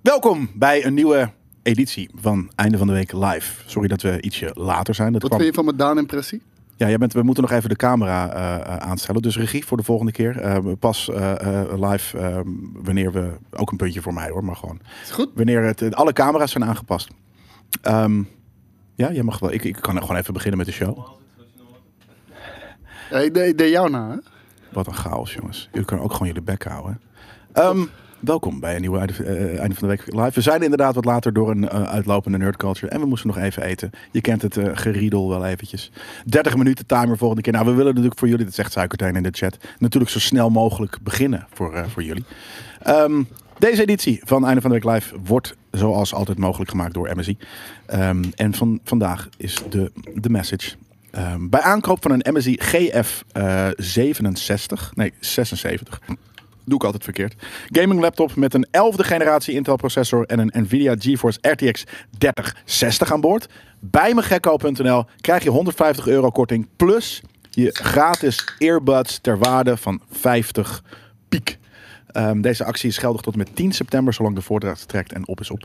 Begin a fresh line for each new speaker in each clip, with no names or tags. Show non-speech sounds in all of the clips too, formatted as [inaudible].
Welkom bij een nieuwe editie van Einde van de Week Live. Sorry dat we ietsje later zijn. Dat
Wat
kwam...
vind je van mijn Daan-impressie?
Ja, jij bent, we moeten nog even de camera eh, eh, aanstellen. Dus regie voor de volgende keer. Eh, pas eh, eh, live eh, wanneer we... Ook een puntje voor mij hoor, maar gewoon.
Is goed?
Wanneer het, alle camera's zijn aangepast. Ehm, ja, jij mag wel. Ik, ik kan gewoon even beginnen met de show.
Ja, ik, deed, ik deed jou na, hè?
Wat een chaos, jongens. Jullie kunnen ook gewoon jullie bek houden. Ehm, welkom bij een nieuwe einde, eh, einde van de week live. We zijn inderdaad wat later door een eh, uitlopende nerdculture. En we moesten nog even eten. Je kent het eh, geriedel wel eventjes. 30 minuten timer volgende keer. Nou, we willen natuurlijk voor jullie, dat zegt Suikertijn in de chat, natuurlijk zo snel mogelijk beginnen voor, eh, voor jullie. Ehm, deze editie van Einde van de Week Live wordt zoals altijd mogelijk gemaakt door MSI. Ehm, en van, vandaag is de, de message. Ehm, bij aankoop van een MSI GF eh, 67, nee 76, doe ik altijd verkeerd. Gaming laptop met een 11e generatie Intel processor en een Nvidia GeForce RTX 3060 aan boord. Bij megekko.nl krijg je 150 euro korting plus je gratis earbuds ter waarde van 50 piek. Ehm, deze actie is geldig tot en met 10 september, zolang de voordracht trekt en op is op.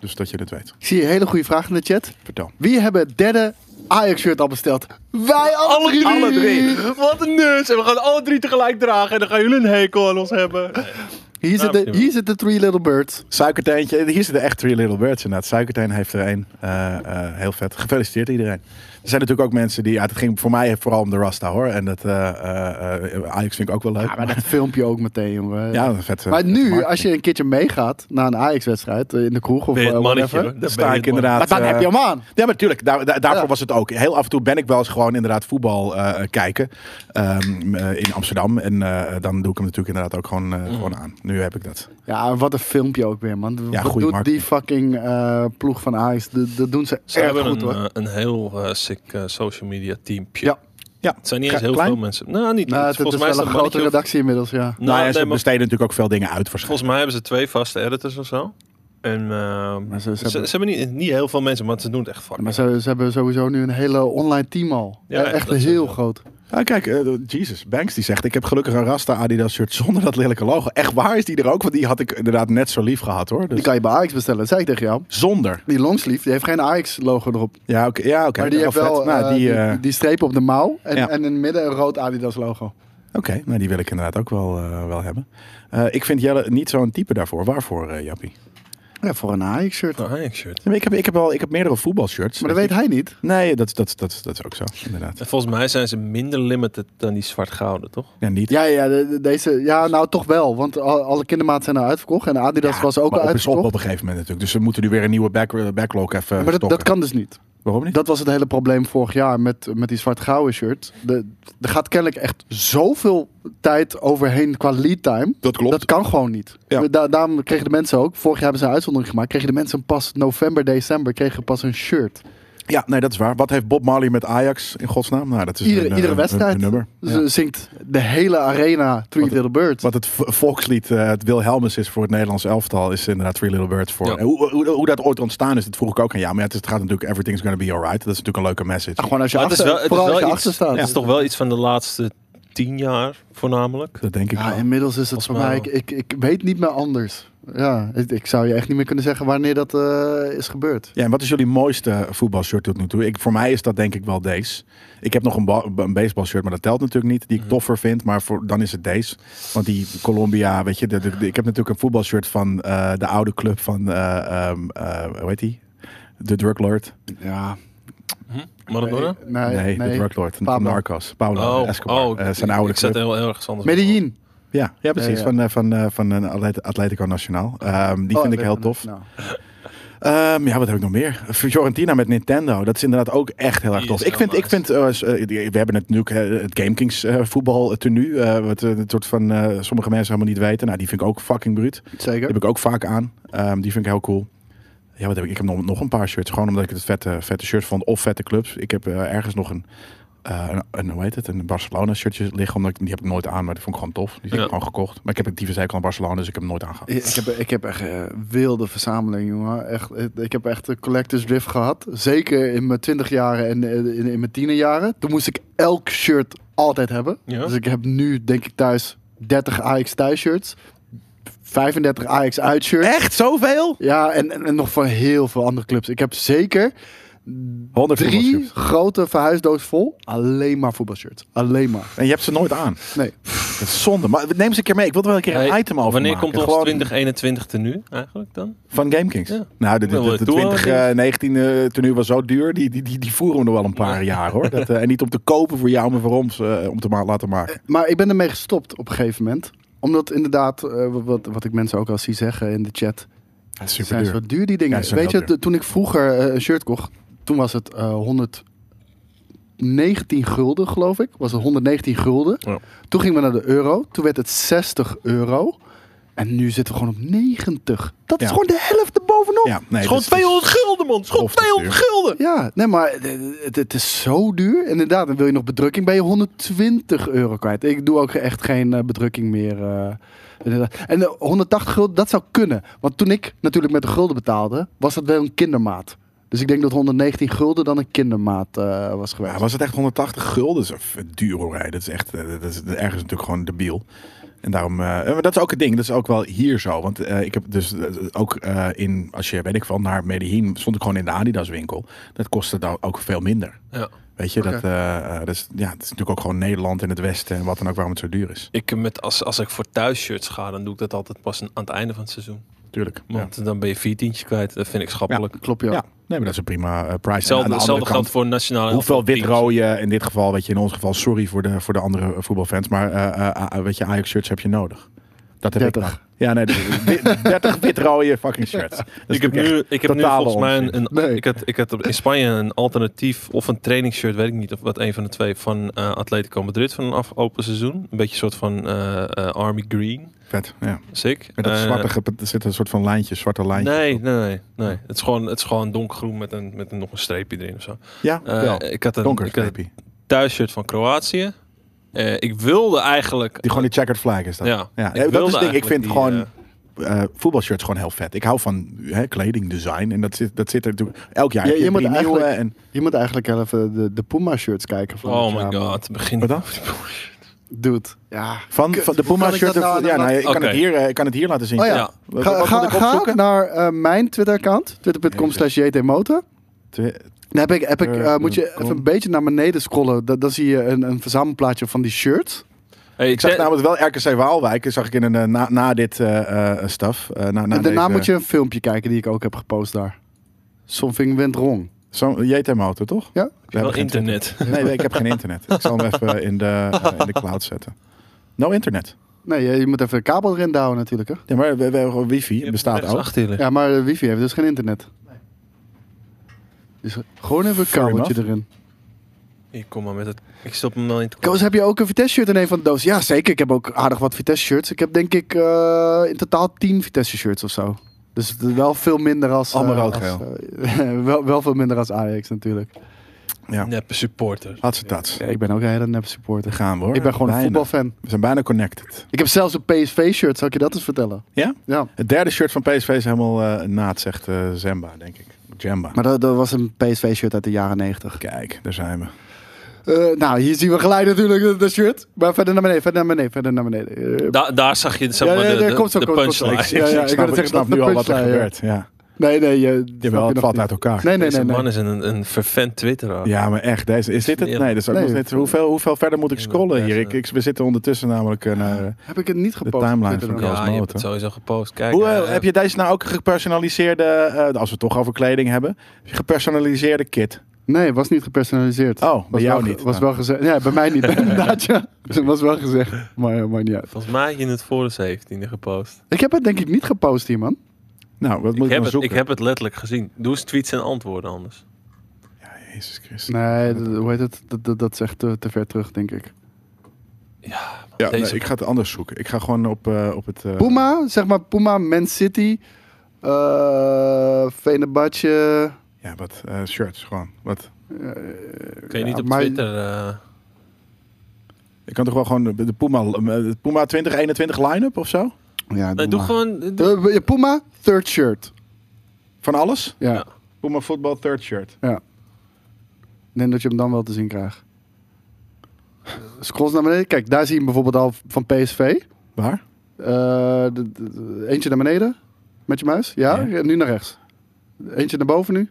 Dus dat je dit weet.
Ik zie een hele goede vraag in de chat.
Vertel.
Wie hebben het derde Ajax-shirt al besteld? Wij alle, drie!
Alle drie.
Wat een nus. En we gaan alle drie tegelijk dragen. En dan gaan jullie een hekel aan ons hebben.
Hier zitten hier zitten Three Little Birds.
Suikertijntje, hier zitten echt Three Little Birds inderdaad. Suikertijn heeft er één. Eh, eh, heel vet. Gefeliciteerd iedereen. Er zijn natuurlijk ook mensen die... Ja, het ging voor mij vooral om de Rasta hoor. En dat eh, eh, eh, Ajax vind ik ook wel leuk.
Ja, maar dat filmpje ook meteen, jongen.
Ja, een vet. eh,
maar
vet
nu,
marketing.
als je een keertje meegaat naar een Ajax-wedstrijd eh, in de kroeg of
Ben je het
eh,
mannetje,
whatever,
hoor.
Dan
Dan ben
sta
je
ik
het, man.
inderdaad...
Maar dan
eh,
heb je hem aan.
Ja, maar natuurlijk. Daar, daar- daarvoor
Ja.
was het ook. Heel af en toe ben ik wel eens gewoon inderdaad voetbal eh, kijken ehm, eh, in Amsterdam. En eh, dan doe ik hem natuurlijk inderdaad ook gewoon, eh,
Mm.
gewoon aan. Nu heb ik dat.
Ja, en wat een filmpje ook weer, man.
Ja,
wat
goede
doet
marketing.
die fucking eh, ploeg van Ajax? D- Dat doen ze
Ze
erg
hebben
goed,
een,
hoor.
eh, een heel eh, sick eh, social media teampje.
Ja.
Ja.
Het zijn niet eens
Ga-
heel
klein?
veel mensen. Nou, niet.
Nou,
niet.
het, het is
volgens mij
wel een
dat mannetje
grote
of-
redactie inmiddels, ja.
Nou,
Nou, ja,
nee,
ze
maar
besteden natuurlijk ook veel dingen uit waarschijnlijk.
volgens mij hebben ze twee vaste editors of zo. En ehm,
Maar ze-
ze,
ze
ze,
hebben-
hebben niet, niet heel veel mensen, maar ze doen het echt fucking.
Maar ze, ze hebben sowieso nu een hele online team al.
Ja,
Eh, echt
dat is
heel
wel.
groot.
Ah, kijk, eh, Jesus, Banks die zegt... ik heb gelukkig een Rasta Adidas shirt zonder dat lelijke logo. Echt waar is die er ook? Want die had ik inderdaad net zo lief gehad, hoor. Dus
Die kan je bij Ajax bestellen, dat zei ik tegen jou.
Zonder.
Die longsleeve, die heeft geen Ajax-logo erop.
Ja, oké. ja, oké.
maar die
Oh,
heeft
vet.
wel
nou,
eh,
die,
die,
eh,
die strepen op de mouw en,
Ja.
en in het midden een rood Adidas-logo.
Oké, nou, die wil ik inderdaad ook wel, eh, wel hebben. Eh, ik vind Jelle niet zo'n type daarvoor. Waarvoor, eh, Jappie?
Ja, voor een Ajax-shirt.
Een Ajax-shirt.
Ja, maar ik, heb, ik, heb wel, ik heb meerdere voetbalshirts.
Maar dat weet hij niet.
Nee, dat, dat, dat, dat is ook zo, inderdaad.
En volgens mij zijn ze minder limited dan die zwart-gouden, toch?
Ja, niet.
Ja, ja, de- de- deze, ja, nou toch wel. Want al- alle kindermaat zijn er uitverkocht en Adidas
Ja,
was ook
maar
al
op is op op
uitverkocht.
een gegeven moment natuurlijk. Dus ze moeten nu weer een nieuwe back, eh, backlog even
Maar dat,
stokken.
dat kan dus niet.
Waarom niet?
Dat was het hele probleem vorig jaar met, met die zwart-gouden shirt. De- Er gaat kennelijk echt zoveel tijd overheen qua lead time.
Dat klopt.
Dat kan gewoon niet.
Ja.
Da- daarom kregen de mensen ook, vorig jaar hebben ze een uitzondering gemaakt, kregen de mensen pas november, december, kregen pas een
Dus
shirt.
Ja, nee, dat is waar. Wat heeft Bob Marley met Ajax in godsnaam? Nou, dat is
Iedere,
een, eh,
iedere
een-
wedstrijd Dus
een nummer.
Ze
Ja.
zingt de hele arena Three
Wat-
Little Birds.
Wat het v- volkslied, eh, het Wilhelmus is voor het Nederlands elftal, is inderdaad Three Little Birds voor.
Ja.
En hoe, hoe, hoe dat ooit ontstaan is, dat vroeg ik ook aan jou. Maar ja, het, is- het gaat natuurlijk Everything's Gonna Be Alright. Dat is natuurlijk een leuke message.
gewoon als je
Maar het is
achter,
wel- het is
vooral als
wel
je
iets-
achter staat.
Het is toch wel iets van de laatste tien jaar, voornamelijk.
Dat denk ik
Ja,
wel.
inmiddels is het
Volgens
voor
mij
mij, ik,
wel.
ik, ik weet niet meer anders. Ja, ik, ik zou je echt niet meer kunnen zeggen wanneer dat eh, is gebeurd.
Ja, en wat is jullie mooiste voetbalshirt tot nu toe? Ik, voor mij is dat denk ik wel deze. Ik heb nog een, ba- een baseballshirt, maar dat telt natuurlijk niet.
Mhm.
Die ik toffer vind, maar voor, dan is het deze. Want die Colombia, weet je, de- de- de- ik heb natuurlijk een voetbalshirt van eh, de oude club van, eh, ehm, eh, hoe heet die? De Drug Lord.
Ja,
Maradona?
Hm? nee,
Nee,
nee.
de Drug Lord. Van
Pablo.
Narcos. Paulo
Oh,
Escobar.
oh
Eh, zijn oude
ik zat
club.
heel ergens anders.
Medellin.
Ja, ja, precies.
Ja, ja.
Van, eh, van, eh, van een Atlet- Atletico Nacional. Ehm, die
Oh,
vind ik
dat-
heel tof.
nou.
Ehm, ja, wat heb ik nog meer? Fiorentina met Nintendo. Dat is inderdaad ook echt heel erg
Die
tof.
is
Ik
heel
vind, ik
nice.
vind eh, s- eh, die- we hebben het nu eh, het GameKings eh voetbal tenue. eh, wat eh, een soort van eh, sommige mensen helemaal niet weten. Nou, die vind ik ook fucking bruut.
Zeker.
Die heb ik ook vaak aan. Ehm, die vind ik heel cool. Ja, wat heb ik? Ik heb nog, nog een paar shirts. Gewoon omdat ik het vette, vette shirt vond. Of vette clubs. Ik heb eh, ergens nog een, eh, een, een, hoe heet het? Een Barcelona shirtje liggen. Omdat ik, die heb ik nooit aan, maar die vond ik gewoon tof. Die heb
Ja.
ik gewoon gekocht. Maar ik heb het tyfus hekel aan Barcelona, dus ik heb hem nooit aangehad.
Ik heb, ik heb echt een wilde verzameling, jongen. Echt, ik heb echt een collectors drift gehad. Zeker in mijn 20 jaren en eh, in, in mijn 10 jaren. Toen moest ik elk shirt altijd hebben.
Ja.
Dus ik heb nu, denk ik, thuis 30 Ajax thuis shirts. 35 Ajax uitshirts.
Echt zoveel?
Ja, en, en, en nog van heel veel andere clubs. Ik heb zeker
100
drie grote verhuisdoos vol. Alleen maar voetbalshirts. Alleen maar.
En je hebt ze nooit aan.
Nee.
Dat is zonde. Maar neem ze een keer mee. Ik wil er wel een keer een
Hey,
item over
Wanneer
maken.
komt ons
Gewoon
2021 tenue eigenlijk dan?
Van GameKings?
Ja.
Nou, de, de,
Wel,
de,
eh,
de
toe,
20,
eh,
eh, 19 eh tenue was zo duur. Die, die, die, die voeren we nog wel een paar jaar hoor. Dat, eh, en niet om te kopen voor jou, maar voor ons eh, om te ma- laten maken.
Maar ik ben ermee gestopt op een gegeven moment. Omdat inderdaad, eh, wat, wat ik mensen ook al zie zeggen in de chat.
Super
zijn
duur.
zo duur die dingen.
Ja, ze zijn
Weet
wel
je, t- toen ik vroeger eh, een shirt kocht, toen was het eh 119 gulden, geloof ik. Was het 119 gulden.
Ja.
Toen gingen we naar de euro. Toen werd het 60 euro. En nu zitten we gewoon op 90. Dat
Ja.
is gewoon de helft erbovenop. Ja.
Ja, nee, dus-
Schoon
dat is-
200 gulden man, schoon
Of te
200 gulden!
nee, maar het- het, het is zo duur. Inderdaad, en wil je nog bedrukking, ben je 120 euro kwijt. Ik doe ook echt geen eh, bedrukking meer. eh, inderdaad. en eh, 180 gulden, dat zou kunnen. Want toen ik natuurlijk met de gulden betaalde, was dat wel een kindermaat. Dus ik denk dat 119 gulden dan een kindermaat eh, was geweest.
Ja, was het echt 180 gulden? Dat is f- duur hoor. hè. Dat is echt, eh, dat is ergens natuurlijk gewoon debiel. En daarom, eh, maar dat is ook het ding. Dat is ook wel hier zo. Want eh, ik heb dus eh, ook eh, in, als je weet ik van, naar Medellin stond ik gewoon in de Adidas winkel. Dat kostte dan ook veel minder.
Ja.
Weet je, dat, eh, eh, dat is, ja, het is natuurlijk ook gewoon Nederland en het Westen en wat dan ook waarom het zo duur is.
Ik, eh, met, als, als ik voor thuisshirts ga, dan doe ik dat altijd pas aan het einde van het seizoen.
Tuurlijk. Ja.
Want dan ben je vier tientjes kwijt. Dat vind ik schappelijk.
Klopt, ja.
Ja, nee, maar dat is een prima eh, price. En aan
Hetzelfde,
de
hetzelfde
andere
geldt
kant,
voor nationale
hoeveel
elftal teams.
wit-rode in dit geval, weet je, in ons geval, sorry voor de, voor de andere voetbalfans, maar eh, eh, eh, weet je, Ajax-shirts heb je nodig. Dat heb ik
30.
nou. Ja, nee, [laughs] dat- wit- 30 wit-rode fucking
[laughs]
shirts. Dat is
Ik heb,
natuurlijk
nu, ik heb nu
totale
volgens mij een,
onzin.
een-
Nee.
ik had, ik had op- in Spanje een alternatief of een trainingsshirt, weet ik niet of wat een van de twee, van eh, Atletico Madrid van een afgelopen seizoen. Een beetje een soort van eh, eh, Army Green.
echt vet. Ja.
Sick.
Met dat
Eh,
zwarte, ge- er zitten een soort van lijntjes, zwarte lijntjes.
Nee, nee, nee. nee. Het, is gewoon, het is gewoon donkergroen met, een, met een, nog een streepje erin of zo.
Ja,
Eh,
wel.
ik had een,
Donker
ik had een
streepje.
thuisshirt van Kroatië. Eh, ik wilde eigenlijk...
Die gewoon die checkered flag is dat.
Ja,
Ja,
ik wilde
dat is het ding. Ik
eigenlijk
vind
die,
gewoon
eh,
eh, voetbalshirts gewoon heel vet. Ik hou van hè, kledingdesign en dat zit, dat zit er natuurlijk elk jaar.
Ja,
heb
je moet
drie
eigenlijk-
nieuwe en
Je moet eigenlijk even de, de Puma-shirts kijken. Van
Oh
dit jaar,
my
man.
god, begin
Wat dan?
Dude, ja.
van,
Kut,
van de
hoe
Puma
kan ik
shirt.
dat nou
ja, nou,
aan-
ik, kan
Oké.
het hier, eh, ik kan het hier laten zien.
Oh ja.
Ja.
Wat- wat
Ga,
moet
ga,
ik
ga
opzoeken?
naar eh, mijn Twitter-account, twitter.com slash jtmotor.
Twee-
Dan heb ik, heb ik, eh, moet je even een beetje naar beneden scrollen. Da- dan zie je een, een verzamelplaatje van die shirts.
Nou,
Hey,
Ik zag namelijk wel RKC Waalwijk. Dat zag ik in een, eh, na, na dit eh, eh, staf. eh, na, na
en daarna
deze-
moet je een filmpje kijken die ik ook heb gepost daar. Something went wrong.
Zo, JTM Auto, toch?
Ja?
We hebben geen
internet.
internet. Nee, nee, ik heb geen internet. Ik zal hem even in de, eh, in de cloud zetten. No internet.
Nee, je, je moet even de kabel erin douwen natuurlijk. Hè?
Ja, maar we, we, hebben wifi bestaat ook.
Achter je liggen.
Ja, maar eh, wifi heeft dus geen internet. Dus gewoon even een
Fair
kabeltje
enough.
erin.
Ik kom maar met het... Ik stop hem wel in het
Koos, heb je ook een Vitesse-shirt in een van de doos? Ja, zeker. Ik heb ook aardig wat Vitesse-shirts. Ik heb denk ik eh, in totaal 10 Vitesse-shirts of zo. Dus het is wel veel minder als... eh,
Allemaal
als,
roodgeel.
eh, [laughs] wel, wel veel minder als Ajax natuurlijk.
Ja.
neppe supporter.
Laat ze dat.
Ja, ik ben ook een hele nep supporter.
Daar gaan we hoor.
Ik ben gewoon
Bijna.
een voetbalfan.
We zijn bijna connected.
Ik heb zelfs een PSV-shirt, zal ik je dat eens vertellen?
Ja?
Ja.
Het derde shirt van PSV is helemaal eh naad, zegt eh, Zemba, denk ik. Jamba.
Maar dat, dat was een PSV-shirt uit de jaren 90.
Kijk, daar zijn we.
Eh, nou, hier zien we gelijk natuurlijk dat- dat shirt. Maar verder naar beneden, verder naar beneden, verder naar beneden. Eh,
Da- daar zag je zeg
Ja,
maar,
ja,
de,
daar
de-
komt zo,
de
komt zo.
Ik,
punchline.
ik,
Ja, ja,
ik
ik wou
snap,
net
ik
zeggen,
snap
dat
nu
de
al wat er
punchline, ja.
gebeurt. Ja.
nee, nee. Je,
Je
snap
wel,
je
het
nog
valt
niet.
uit elkaar.
Nee, nee,
Deze
nee. nee.
man is een, een fervent twitteraar.
Ja, maar echt. Deze, is dit het?
Ja.
Nee, dus dat is ook
Nee,
nog niet. Hoeveel, hoeveel verder moet ik scrollen hier? Ik, ik- we zitten ondertussen namelijk eh, naar... eh,
Heb ik het niet gepost?
timeline
Ik weet
van
het nog.
Koos.
Ja, je hebt
Motor.
het sowieso gepost. Kijk,
Hoe,
eh,
eh, heb je deze nou ook gepersonaliseerde, eh, als we het toch over kleding hebben, gepersonaliseerde kit?
Nee, was niet gepersonaliseerd.
Oh, bij
was
jou
wel, ge-
niet.
Was
Nou.
wel gezegd. Ja, bij mij
[laughs]
niet. [laughs] Inderdaad, ja. Was wel gezegd. Maar, eh, maakt niet uit.
Volgens mij heb je het voor de 17e gepost.
Ik heb het denk ik niet gepost hier, man.
Nou, wat moet
Ik
ik,
heb,
dan
het, ik
zoeken?
heb het letterlijk gezien. Doe eens tweets en antwoorden anders.
Jezus Christus.
Nee, d- hoe heet het? Dat, dat, dat is echt te, te ver terug, denk ik.
Ja, Nou, nee,
Deze-
ik ga het anders zoeken. Ik ga gewoon op, eh, op het... eh,
Puma, zeg maar Puma, Man City, eh Venebadje.
Ja, wat eh, shirts gewoon. Wat.
Kun je
Ja,
niet op
maar-
Twitter... eh,
Ik kan toch wel gewoon de de Puma, eh, de Puma 2021 line-up of zo?
Ja,
nee, doe gewoon... eh, doe-
gewoon... Puma, third shirt.
Van alles?
Ja.
Ja.
Puma voetbal third shirt.
Ik denk dat je hem dan wel te zien krijgt. Scrolls naar beneden. Kijk, daar zie je hem bijvoorbeeld al van PSV.
Waar?
Eh, de- de- de- eentje naar beneden met je muis. Ja,
Ja.
en nu naar rechts. Eentje naar boven nu.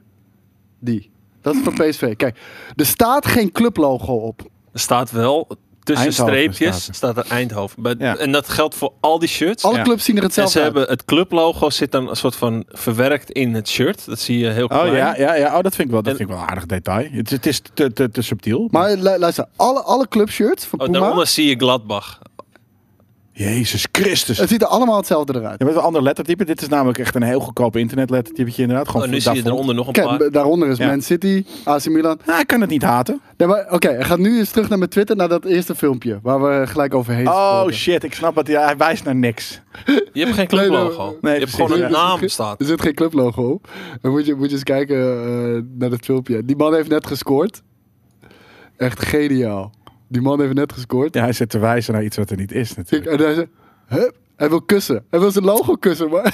Die. Dat is van PSV. Kijk, er staat geen clublogo op.
Er staat wel tussen
Eindhoven
streepjes
staat er.
staat. er Eindhoven. Bij-
Ja.
En dat geldt voor al die shirts.
Alle
Ja.
clubs zien er
en
hetzelfde
ze
uit.
hebben het clublogo zit dan een soort van verwerkt in het shirt. Dat zie je heel
Oh
klein.
ja, ja, ja. Oh, dat vind ik wel, dat
En-
vind ik wel een aardig detail. Het, het is te, te, te subtiel. Maar...
Maar lu- luister, alle, alle clubshirts van
Oh,
Puma,
daaronder zie je Gladbach.
Jezus Christus.
het ziet er allemaal hetzelfde eruit.
Je bent een ander lettertype. Dit is namelijk echt een heel goedkoop internetlettertypetje inderdaad. Gewoon
Oh, nu
voor-
zie je
daarvoor-
eronder nog een
Kijk,
paar.
b- daaronder is
Ja.
Man City, AC Milan.
Ah, ik kan het niet haten.
Nee, maar oké, ga nu eens terug naar mijn Twitter, naar dat eerste filmpje, waar we gelijk overheen
Oh
scrollden.
shit, ik snap het. Ja, hij wijst naar niks.
Je hebt geen
Nee,
clublogo.
nee,
je hebt
precies,
gewoon een
ja.
naam staat.
Er zit geen clublogo op. Dan moet je, moet je eens kijken eh, naar dat filmpje. Die man heeft net gescoord. Echt geniaal. Die man heeft net gescoord.
Ja, hij zit te wijzen naar iets wat er niet is
Ik,
natuurlijk.
en hij zei, hup, hij wil kussen. Hij wil zijn logo kussen,
Oh,
maar...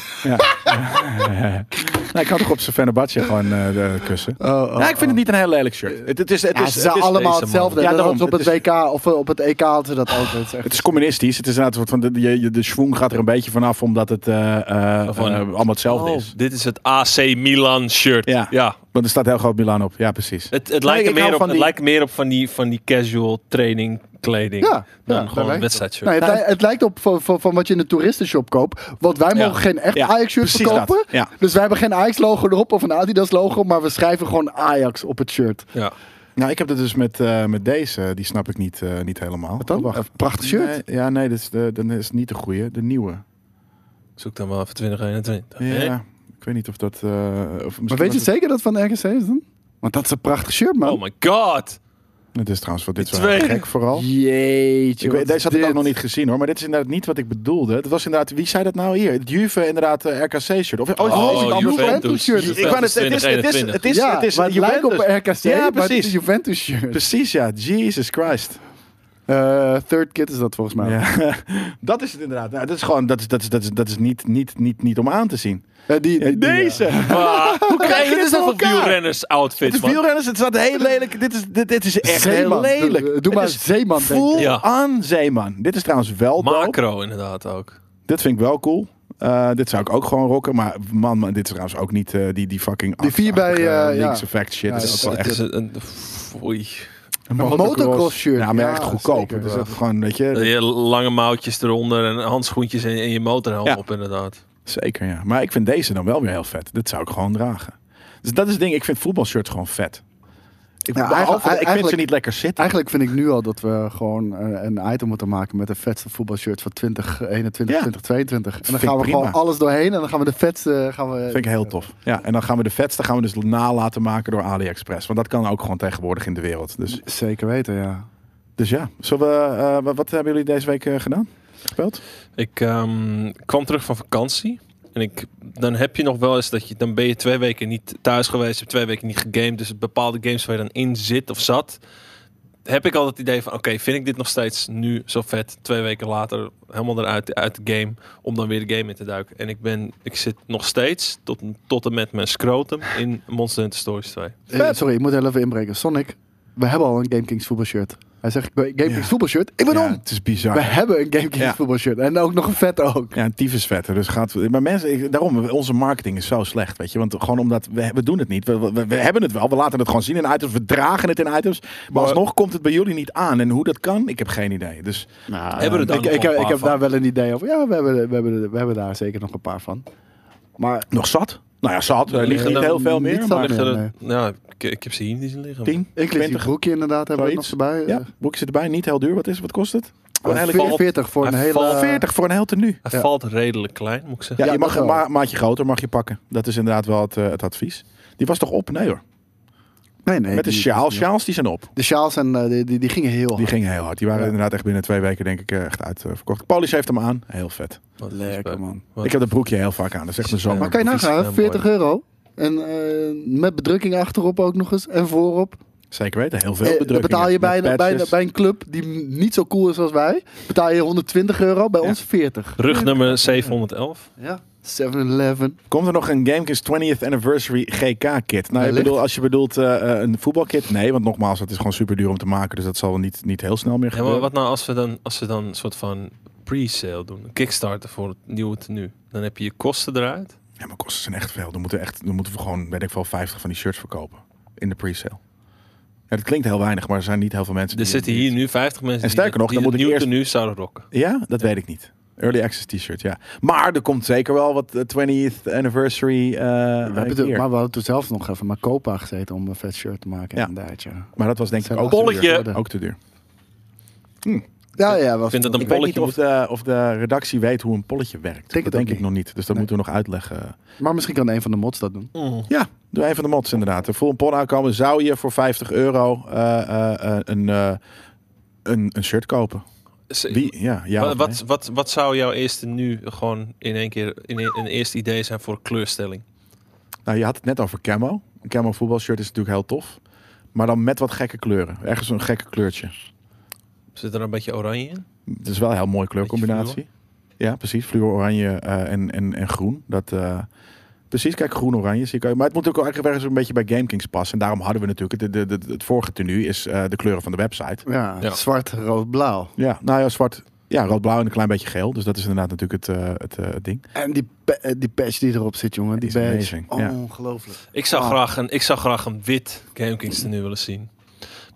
[laughs] Nou, ik had toch op zijn Fenerbahce gewoon eh, de kussen. oh. ja, ik vind het niet een heel lelijk shirt. Het, het is, het
Ja,
is,
ze
het
zijn
is,
allemaal
deze
hetzelfde.
man. Ja,
Dat
daarom.
hadden ze op
Het
het WK of eh, op het EK hadden ze dat altijd. Het is echt-
het is communistisch. Het is inderdaad een soort van de, je- je- de schwung gaat er een beetje vanaf omdat het eh, eh, eh,
Van-
allemaal hetzelfde
Oh,
is.
dit is het AC Milan shirt.
Ja.
Ja.
Want er staat heel groot Milan op. Ja, precies.
Het, het,
Nee, ik
lijkt er
hou
meer op,
van
het
die-
lijkt meer op van die, van die casual training kleding.
Ja,
dan
ja, daar
gewoon een
lijkt
wedstrijdshirt.
Nee, het, li- het lijkt op van, van, van wat je in de toeristenshop koopt. Want wij mogen geen echt
Ja,
Ajax-shirt
precies dat.
verkopen.
Ja.
Dus wij hebben geen Ajax-logo erop of een Adidas-logo. Maar we schrijven gewoon Ajax op het shirt.
Ja.
Nou, ik heb dat dus met, eh, met deze. Die snap ik niet, eh, niet helemaal. Wat
dan? Oh, Een prachtig shirt.
Nee, ja, nee, dat is, de, dat is niet de goede. De nieuwe.
Ik zoek dan wel even 2021.
Ja,
Eh?
Hè?
ik weet niet of dat... eh, of
Maar weet je
het
zeker dat het van RKC is dan? Want dat is een prachtig shirt, man.
Oh my god!
Het is trouwens, wat dit is
Die
wel heel
twee.
gek vooral.
Oh. Jeetje.
Ik weet,
wat
deze
is
had ik ook
dit?
nog niet gezien hoor, maar dit is inderdaad niet wat ik bedoelde. Het was inderdaad, wie zei dat nou hier? Het Juve inderdaad eh, RKC-shirt. Of, oh, is-
Oh,
is het
Juve.
anders?
Juventus shirt.
Ik wou net zeggen, het is, het is, het is,
ja,
het is
maar het lijkt op
Juventus.
een RKC,
Ja,
maar het is een
precies.
Juventus-shirt.
Precies ja, Jesus Christ.
Eh, third Kid is dat volgens mij.
Ja. [laughs] dat is het inderdaad. Nou, dat is gewoon, dat is, dat is, dat is, dat is niet, niet, niet, niet om aan te zien.
Eh, die, die- die,
Deze!
Maar, Ah,
[laughs]
hoe krijg je
dit
dit is
voor
een
elkaar?
wielrenners
Het
outfit,
is
man.
wielrenners, het staat heel lelijk. Dit is, dit, dit is echt heel
Zeeman.
lelijk.
Doe- doe
Dit
maar
is
Zeeman, denk ik.
Full
Ja.
aan Zeeman. Dit is trouwens wel dope.
Macro inderdaad ook.
Dit vind ik wel cool. Eh, dit zou ik ook gewoon rocken. Maar man, man, dit is trouwens ook niet eh, die, die fucking...
Die vier bij,
achterachtige
eh, ja.
Linkse fact shit.
Ja,
dat
Het
is
is,
ook wel
het
echt...
is een, een- oei.
Een
motocross shirt.
Ja, maar
Ja,
echt goedkoop.
zeker.
Dus dat gewoon, weet je...
Je lange mouwtjes eronder en handschoentjes en, en je motorhelm
Ja.
op inderdaad.
Zeker, ja. Maar ik vind deze dan wel weer heel vet. Dit zou ik gewoon dragen. Dus dat is het ding. Ik vind voetbalshirts gewoon vet. Ik,
Ja,
behalve-
Nou,
ik
eigenlijk-
vind ze
eigenlijk-
niet lekker zitten.
Eigenlijk vind ik nu al dat we gewoon eh, een item moeten maken met de vetste voetbalshirts van 2021,
Ja.
2022. En
Vind
dan
ik
gaan we
prima.
gewoon alles doorheen en dan gaan we de vetste... eh, Gaan we,
Vind ik heel tof. Ja, en dan gaan we de vetste gaan we dus na laten maken door AliExpress. Want dat kan ook gewoon tegenwoordig in de wereld. Dus,
Zeker weten, ja.
dus ja, Zullen we, eh, wat- wat hebben jullie deze week eh, gedaan? Gespeeld?
Ik ehm, kwam terug van vakantie. En ik, dan heb je nog wel eens dat je, dan ben je twee weken niet thuis geweest, je hebt twee weken niet gegamed. Dus bepaalde games waar je dan in zit of zat, heb ik al het idee van, oké, vind ik dit nog steeds nu zo vet? Twee weken later helemaal eruit uit de game, om dan weer de game in te duiken. En ik ben, ik zit nog steeds tot, tot en met mijn scrotum in Monster Hunter Stories 2.
Eh, sorry, ik moet heel even inbreken. Sonic, we hebben al een GameKings voetbalshirt. Hij zegt, ik wil een GameKings
Ja.
voetbalshirt? Ik ben
Ja,
om!
het is
We
bizar.
hebben een GameKings
Ja.
voetbalshirt. En ook nog een vet ook.
Ja, een tyfusvetter. Dus gaat, maar mensen, ik- daarom, onze marketing is zo slecht, weet je. Want gewoon omdat, we, we doen het niet. We, we, we hebben het wel, we laten het gewoon zien in items. We dragen het in items. Maar
Maar-
alsnog komt het bij jullie niet aan. En hoe dat kan, ik heb geen idee. Dus
Hebben we er dan
ik,
nog
ik,
een
ik
paar
heb
van?
daar wel een idee over. Ja, we hebben, we, hebben, we hebben daar zeker nog een paar van. Maar
nog zat? Nou ja, zat. Er ligt
Ja,
niet
dan-
heel veel meer.
niet
Maar
zat.
Ligt er-
nee.
Ja, ik, ik heb ze hier niet zien liggen.
10,
inclusief
20.
die broekje inderdaad hebben we nog
zoiets.
erbij.
Ja,
Eh,
boekje zit erbij. Niet heel duur. Wat is Wat kost het? Gewoon
eh,
eigenlijk
40 voor een
Hij
hele...
valt-
40 voor een heel tenue.
Hij
Ja.
valt redelijk klein, moet ik zeggen.
Ja,
Ja,
je mag
dat
een
wel.
ma- maatje groter mag je pakken. Dat is inderdaad wel het, eh, het advies. Die was toch op? Nee hoor.
Nee, nee.
Met de
die-
sjaal. Sjaals die zijn op.
De sjaals en, eh, die, die, die gingen heel
Die
hard.
gingen heel hard. Die waren
Ja.
inderdaad echt binnen twee weken denk ik eh, echt uitverkocht. Paulus heeft hem aan. Heel vet.
Wat
Lekker, man.
Wat-
Ik heb dat broekje heel vaak aan. Dat is echt mijn zomer.
Maar kan je nagaan, hè?
Vies, eh,
40 euro. En eh, met bedrukking achterop ook nog eens. En voorop.
Zeker weten. Heel
Eh,
veel
dan
bedrukkingen.
betaal je bij,
Met
bij,
patches.
bij een club die m- niet zo cool is als wij. Betaal je 120 euro, bij
Ja.
ons 40.
Rug nummer 711.
Ja. 7-Eleven.
Komt er nog een Gamekings 20th Anniversary GK-kit? Nou, ik
Wellicht.
bedoel, als je bedoelt eh, eh, een voetbalkit, nee. Want nogmaals, het is gewoon super duur om te maken. Dus dat zal niet, niet heel snel meer
Ja,
gebeuren.
maar wat nou als we dan, als we dan een soort van pre-sale doen. Een Kickstarter voor het nieuwe tenue. Dan heb je je kosten eruit.
Ja, maar kosten zijn echt veel. Dan moeten, we echt, dan moeten we gewoon, weet ik wel, 50 van die shirts verkopen. In de pre-sale. Ja, dat klinkt heel weinig, maar er zijn niet heel veel mensen.
Er
die-
zitten hier nu 50 mensen
En sterker
die,
nog,
die
dan
het
moet ik
nieuwe
eerst-
tenue zouden rocken.
Ja, dat weet ik niet. Early Access T-shirt, ja. Maar er komt zeker wel wat eh, 20th anniversary. eh
We hebben het,
keer.
maar we
maar,
hadden toen zelf nog even maar Copa gezeten om een vet shirt te maken.
Ja.
Inderdaad, ja.
dat was denk ik
Zijn
ook
laatste
te duur.
woorden.
Ook te duur.
Ja, ja. Was
Ik vind dat een
Ik weet niet
polletje
of de, of de redactie weet hoe een polletje werkt.
Denk
dat
het
denk
ook
ik nog niet. Dus dat
Nee.
moeten we nog uitleggen.
Maar misschien kan een van de mods dat doen.
moet.
Ja, doe een van de mods inderdaad. Er Voor een pon aankomen zou je voor 50 euro eh, eh, eh, een, eh, een, een shirt kopen.
Ze-
Wie? Ja, ja
Wa-
of
wat,
nee?
wat, wat zou jouw eerste nu gewoon in één keer in e- een, een eerste idee zijn voor kleurstelling?
Nou, je had het net over camo. Een camo voetbalshirt is natuurlijk heel tof. Maar dan met wat gekke kleuren. Ergens een gekke kleurtje.
Zit er een beetje oranje in?
Het is wel een heel mooie kleurcombinatie. Ja, precies. Fluor, oranje eh, en, en, en groen. Dat, eh, precies, kijk, groen-oranje zie ik ook. Maar het moet ook eigenlijk ergens een beetje bij GameKings passen. En daarom hadden we natuurlijk... Het, het, het, het vorige tenue is eh, de kleuren van de website.
Ja,
Ja.
zwart, rood, blauw.
Ja, nou ja, zwart... Ja, rood-blauw en een klein beetje geel. Dus dat is inderdaad natuurlijk het, eh, het, eh, het ding.
En die, pa- eh, die patch die erop zit, jongen. Die
Is
badge.
amazing, ja.
Oh, Ongelooflijk.
Ik zou,
Ah.
graag een, ik zou graag een wit Gamekings tenue willen zien.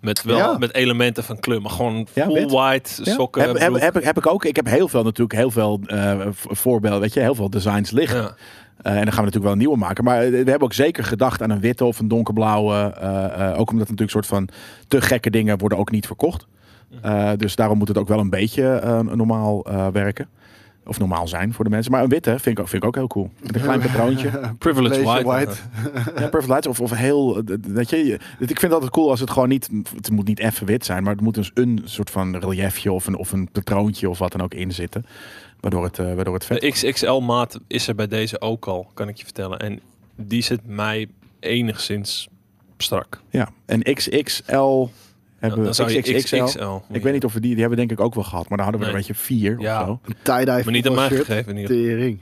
Met wel
Ja.
met elementen van kleur, maar gewoon
Ja,
full
wit.
white
Ja.
sokken.
heb, heb,
broek.
heb, ik- heb ik ook. Ik heb heel veel natuurlijk, heel veel eh, v- voorbeelden, weet je, heel veel designs liggen.
Ja.
Eh, en dan gaan we natuurlijk wel een nieuwe maken. Maar eh, we hebben ook zeker gedacht aan een witte of een donkerblauwe. eh, eh, ook omdat natuurlijk soort van te gekke dingen worden ook niet verkocht. Eh, dus daarom moet het ook wel een beetje eh, normaal eh, werken. Of normaal zijn voor de mensen. Maar een witte vind ik, ook- vind ik ook heel cool. Met een klein patroontje.
Privilege
Blazer
white.
white.
Ja, perfect lights. Of, of heel. eh, d- Weet je, je- het- ik vind het altijd cool als het gewoon niet. Het moet niet even wit zijn, maar het moet dus een soort van reliefje of een, of een patroontje of wat dan ook in zitten. Waardoor het, eh, waardoor het vet
De XXL maat is er bij deze ook al, kan ik je vertellen. En die zit mij enigszins strak.
Ja, en XXL hebben
Dan zou je
XXXL. Ik weet niet of we die, die hebben we denk ik ook wel gehad, maar daar hadden we
Nee.
een beetje vier
Ja.
of zo.
Een tie-dye
Maar niet aan mij
voetbalshirt.
gegeven. in ieder
Tering.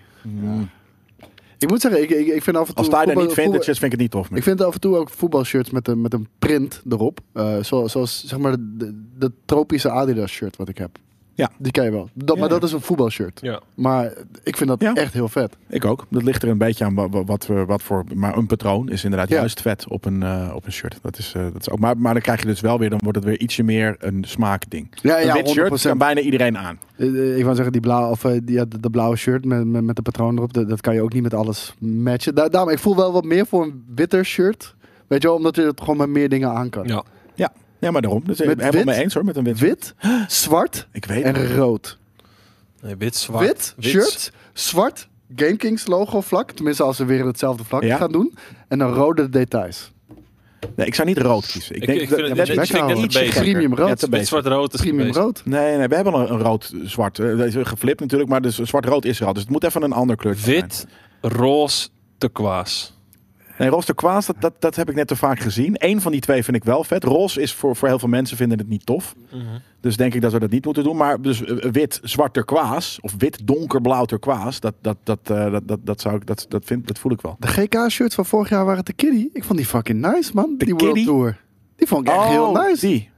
Ik moet zeggen, ik, ik, ik vind af en toe...
Mm. Als daar dan
voetbal-
niet vintage
voetbal-
is, vind ik het niet tof meer.
Ik vind af en toe ook voetbalshirts met een, met een print erop. Eh, zo, zoals zeg maar de, de, de tropische Adidas shirt wat ik heb.
Ja.
Die ken je wel. Dat,
Ja.
Maar dat is een voetbalshirt.
geval. Ja.
Maar ik vind dat
Ja.
echt heel vet.
Ik ook. Dat ligt er een beetje aan wa- wa- wat, we wat voor. Maar een patroon is inderdaad
Ja.
juist vet op een, eh, op een shirt. Dat is, eh, dat is ook, maar, maar dan krijg je dus wel weer, dan wordt het weer ietsje meer een smaakding.
Ja,
een
ja,
wit shirt
100%.
kan bijna iedereen aan.
Eh, eh, Ik wou zeggen, die blauwe, of, eh, die, ja, de, de blauwe shirt met, met, met de patroon erop, dat, dat kan je ook niet met alles matchen. Daar, daarom, ik voel wel wat meer voor een witter shirt. Weet je wel, omdat je het gewoon met meer dingen aan kan.
ja.
Ja, maar daarom. Dus ik
Met
ben helemaal
wit?
mee eens hoor, met een wit.
Wit, [gasps] zwart
Ik weet het.
en rood.
Nee, wit, zwart.
Wit, shirt, zwart, GameKings logo vlak. Tenminste, als ze weer hetzelfde vlak
Ja.
gaan doen. En dan rode details.
Nee, ik zou niet rood kiezen. Ik,
Ik-
denk
ik
dat-
vind het
dat-
niet-
dat-
ik vind het
ietsje
beter.
gekker.
Premium rood.
Ja, te
Wit,
beter.
zwart, rood is de
Premium
beste.
rood.
Nee, nee, we hebben al een, een rood-zwart. eh, dat is geflipt natuurlijk, maar dus zwart-rood is er al. Dus het moet even een ander kleurtje zijn.
Wit, roze, te kwaas.
Nee, roze kwaas, dat, dat, dat heb ik net te vaak gezien. Eén van die twee vind ik wel vet. Roze is voor, voor heel veel mensen vinden het niet tof.
Mhm.
Dus denk ik dat we dat niet moeten doen. Maar dus eh, wit, zwart turquoise of wit, donkerblauw turquoise, dat, dat, dat, eh, dat, dat, dat, zou ik, dat, dat, vind, dat voel ik wel.
De GK-shirts van vorig jaar waren de Kiddie. Ik vond die fucking nice, man. die
Kiddie?
World Tour. Die vond ik echt heel nice.
Oh, Die.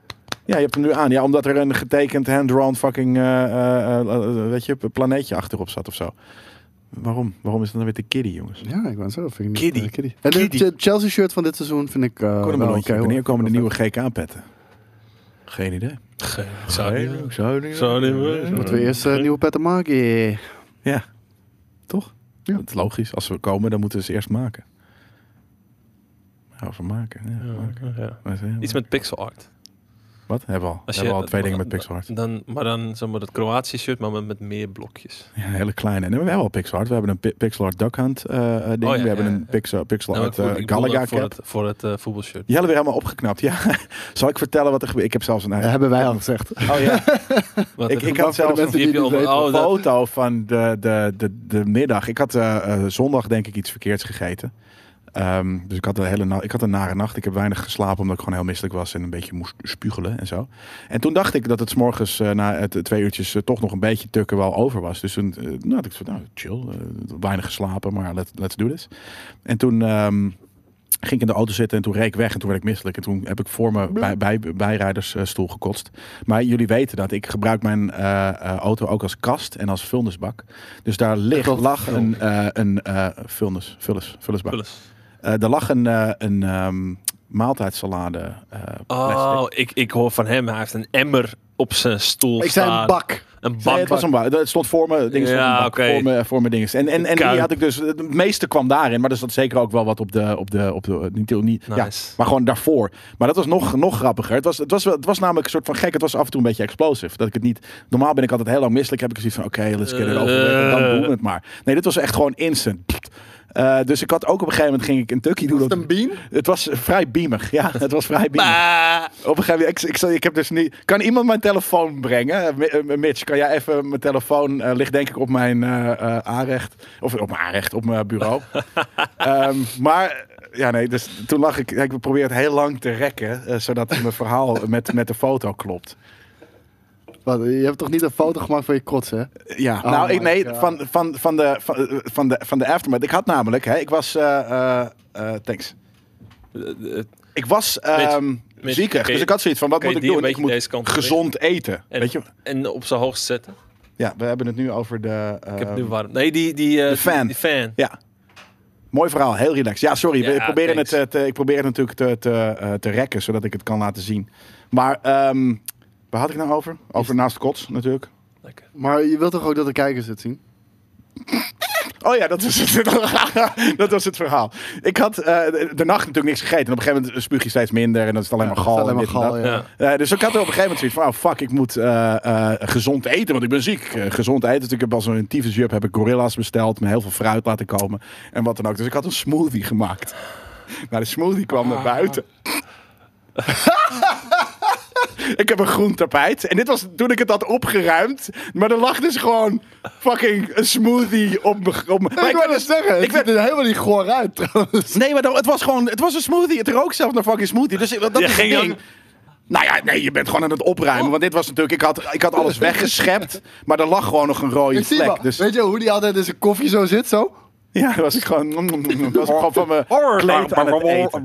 Ja, je hebt hem nu aan. Ja, omdat er een getekend hand-drawn fucking eh, eh, eh, weet je, planeetje achterop zat of zo. Waarom? Waarom is dat dan weer de kiddie, jongens?
Ja, ik ben zo. Vind ik niet,
Kiddie.
eh, En
Kiddie.
de Ch- Chelsea shirt van dit seizoen vind ik. eh wel oké,
Kornemelontje.
hoor.
Wanneer komen de nieuwe GK-petten? Geen idee.
Geen, zou ik niet doen.
zou niet
Zou niet weten.
Moeten we eerst eh, nieuwe petten maken? Eh,
Ja, toch?
Ja.
Dat is logisch. Als we komen, dan moeten we ze eerst maken. Ja, over maken. Ja, maken.
Ja, ja.
Wat zeg je?
Iets met pixel art.
Wat? Hebben we al.
Als
Hebben we
je-
al twee dingen met
dan-
PixelArt.
Dan, maar dan zeg maar dat Kroatië shirt, maar met, met meer blokjes.
Ja, hele kleine. Nee, maar we hebben al PixelArt. We hebben een Pi- PixelArt Duck Hunt eh, eh, ding.
Oh, ja,
we hebben
ja,
een
ja.
Pixel,
Nou, ik
PixelArt
bedoel-
eh,
ik bedoel
Galaga
dat voor
cap.
het, voor het eh, voetbalshirt.
Jelle weer helemaal opgeknapt. Ja. [laughs] Zal ik vertellen wat er gebeurt? Ik heb zelfs een...
dat hebben wij al gezegd.
Oh
[laughs]
ja.
Wat-
ik, ik
Maar
had
voor de
zelfs
mensen
een
die
die heb je
niet
allemaal-
weten.
oh, dat-
foto van de, de, de, de middag. Ik had eh, eh, zondag denk ik iets verkeerds gegeten. Ehm, dus ik had, een hele na- ik had een nare nacht. Ik heb weinig geslapen omdat ik gewoon heel misselijk was en een beetje moest spugelen en zo. En toen dacht ik dat het s'morgens eh, na het, twee uurtjes eh, toch nog een beetje tukken wel over was. Dus toen eh, nou, had ik zo, nou chill, eh, weinig geslapen, maar let, let's do this. En toen ehm, Ging ik in de auto zitten en toen reek ik weg en toen werd ik misselijk. En toen heb ik voor me bij, bij, bijrijdersstoel gekotst. Maar jullie weten dat ik gebruik mijn eh, eh, auto ook als kast en als vulnisbak. Dus daar ligt,
dacht-
lag een, eh een eh, vulnis, vulnis, vulnisbak. Eh, daar lag een, eh, een ehm, maaltijdsalade eh plastic.
Oh, ik, ik hoor van hem. Hij heeft een emmer op zijn stoel
Ik
staan.
zei een bak.
Een
Nee,
bak.
het was een bak. Het stond voor me. Dingen
Ja,
ja, bak,
oké.
voor me, voor me dingen. En, en, en die
Kuip.
had ik dus. Het meeste kwam daarin, maar er zat zeker ook wel wat op de, op de, op de niet, niet ja,
Nice.
maar gewoon daarvoor. Maar dat was nog, nog grappiger. Het was, het was, wel- het was namelijk een soort van gek. Het was af en toe een beetje explosief. Dat ik het niet. Normaal ben ik altijd heel lang misselijk. Heb ik zoiets van: oké, let's get it over. with. En
Eh.
dan doen we het maar. Nee, dit was echt gewoon instant. Eh, dus ik had ook op een gegeven moment ging ik een tukkie doen.
Was het
op-
een bean?
Het was vrij beamig.
[laughs]
Ja, het was vrij beamig.
Bah.
Op een gegeven moment, ik, ik, zal- ik heb dus niet. Kan iemand mijn telefoon brengen? Eh, Mi- eh, Mitch, kan jij even mijn telefoon eh, ligt denk ik op mijn eh, eh, aanrecht, of op mijn aanrecht, op mijn
[laughs]
bureau. Ehm, maar ja, nee, dus toen lag ik. Ik probeer het heel lang te rekken, eh, zodat mijn verhaal met, met de foto klopt.
Wat, je hebt toch niet een foto gemaakt van je kots, hè?
Ja,
Oh
nou, ik,
my
nee,
God.
van, van, van, de, van, eh, van, de, van de aftermath. Ik had namelijk, hè, ik was, eh, eh, eh, thanks.
Eh, eh,
Ik was ehm
Mitch,
ziekig,
kun je-
dus ik had zoiets van, wat
kun je
moet ik
die een
doen? Ik
beetje
moet
deze kant op
gezond eten,
En-
weet je?
En op zijn hoogst zetten.
Ja, we hebben het nu over de.
Ik heb
ehm,
het nu warm. Nee, die, die, eh,
de fan.
Die fan.
Ja. Mooi verhaal, heel relaxed. Ja, sorry,
Ja,
we proberen het,
thanks.
eh, te, ik probeer het natuurlijk te, te, eh, te rekken, zodat ik het kan laten zien. Maar ehm, waar had ik nou over? Over naast kots natuurlijk.
Lekker.
Maar je wilt toch ook dat de kijkers het zien?
Oh ja, dat was het, dat was het [laughs] verhaal. Ik had eh, de de nacht natuurlijk niks gegeten. En op een gegeven moment spuug je steeds minder en dan is het alleen maar
Ja,
gal.
het is
en
alleen
dit
maar
en
gal,
dat.
ja.
Ja.
Eh, dus ik had er op een gegeven moment zoiets van, oh fuck, ik moet eh, eh, gezond eten, want ik ben ziek. Eh, gezond eten, dus ik heb als een tyfusjub heb ik gorilla's besteld, me heel veel fruit laten komen en wat dan ook. Dus ik had een smoothie gemaakt. [laughs] Maar de smoothie kwam
Ah.
naar buiten. [laughs] ik heb een groen tapijt. En dit was toen ik het had opgeruimd. Maar er lag dus gewoon fucking een smoothie op me. Op me. Maar ik dus-
wou net zeggen,
ik werd-
er helemaal niet goor uit, trouwens.
Nee, maar dan- het was gewoon, het was een smoothie. Het rook zelfs naar fucking smoothie. Dus dat
Ja,
is
ging
het
je
ding. Nou ja, nee, je bent gewoon aan het opruimen. Want dit was natuurlijk, ik had, ik had alles weggeschept. Maar er lag gewoon nog een rode
Ik [laughs] zie wel.
vlek. Dus
Weet je hoe die altijd in zijn koffie zo zit, zo?
ja, dat was ik gewoon, mm, dat was ik gewoon van mijn kleed aan het eten.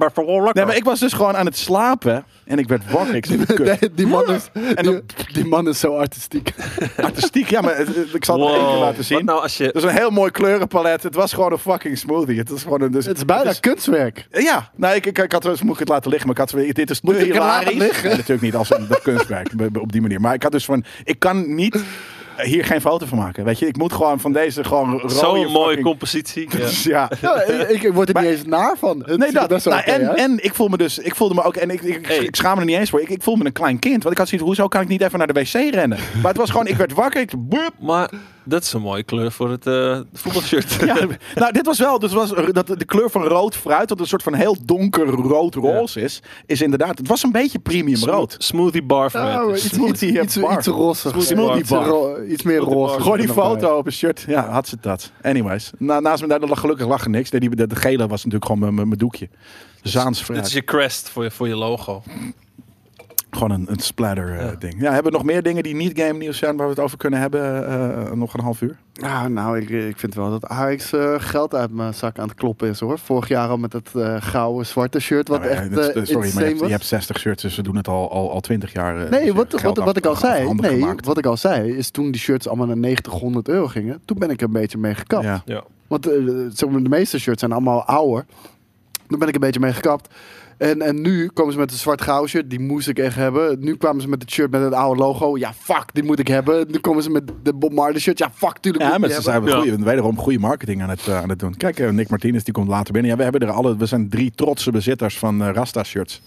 Nee, maar ik was dus gewoon aan het slapen. En ik werd wakker. Ik zit kut.
Nee, die, man is, die,
dan-
die man is zo artistiek.
Artistiek, ja, maar het- het- ik zal het nog één keer
Wow.
laten zien.
Wat nou als je...
Het was een heel mooi kleurenpalet. Het was gewoon een fucking smoothie. Het is gewoon een... Dus,
[laughs] Het is bijna kunstwerk.
Ja, nou, ik, ik, ik had, dus moet ik het laten liggen, maar ik had, zoiets- dit is te
ik het
hilarisch.
laten liggen?
Nee, natuurlijk niet, als een dat kunstwerk, b- b- op die manier. Maar ik had dus van, ik kan niet eh, hier geen foto van maken, weet je. Ik moet gewoon van deze gewoon rode
Zo'n mooie
fucking-
compositie. Ja.
Dus [laughs] ja.
Ja, ik, ik word er niet eens naar van. Het
Nee,
is [laughs]
dat.
best wel
Nou,
oké,
en,
hè?
en ik voel me dus, ik voelde me ook, en ik, ik,
Hey.
ik schaam me er niet eens voor. Ik, ik voel me een klein kind, want ik had zoiets, hoezo kan ik niet even naar de wc rennen? Maar het was gewoon, ik werd wakker, ik, boep,
Maar dat is een mooie kleur voor het eh, voetbalshirt.
[laughs]
[laughs]
Ja, nou, dit was wel. Dus was, dat de kleur van rood fruit, dat een soort van heel donker rood-roze is, is inderdaad. Het was een beetje premium rood. Oh,
Smoothie bar
Ja, E maar
verwerkt.
iets, iets,
smoothie
iets,
bar.
iets rossig.
Smoothie
iets,
bar.
ro- iets meer
Smoothie
roze.
bar.
Gooi die
erbij.
foto op een shirt. Ja, had ze dat. Anyways. Na, naast me daar lag gelukkig lag er niks. Nee, die, de, de gele was natuurlijk gewoon mijn- mijn mijn doekje. Zaans
Dit is
fruit.
je crest voor je, voor je logo.
Gewoon een, een splatter eh, ding. Ja, hebben we nog meer dingen die niet game nieuws zijn waar we het over kunnen hebben? eh, nog een half uur.
Ah, nou, ik, ik vind wel dat Ajax eh, geld uit mijn zak aan het kloppen is, hoor. Vorig jaar al met dat eh gouden zwarte shirt, wat
Nou, ja,
echt
dat is-
eh,
sorry, maar
insane
je hebt,
was.
je hebt 60 shirts, dus ze doen het al, al, al 20 jaar. eh, dus
Nee,
je
wat,
geld
wat, wat ik al
af-
zei,
afhandig
nee,
gemaakt.
wat ik al zei, is toen die shirts allemaal naar 90, 100 euro gingen, toen ben ik er een beetje mee gekapt.
Ja.
Ja.
Want eh, zeg maar, de meeste shirts zijn allemaal ouder. Toen ben ik een beetje mee gekapt. En, en nu komen ze met een zwart gouden shirt. Die moest ik echt hebben. Nu kwamen ze met het shirt met het oude logo. Ja, fuck, die moet ik hebben. Nu komen ze met de Bob Marley shirt. Ja, fuck, tuurlijk
Ja,
moet
maar
ik
ze
die
zijn
Ja.
goede, wederom goede marketing aan het, eh, aan het doen. Kijk, eh, Nick Martinez die komt later binnen. Ja, we, hebben er alle, we zijn drie trotse bezitters van eh, Rasta-shirts.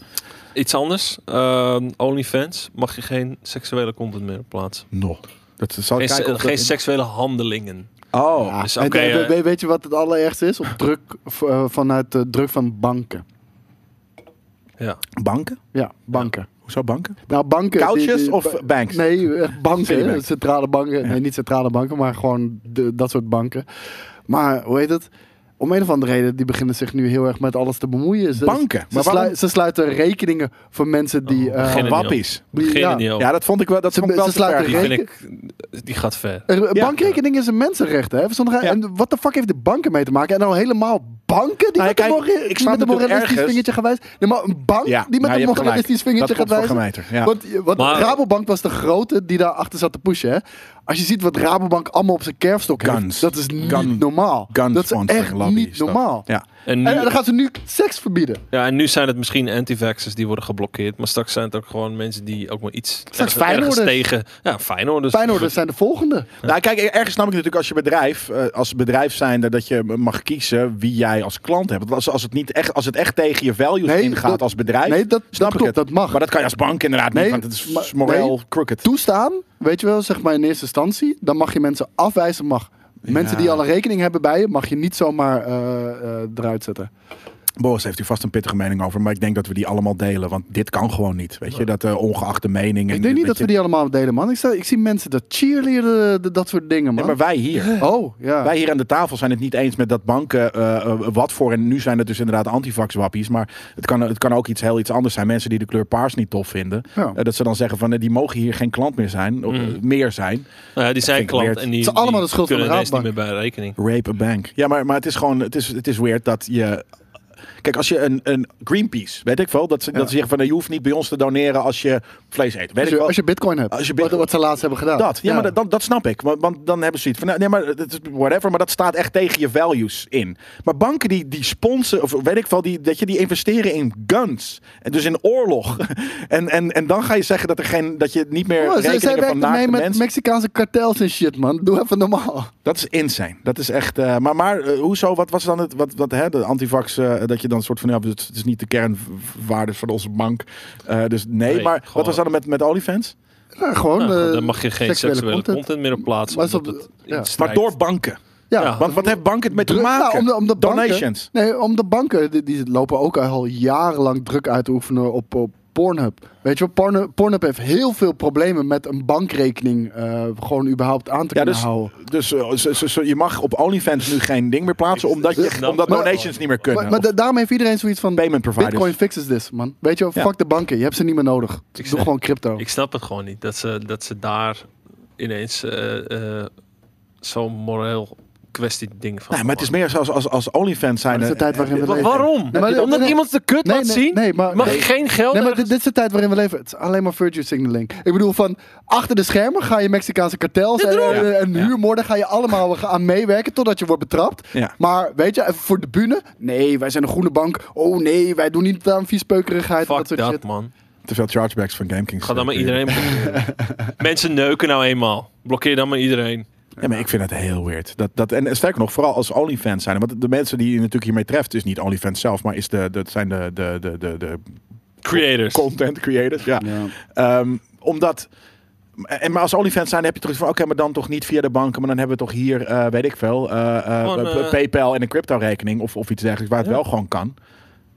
Iets anders. Ehm OnlyFans mag je geen seksuele content meer plaatsen.
No. Dat zal ik
Geen,
kijken
se-
of
geen
dat-
seksuele handelingen.
Oh,
hebben. Ja,
Dus
en,
oké,
eh,
eh.
we- weet je wat het allerergste is? Op druk v- eh, vanuit de druk van banken.
Ja.
banken?
Ja, banken.
Hoezo banken?
Nou, banken. die-
Couches
die-
of banks?
Nee, echt banken.
Citibank.
hè. Centrale banken.
Ja.
Nee, niet centrale banken, maar gewoon de, dat soort banken. Maar hoe heet het? Om een of andere reden, die beginnen zich nu heel erg met alles te bemoeien. Ze,
Banken?
Ze,
Maar
slui-
waarom-
ze sluiten rekeningen voor mensen die...
Oh,
eh,
beginnen
wa-
Wappies.
die-
Beginnen
ja.
niet over.
Ja, dat vond ik wel, dat
Ze-
vond ik wel
ze
te
slaat
ver.
de
Die
re-
gaan.
vind
reken-
ik... Die gaat ver.
Een
Ja.
bankrekening is een mensenrecht, hè? Verstandig-
Ja.
En wat de fuck heeft de banken mee te maken? En nou helemaal banken die
Nou ja,
met een
kijk,
morali-
ik snap
met een
natuurlijk
moralistisch
ergens-
vingertje gaat wijzen. Nee, maar een bank
Ja,
die met
nou,
een
je hebt gelijk.
moralistisch vingertje
Dat
gaat
klopt voor
wijzen.
gemeten. Ja.
Want, want
Maar-
Rabobank was de grote die daarachter zat te pushen. Hè? Als je ziet wat Rabobank allemaal op zijn kerfstok heeft,
Guns.
dat is niet
Gun-
normaal.
Gun
dat is
sponsoring
echt
lobby
niet
is dat.
normaal.
Ja.
En nu,
En, en dan gaan ze nu seks verbieden.
ja, en nu zijn het misschien anti-vaxxers die worden geblokkeerd. Maar straks zijn het ook gewoon mensen die ook maar iets ergens, ergens
Feyenoorders.
tegen... Ja, Feyenoorders.
Feyenoorders zijn de volgende.
Nou, kijk, ergens snap ik natuurlijk als je bedrijf, eh, als bedrijf zijnde, dat je mag kiezen wie jij als klant hebt. Want als, als, het, niet echt, als het echt tegen je values
Nee,
ingaat
dat-
als bedrijf,
Nee, dat,
snap
dat
ik
klopt,
het.
dat mag.
Maar dat kan je als bank inderdaad
Nee,
niet, want het is
maar-
moreel
nee.
crooked.
toestaan, weet je wel, zeg maar in eerste instantie, dan mag je mensen afwijzen, mag. Mensen die al een rekening hebben bij je, mag je niet zomaar eh, eh, eruit zetten.
Boris heeft u vast een pittige mening over, maar ik denk dat we die allemaal delen. Want dit kan gewoon niet, weet je, dat eh, ongeacht de mening. en
ik denk niet dat
weet
we die allemaal delen, man. Ik, sta, ik zie mensen dat cheerleaden, eh, dat soort dingen,
je-
man.
Nee, maar wij
[laughs]
hier.
Oh, ja.
Wij hier aan de tafel zijn het niet eens met dat banken eh, eh, wat voor. En nu zijn het dus inderdaad antivax-wappies. Maar het kan, het kan ook iets heel iets anders zijn. Mensen die de kleur paars niet tof vinden.
Ja.
Eh, dat ze dan zeggen van eh, die mogen hier geen klant meer zijn. Of, eh, meer zijn.
Nou ja, die zijn
vind ik weird.
klant en die,
Het is allemaal
die
de schuld van de
kunnen ineens niet meer
Rabobank.
bij de rekening.
Rape a bank. Ja, maar, maar het is gewoon, het is, het is weird dat je... Kijk, als je een, een Greenpeace, weet ik wel, dat ze, dat ze zeggen van eh, je hoeft niet bij ons te doneren als je vlees eet. Weet
als,
ik
je,
wel.
als je bitcoin hebt.
Als je bitcoin-
Wat, wat ze laatst hebben gedaan.
Dat, ja, maar dat, dat, dat snap ik. Want, want dan hebben ze iets van, nou, nee, maar het is whatever, maar dat staat echt tegen je values in. Maar banken die, die sponsoren, of weet ik wel, die, dat je, die investeren in guns. En dus in oorlog. [laughs] en, en, en dan ga je zeggen dat, er geen, dat je niet meer
Oh, zij, zij
rekeningen van
werken mee
naakte
met
mensen...
Mexicaanse kartels en shit, man. Doe even normaal.
Dat is insane. Dat is echt. eh, maar maar eh, hoezo? Wat was dan het? Wat, wat, hè, de antivax. eh, dat je dan soort van. Ja, het is niet de kernwaardes van onze bank. Eh, dus nee.
Nee,
maar
gewoon-
wat was dan met, met OnlyFans?
Ja, gewoon.
Nou,
eh,
dan mag je geen seksuele, content. meer op plaatsen.
Maar is
omdat
op-
het in
ja.
Maar
strijd-
door banken.
Ja,
Ja.
Want wat heeft banken het mee te
Ah, Druk-
maken?
nou, om de, om de
Donations.
Banken, nee, om de banken, die, die lopen ook al jarenlang druk uit te oefenen op, op Pornhub. Weet je wel, Pornhub, Pornhub heeft heel veel problemen met een bankrekening eh, gewoon überhaupt aan te
Ja,
kunnen
dus,
houden.
dus eh, ze- ze- ze- je mag op OnlyFans nu geen ding meer plaatsen. omdat, je,
snap
omdat
het.
donations niet meer kunnen.
Nou, Maar, maar
Of
da- daarom heeft iedereen zoiets van,
nou. payment providers.
bitcoin fixes this, man. Weet je wel,
Ja.
fuck de banken, je hebt ze niet meer nodig. Doe
snap-
gewoon crypto.
Ik snap het gewoon niet. Dat ze, dat ze daar ineens eh, eh, zo'n moreel kwestie ding van
Nee, maar het is meer zoals als, als OnlyFans zijn. eh,
Dat is de tijd waarin we
Wa-
leven.
Waarom?
Nee, maar-
Omdat
nee, nee.
iemand de kut
Nee,
laat
nee,
zien?
nee, maar-
mag
nee.
je geen geld
Nee, maar
Oh, ergens-
dit, dit is de tijd waarin we leven. Het is alleen maar virtue signaling. Ik bedoel, van achter de schermen ga je Mexicaanse kartels en, eh,
Daarom.
en, en huurmoorden ga je allemaal [laughs] aan meewerken totdat je wordt betrapt.
Ja.
Maar weet je, even voor de bühne. Nee, wij zijn een groene bank. Oh nee, wij doen niet aan viespeukerigheid. en
Fuck
dat
dat,
soort shit.
man.
eh, Te veel chargebacks van GameKings.
Ga dan maar iedereen blokkeren. Mensen neuken nou eenmaal. Blokkeer dan maar iedereen.
Ja, maar ik vind het heel weird. Dat, dat, en sterker nog, vooral als OnlyFans zijn. Want de mensen die je natuurlijk hiermee treft, is niet OnlyFans zelf, maar is de, dat zijn de, de, de, de, de
Creators.
content creators. Ja.
Ja.
Ehm, omdat. En maar als OnlyFans zijn, heb je toch iets van oké, maar dan toch niet via de banken, maar dan hebben we toch hier, eh, weet ik veel, eh, eh,
Gewoon,
eh,
eh,
PayPal en een crypto-rekening of, of iets dergelijks, waar het wel gewoon kan.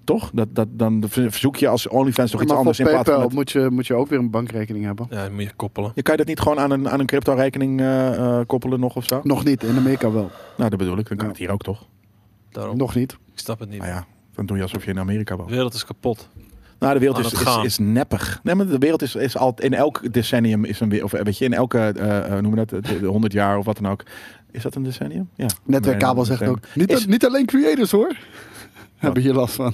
Toch? Dat, dat, dan verzoek je als OnlyFans toch iets
Maar voor
anders in plaats van.
PayPal
dat-
moet je, moet je ook weer een bankrekening hebben.
Ja, dat moet je koppelen.
je kan je dat niet gewoon aan een, aan een crypto-rekening eh, eh, koppelen nog of zo?
Nog niet, in Amerika wel.
Nou, dat bedoel ik. Dan kan het hier ook toch? Oh.
Daarom.
Nog niet.
Ik snap het niet.
Nou ja, dan doe je alsof je in Amerika woont.
De wereld is kapot.
Nou, de wereld
Aan
is,
het
is,
gaan.
is neppig. Nee, maar de wereld is, is al in elk decennium is een weer- of eh, weet je, in elke eh, eh, hoe noem je dat, de, de 100 jaar of wat dan ook. Is dat een decennium? Ja.
Netwerkkabel
Nee,
zegt
een
ook. Niet,
Is-
niet alleen creators hoor. Hebben hier last van.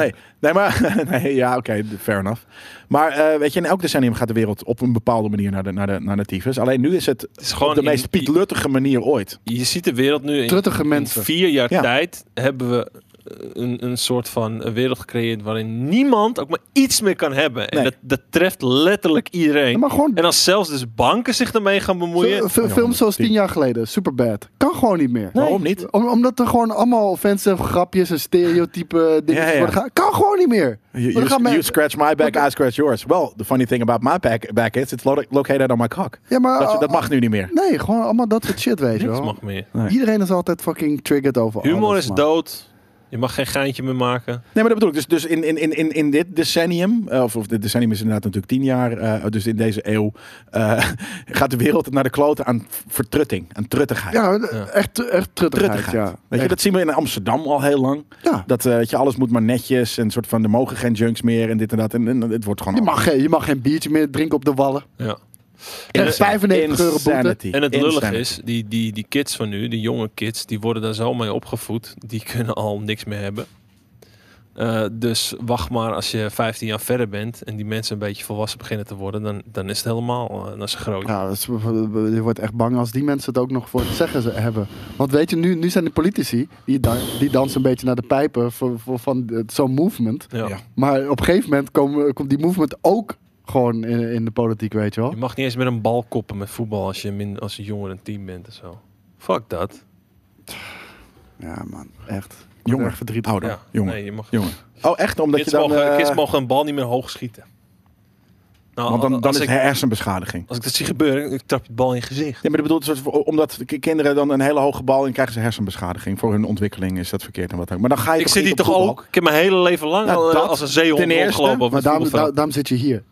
Nee, nee, maar [laughs] nee, ja, oké, fair enough. Maar eh, weet je, in elk decennium gaat de wereld op een bepaalde manier naar de naar de naar de tyfus. Alleen nu is het
is gewoon
op de
in-
meest pietluttige manier ooit.
Je ziet de wereld nu in,
Truttige
in
mensen.
vier jaar
Ja.
tijd hebben we eh, een, een soort van eh, wereld gecreëerd waarin niemand ook maar iets meer kan hebben. En
Nee.
dat, dat treft letterlijk iedereen.
Maar gewoon
En als zelfs dus banken zich ermee gaan
Zo-
bemoeien.
fi-
Ja,
films zoals
die-
tien jaar geleden, Superbad, kan gewoon niet meer.
Waarom niet?
Om- omdat er gewoon allemaal offensive grapjes en stereotypen dingen
Ja, ja.
worden gehaald. Kan gewoon niet meer.
You,
Maar dan
you-
gaan men-
you scratch my back, I scratch yours. Well, the funny thing about my back, back is it's lo- located on my cock.
ja, maar,
Dat, dat mag nu niet meer.
Nee, gewoon allemaal dat soort shit, weet je
Niks
wel.
mag meer.
Nee.
Iedereen is altijd fucking triggered over
Humor
alles,
is
man.
dood. Je mag geen geintje meer maken.
Nee, maar dat bedoel ik. Dus, dus in, in, in, in, in dit decennium, eh, of, of dit decennium is inderdaad natuurlijk tien jaar, eh, dus in deze eeuw, eh, [laughs] gaat de wereld naar de kloten aan vertrutting, aan truttigheid.
Ja, echt, echt truttigheid,
Truttigheid.
ja.
Weet je,
Echt.
dat zien we in Amsterdam al heel lang.
Ja.
Dat eh, weet je, alles moet maar netjes en soort van, er mogen geen junks meer en dit en dat. En, en het wordt gewoon...
Je mag, geen- je mag geen biertje meer drinken op de wallen.
Ja.
Echt 95 euro boete.
Insanity.
En het lullige
Insanity.
is, die, die, die kids van nu, die jonge kids, die worden daar zo mee opgevoed. Die kunnen al niks meer hebben. Eh, dus wacht maar als je 15 jaar verder bent en die mensen een beetje volwassen beginnen te worden, dan, dan is het helemaal eh, dan is het groot.
Ja, dat is- je wordt echt bang als die mensen het ook nog voor het zeggen ze hebben. Want weet je, nu, nu zijn de politici, die, dan, die dansen een beetje naar de pijpen voor, voor, van het- zo'n movement.
Ja.
Ja.
Maar op een gegeven moment komen- komt die movement ook gewoon in, in de politiek, weet je wel.
Je mag niet eens met een bal koppen met voetbal als je, min, als je jonger een team bent en zo. Fuck dat.
Ja man, echt.
Jonger.
Erg verdrietig.
Ouder.
Ja.
Jongen.
Nee, je mag,
Jongen. Oh, echt? Omdat
kids,
je dan...
mogen,
eh,
kids mogen een bal niet meer hoog schieten. Nou,
want dan, dan
als,
is
ik,
het hersenbeschadiging.
als ik dat zie gebeuren, ik trap je de bal in je gezicht.
Ja, maar dat bedoelt soort- omdat de ki- kinderen dan een hele hoge bal en krijgen ze hersenbeschadiging. Voor hun ontwikkeling is dat verkeerd en wat dan ook. Maar dan ga je
Ik zit hier
niet
toch
op voetbal?
ook? Ik heb mijn hele leven lang
Nou,
al, eh,
dat
als een zeehond
ten eerste,
rondgelopen op
Maar
het
daarom,
voetbalveld.
daar- daarom zit je hier.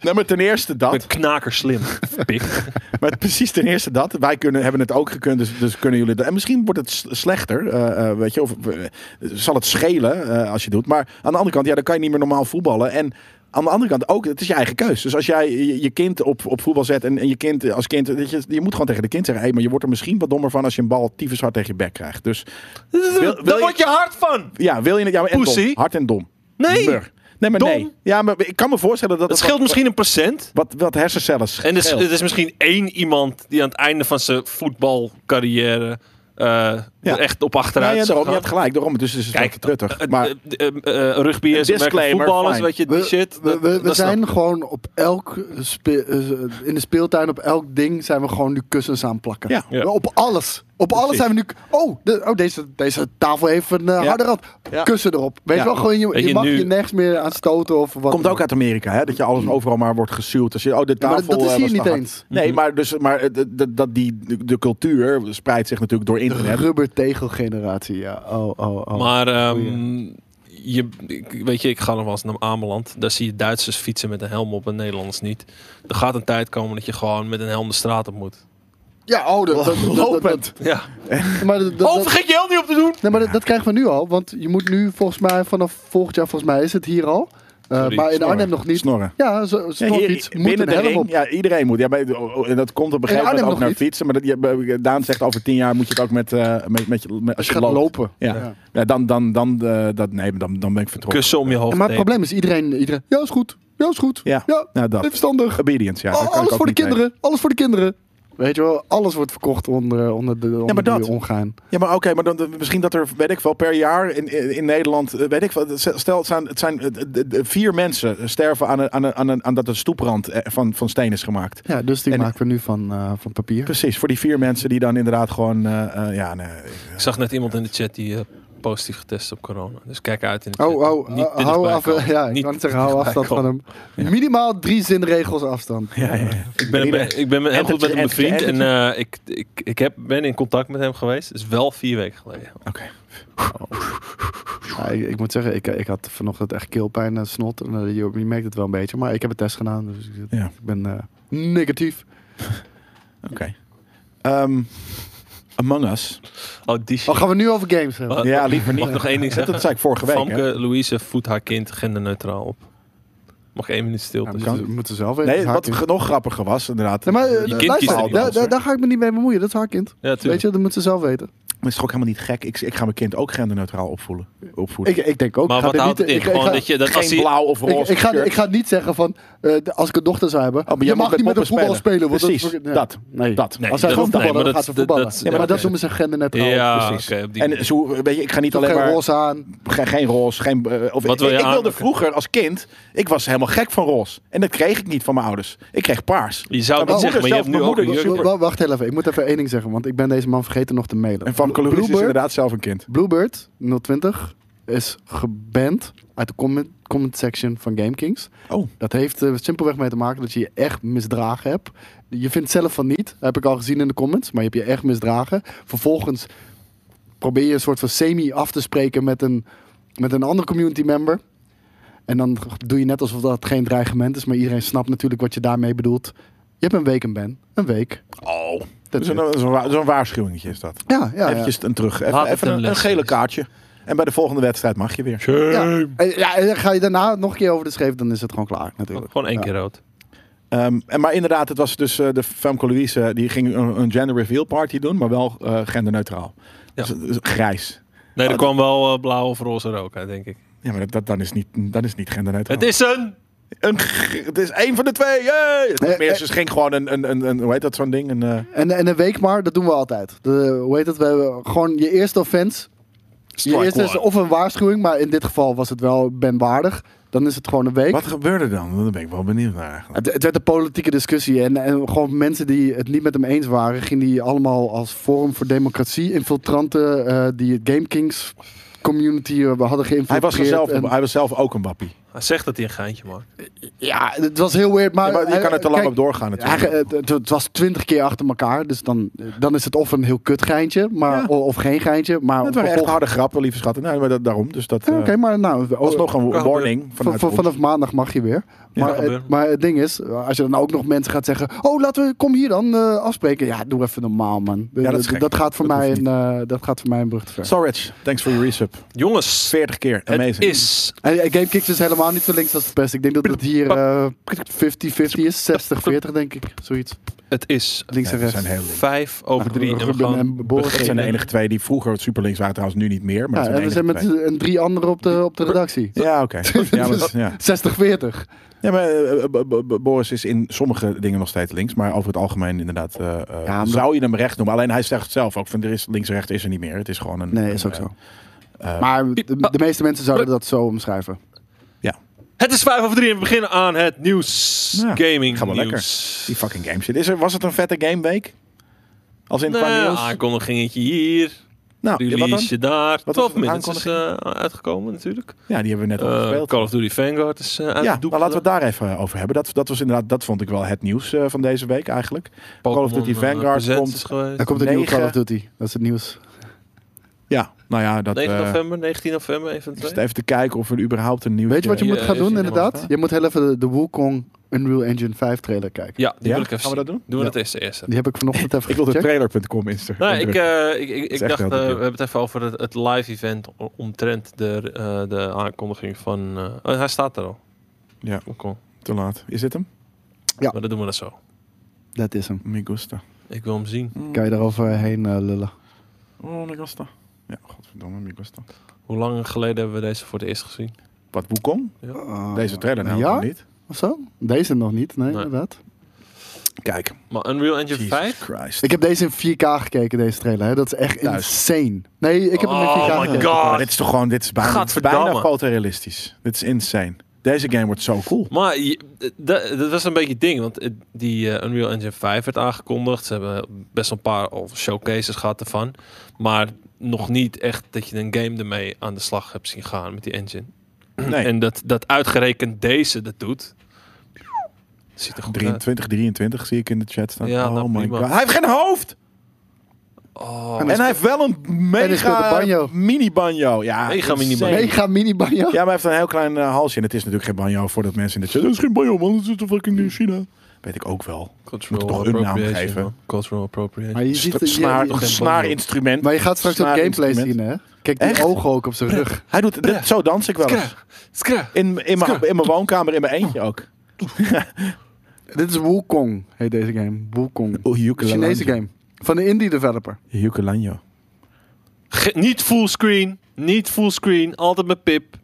Nee, maar ten eerste dat.
Een knaker slim. [laughs] Pik.
[laughs] Maar precies ten eerste dat. Wij kunnen, hebben het ook gekund, dus, dus kunnen jullie... dat- En misschien wordt het s- slechter, eh, eh, weet je. Of eh, zal het schelen eh, als je het doet. Maar aan de andere kant, ja, dan kan je niet meer normaal voetballen. En aan de andere kant ook, het is je eigen keus. Dus als jij je, je kind op, op voetbal zet en, en je kind als kind... weet je, je moet gewoon tegen de kind zeggen... Hey, maar je wordt er misschien wat dommer van als je een bal tyfus hard tegen je bek krijgt. Dus wil
Daar
je-
word je hard van.
ja, wil je het... Ja, maar en dom.
Pussy.
Hard en dom.
Nee.
Mur. Nee, maar
Dom.
nee. Ja, maar ik kan me voorstellen dat...
Dat
het
scheelt
wat-
misschien een procent.
Wat, wat hersencellen scheelt.
En er is, er is misschien één iemand die aan het einde van zijn voetbalcarrière eh, er echt op achteruit
Nou ja,
is
daarom, je
gegaan.
hebt gelijk. Daarom, dus is het
Kijk,
wel truttig.
maar,
Maar
eh, rugby is
Een disclaimer,
voetballers,
fine.
weet je, die shit.
we,
dat-
we- we
dat snap
zijn
ik.
gewoon op elk spe- eh, in de speeltuin, op elk ding zijn we gewoon nu kussens aan plakken.
Ja.
Ja.
Op alles. Op alles zijn we nu. Oh, de- oh deze, deze tafel heeft een eh,
Ja.
harde rand.
Ja.
Kussen erop. Weet
Ja.
je wel, gewoon, je,
Weet
je
je,
mag
nu-
je nergens meer aan stoten of wat.
Komt ook uit Amerika, hè? Dat je
Mm.
alles en overal maar wordt gesuwd. Als je, oh, de
Ja,
tafel,
maar dat
eh,
is
was
hier niet
te hard.
eens.
Nee,
Mm-hmm.
maar, dus, maar eh, dat- dat- dat die, de, de cultuur spreidt zich natuurlijk door internet.
Rubbertegelgeneratie, ja. Oh, oh, oh.
Maar ehm, je, ik- weet je, ik ga nog wel eens naar Ameland. Daar zie je Duitsers fietsen met een helm op en Nederlanders niet. Er gaat een tijd komen dat je gewoon met een helm de straat op moet.
ja, oh, dat,
[laughs]
dat, dat- dat-
Lopend.
Ja.
maar dat, dat-
oh, vergeet je helm niet op te doen!
Nee, maar dat, dat krijgen we nu al. Want je moet nu volgens mij, vanaf volgend jaar volgens mij is het hier al. Eh,
Sorry,
maar in
snorren.
Arnhem nog niet.
Snorren.
Ja, zo,
Ja,
snor
hier-
iets. Moet
binnen
een
de
helm op.
ring. Ja, iedereen moet. Ja, maar, oh, oh, en dat komt op een
In
gegeven moment
Arnhem
ook naar
nog niet.
fietsen. Maar dat, je- eh, Daan zegt over tien jaar moet je het ook met, eh, met, met, je- met- als
Als
je
je gaat
loopt.
lopen.
Ja.
Ja.
Ja. dan, dan, dan, eh, dat, nee, dan, dan ben ik vertrokken.
Kussen om je hoofd
En maar het
heen.
probleem is, iedereen, iedereen... Ja, is goed. Ja, is goed.
Ja.
ja.
Nou,
even
dat.
verstandig.
Obedience, ja. daar
Oh,
kan ik
alles
ook
voor de
niet
kinderen. Alles voor de kinderen. Weet je wel, alles wordt verkocht onder, onder de onder
maar
die
dat-
omgaan.
Ja, maar oké, maar dan, dan- misschien dat er, weet ik wel, per jaar in, in, in Nederland, eh, weet ik wel, stel het zijn, het zijn eh, de- de- vier mensen sterven aan, een, aan, een, aan, een, aan dat de stoeprand eh, van, van steen is gemaakt.
Ja, dus die
En-
maken we nu van, eh, van papier.
Precies, voor die vier mensen die dan inderdaad gewoon, eh, eh, ja, nee.
Ik zag net iemand in de chat die eh, positief getest is op corona. Dus kijk uit in de
Oh,
chat.
oh,
Niet te
hou
dichtbij
af.
komen.
Ja, ik
Niet
kan het
te
zeggen, hou
dichtbij
afstand van
komen.
hem. Minimaal drie zinregels afstand.
Ja, ja,
Ik ben,
Iedereen-
ik ben heel goed met
Entertje,
mijn vriend en
entertje,
eh, ik, ik, ik heb, ben in contact met hem geweest. is wel vier weken geleden.
Oké.
Ja, ik, ik moet zeggen, ik, ik had vanochtend echt keelpijn en snot. En, eh, je, je merkt het wel een beetje, maar ik heb een test gedaan. Dus ik,
Ja.
ik ben eh, negatief.
Oké. Ehm, Among Us.
Oh, die shit.
Oh, gaan we nu over games hebben?
Wat?
Ja, liever
Mag
niet.
ik nog één ding
Dat,
zeggen?
dat zei ik vorige week.
Famke
hè.
Louise voedt haar kind genderneutraal op. Mag ik één minuut
Ja,
stilte?
we
kan.
moeten- we moeten zelf even
Nee, wat
hakken.
nog grappiger was, inderdaad.
Nee, maar eh,
eh,
kind
luister,
kiest er niet
daar,
anders,
daar,
hoor.
daar ga ik me niet mee bemoeien. Dat is haar kind.
ja,
Weet
tuurlijk.
je, dat moeten ze zelf weten.
Maar het is toch ook helemaal niet gek. Ik, ik ga mijn kind ook genderneutraal opvoeden. opvoeden.
Ik, ik denk ook.
Maar
ik ga
wat
dit
houdt
niet-
het in?
ik- ik
Gewoon
ga-
dat je... Dat
Geen
als hij,
blauw of roze
Ik, ik, ga,
shirt.
ik ga niet zeggen van, eh, de- als ik een dochter zou hebben,
maar jij
je
moet
Oh, mag
met
niet met een
poppen
voetballer spelen. want
Precies,
is- nee.
dat.
Nee.
Dat.
Nee,
Als zij
dat-
gewoon
nee,
voetballen, dan
maar
gaat
dat-
ze
dat-
voetballen.
dat-
Ja, maar
ja,
dat
oké.
noemen ze genderneutraal.
ja,
Nou, precies.
oké, op die
En
manier.
zo, weet je, ik ga niet
Doe
alleen
geen
maar...
roze aan.
Geen, geen roze, geen... eh, of,
Wat wil je
ik, ik wilde
aanraken?
vroeger als kind... Ik was helemaal gek van roze. En dat kreeg ik niet van mijn ouders. Ik kreeg paars.
Je zou het
Maar
niet zeggen, maar je hebt nu
mijn
ook
moeder dus
een
was
jurk.
super.
Wa- Wacht heel even, ik moet even één ding zeggen, want ik ben deze man vergeten nog te mailen.
En van Caloris is
Bluebird-
inderdaad zelf een kind.
Bluebird 020 is geband uit de comment, comment section van GameKings.
Oh.
Dat heeft eh, simpelweg mee te maken dat je je echt misdragen hebt. Je vindt zelf van niet, heb ik al gezien in de comments, maar je hebt je echt misdragen. Vervolgens probeer je een soort van semi af te spreken met een, met een ander community member. En dan doe je net alsof dat geen dreigement is, maar iedereen snapt natuurlijk wat je daarmee bedoelt. Je hebt een week een ban, een week.
Oh.
Dat
Zo'n zo'n wa- zo'n waarschuwingetje is dat.
Ja, ja, ja.
Eventjes een terug. Even,
Laat het
even
een
een, een
les
gele
zijn.
kaartje. En bij de volgende wedstrijd mag je weer.
Eh, Ja. En- ja, en dan ga je daarna nog een keer over de scheef, dan is het gewoon klaar natuurlijk.
Gewoon één
Ja.
keer rood.
Ehm, Ehm, en maar inderdaad, het was dus eh, de Femme Colorise, eh, die ging een, een gender reveal party doen, maar wel eh, genderneutraal.
Ja.
Dus, dus grijs.
Nee, er kwam wel eh, blauw of roze rook uit, denk ik.
Ja, maar dat, dat- dan, is niet, dan is niet genderneutraal.
Het is een...
een, g- het is één van de twee. Yay! Het was
Eh,
meer,
eh.
ze ging gewoon een, een, een, een- hoe heet dat zo'n ding? Een, eh,
En, en een week maar, dat doen we altijd. De, hoe heet het? We hebben gewoon je eerste offense. Je eerste is of een waarschuwing, maar in dit geval was het wel benwaardig. Dan is het gewoon een week.
wat gebeurde dan? Daar ben ik wel benieuwd naar eigenlijk.
Het, het werd een politieke discussie. En, en gewoon mensen die het niet met hem eens waren, gingen die allemaal als Forum voor Democratie infiltranten eh, die het Game Kings community eh, hadden geïnfiltreerd.
Hij was, er zelf,
En-
hij was zelf ook een wappie.
Hij zegt dat hij een geintje maakt.
ja, het was heel weird. Maar,
Ja, maar je
hij-
kan er te lang
kijk,
op doorgaan natuurlijk. Nou,
hij- eh, het, het- het was twintig keer achter elkaar, dus dan, dan is het of een heel kut geintje, maar,
Ja.
o- of geen geintje.
het
Maar
waren echt
vervolgens-
harde grappen, lieve schatten. Nee, maar dat, daarom. Dus dat
Ja,
eh,
Oké, maar nou,
was nog een
Kan
warning.
van,
Vanuit
van-
ons.
vanaf maandag mag je weer.
Ja,
maar,
kan
het,
gebeuren.
maar het ding is, als je dan ook nog mensen gaat zeggen... Oh, laten we, kom hier dan eh, afspreken. Ja, doe even normaal, man.
Ja, dat is
D- d-
gek.
dat, gaat voor
Dat
mij
hoeft
een, eh, dat gaat voor mij een brug te ver.
Storage, thanks for your resub.
Jongens,
40 keer, amazing.
het is...
En eh, GameKicks is helemaal niet zo links als de pest. Ik denk dat het hier eh, 50-50 is. 60-40, denk ik. Zoiets.
Het is
Links en
Nee, we
rechts.
zijn heel links.
vijf over
Nou,
drie. En we
Ruben
gaan
en Boris
Dat zijn de
beginnen.
enige twee die vroeger super links waren, trouwens nu niet meer. Maar
Ja,
dat
en we
zijn
zijn
de
met
enige
eh, en drie anderen op de, op de redactie.
twee. Ja, oké. [laughs] ja, maar, dat- ja.
60-40.
Ja, maar eh, Bo- Bo- Bo- Boris is in sommige dingen nog steeds links, maar over het algemeen inderdaad eh, eh,
maar-
zou je hem recht noemen. Alleen hij zegt zelf ook van er is links en rechts is er niet meer. Het is gewoon een.
Nee, is
een,
ook
eh,
zo.
eh,
Maar de, de meeste mensen zouden dat zo omschrijven.
Het is vijf over drie en we beginnen aan het nieuws.
nou Ja,
Gaming
gaat wel lekker.
nieuws.
die fucking game shit. Is er, was het een vette gameweek? Als in qua
Nou,
nieuws?
aankondigingetje hier,
Nou, ja, wat dan?
release daar.
Wat was
12
het,
minutes is eh, uitgekomen natuurlijk.
Ja, die hebben we net al
Eh,
gespeeld.
Call of Duty Vanguard is eh uit
Ja,
de doek.
maar laten we het daar even over hebben. Dat, dat was inderdaad, dat vond ik wel het nieuws eh, van deze week eigenlijk. Call of Duty
Pokémon, eh,
Vanguard
present
komt-
is geweest.
Dan komt de nieuwe
Negen.
Call of Duty. Dat is het nieuws.
Ja, nou ja, dat.
9
eh,
november, 19 november, even
is het even te kijken of er überhaupt een nieuw.
Weet je wat je
Ja,
moet gaan
ja,
doen,
ja,
inderdaad?
ja.
Je moet heel even de, de Wukong Unreal Engine 5 trailer kijken.
Ja, die
Ja?
wil ik even
Gaan we dat
zien.
doen?
Doen we
Ja.
dat eerst eerst.
Die heb ik vanochtend even
Ik wilde
gecheckt.
trailer.com insta.
Nou, ik,
indrukken.
eh, ik, ik,
is
ik
echt
dacht,
heel
eh, we
duur.
hebben het even over het, het live event o- omtrent de, eh, de aankondiging van... eh, oh, hij staat er al.
Ja.
Oh, cool.
Te laat. Is dit hem?
Ja.
Maar dat doen we dat zo.
Dat is hem.
Mi gusta.
Ik wil hem zien.
Kan je daaroverheen eh, lullen?
Oh, mi gusta. Ja, godverdomme, mi gusta.
Hoe lang geleden hebben we deze voor het eerst gezien?
Wat, Wukong?
Ah,
Deze trailer nou
ja?
nog niet.
Of zo? Deze nog niet, nee,
Nee.
inderdaad.
Kijk.
Maar Unreal Engine
Jesus
5?
Christ.
Ik heb deze in 4K gekeken, deze trailer. Hè. Dat is echt
Thuis.
insane. Nee, ik heb hem in
Oh
4K
my
gekeken.
God.
Maar dit is toch gewoon, dit is bijna,
Gadverdamme.
bijna fotorealistisch. Dit is insane. Deze game wordt zo cool.
Maar je- dat, dat was een beetje het ding, want eh, die eh, Unreal Engine 5 werd aangekondigd. Ze hebben best wel een paar al showcases gehad ervan. Maar nog niet echt dat je een game ermee aan de slag hebt zien gaan met die engine.
Nee,
En dat, dat uitgerekend deze dat doet. Ziet er goed uit.
23, 23 zie ik in de chat staan.
Ja,
oh
nou,
my
prima.
god. Hij heeft geen hoofd!
Oh,
En hij heeft wel een
hij speelt een
mega
banjo.
mini-banjo. Ja,
Mega
insane.
mini-banjo.
Mega mini banjo.
Ja, maar hij heeft een heel klein eh, halsje. En het is natuurlijk geen banjo voordat mensen in de chat... Dat is geen banjo, man. Dat is toch fucking eh, China. Weet ik ook wel.
cultural
Moet toch een naam
appropriation,
geven?
man. Cultural appropriation.
Maar je
St-
ziet je-
snaar,
je-
een
geen
snaarinstrument.
Maar je gaat straks ook
Snaar
gameplay zien,
instrument.
hè? Kijk, die
Echt?
ogen ook op zijn
[laughs]
rug.
Hij doet dit, zo dans ik wel eens.
Skra, skra.
In, in, mijn,
Skra.
in mijn woonkamer, in mijn eentje ook.
Dit is Wukong, heet deze game. Wukong.
Oh,
Chinese game. Van een indie developer.
Yukelanjo.
Ge- niet fullscreen, niet fullscreen, altijd met pip.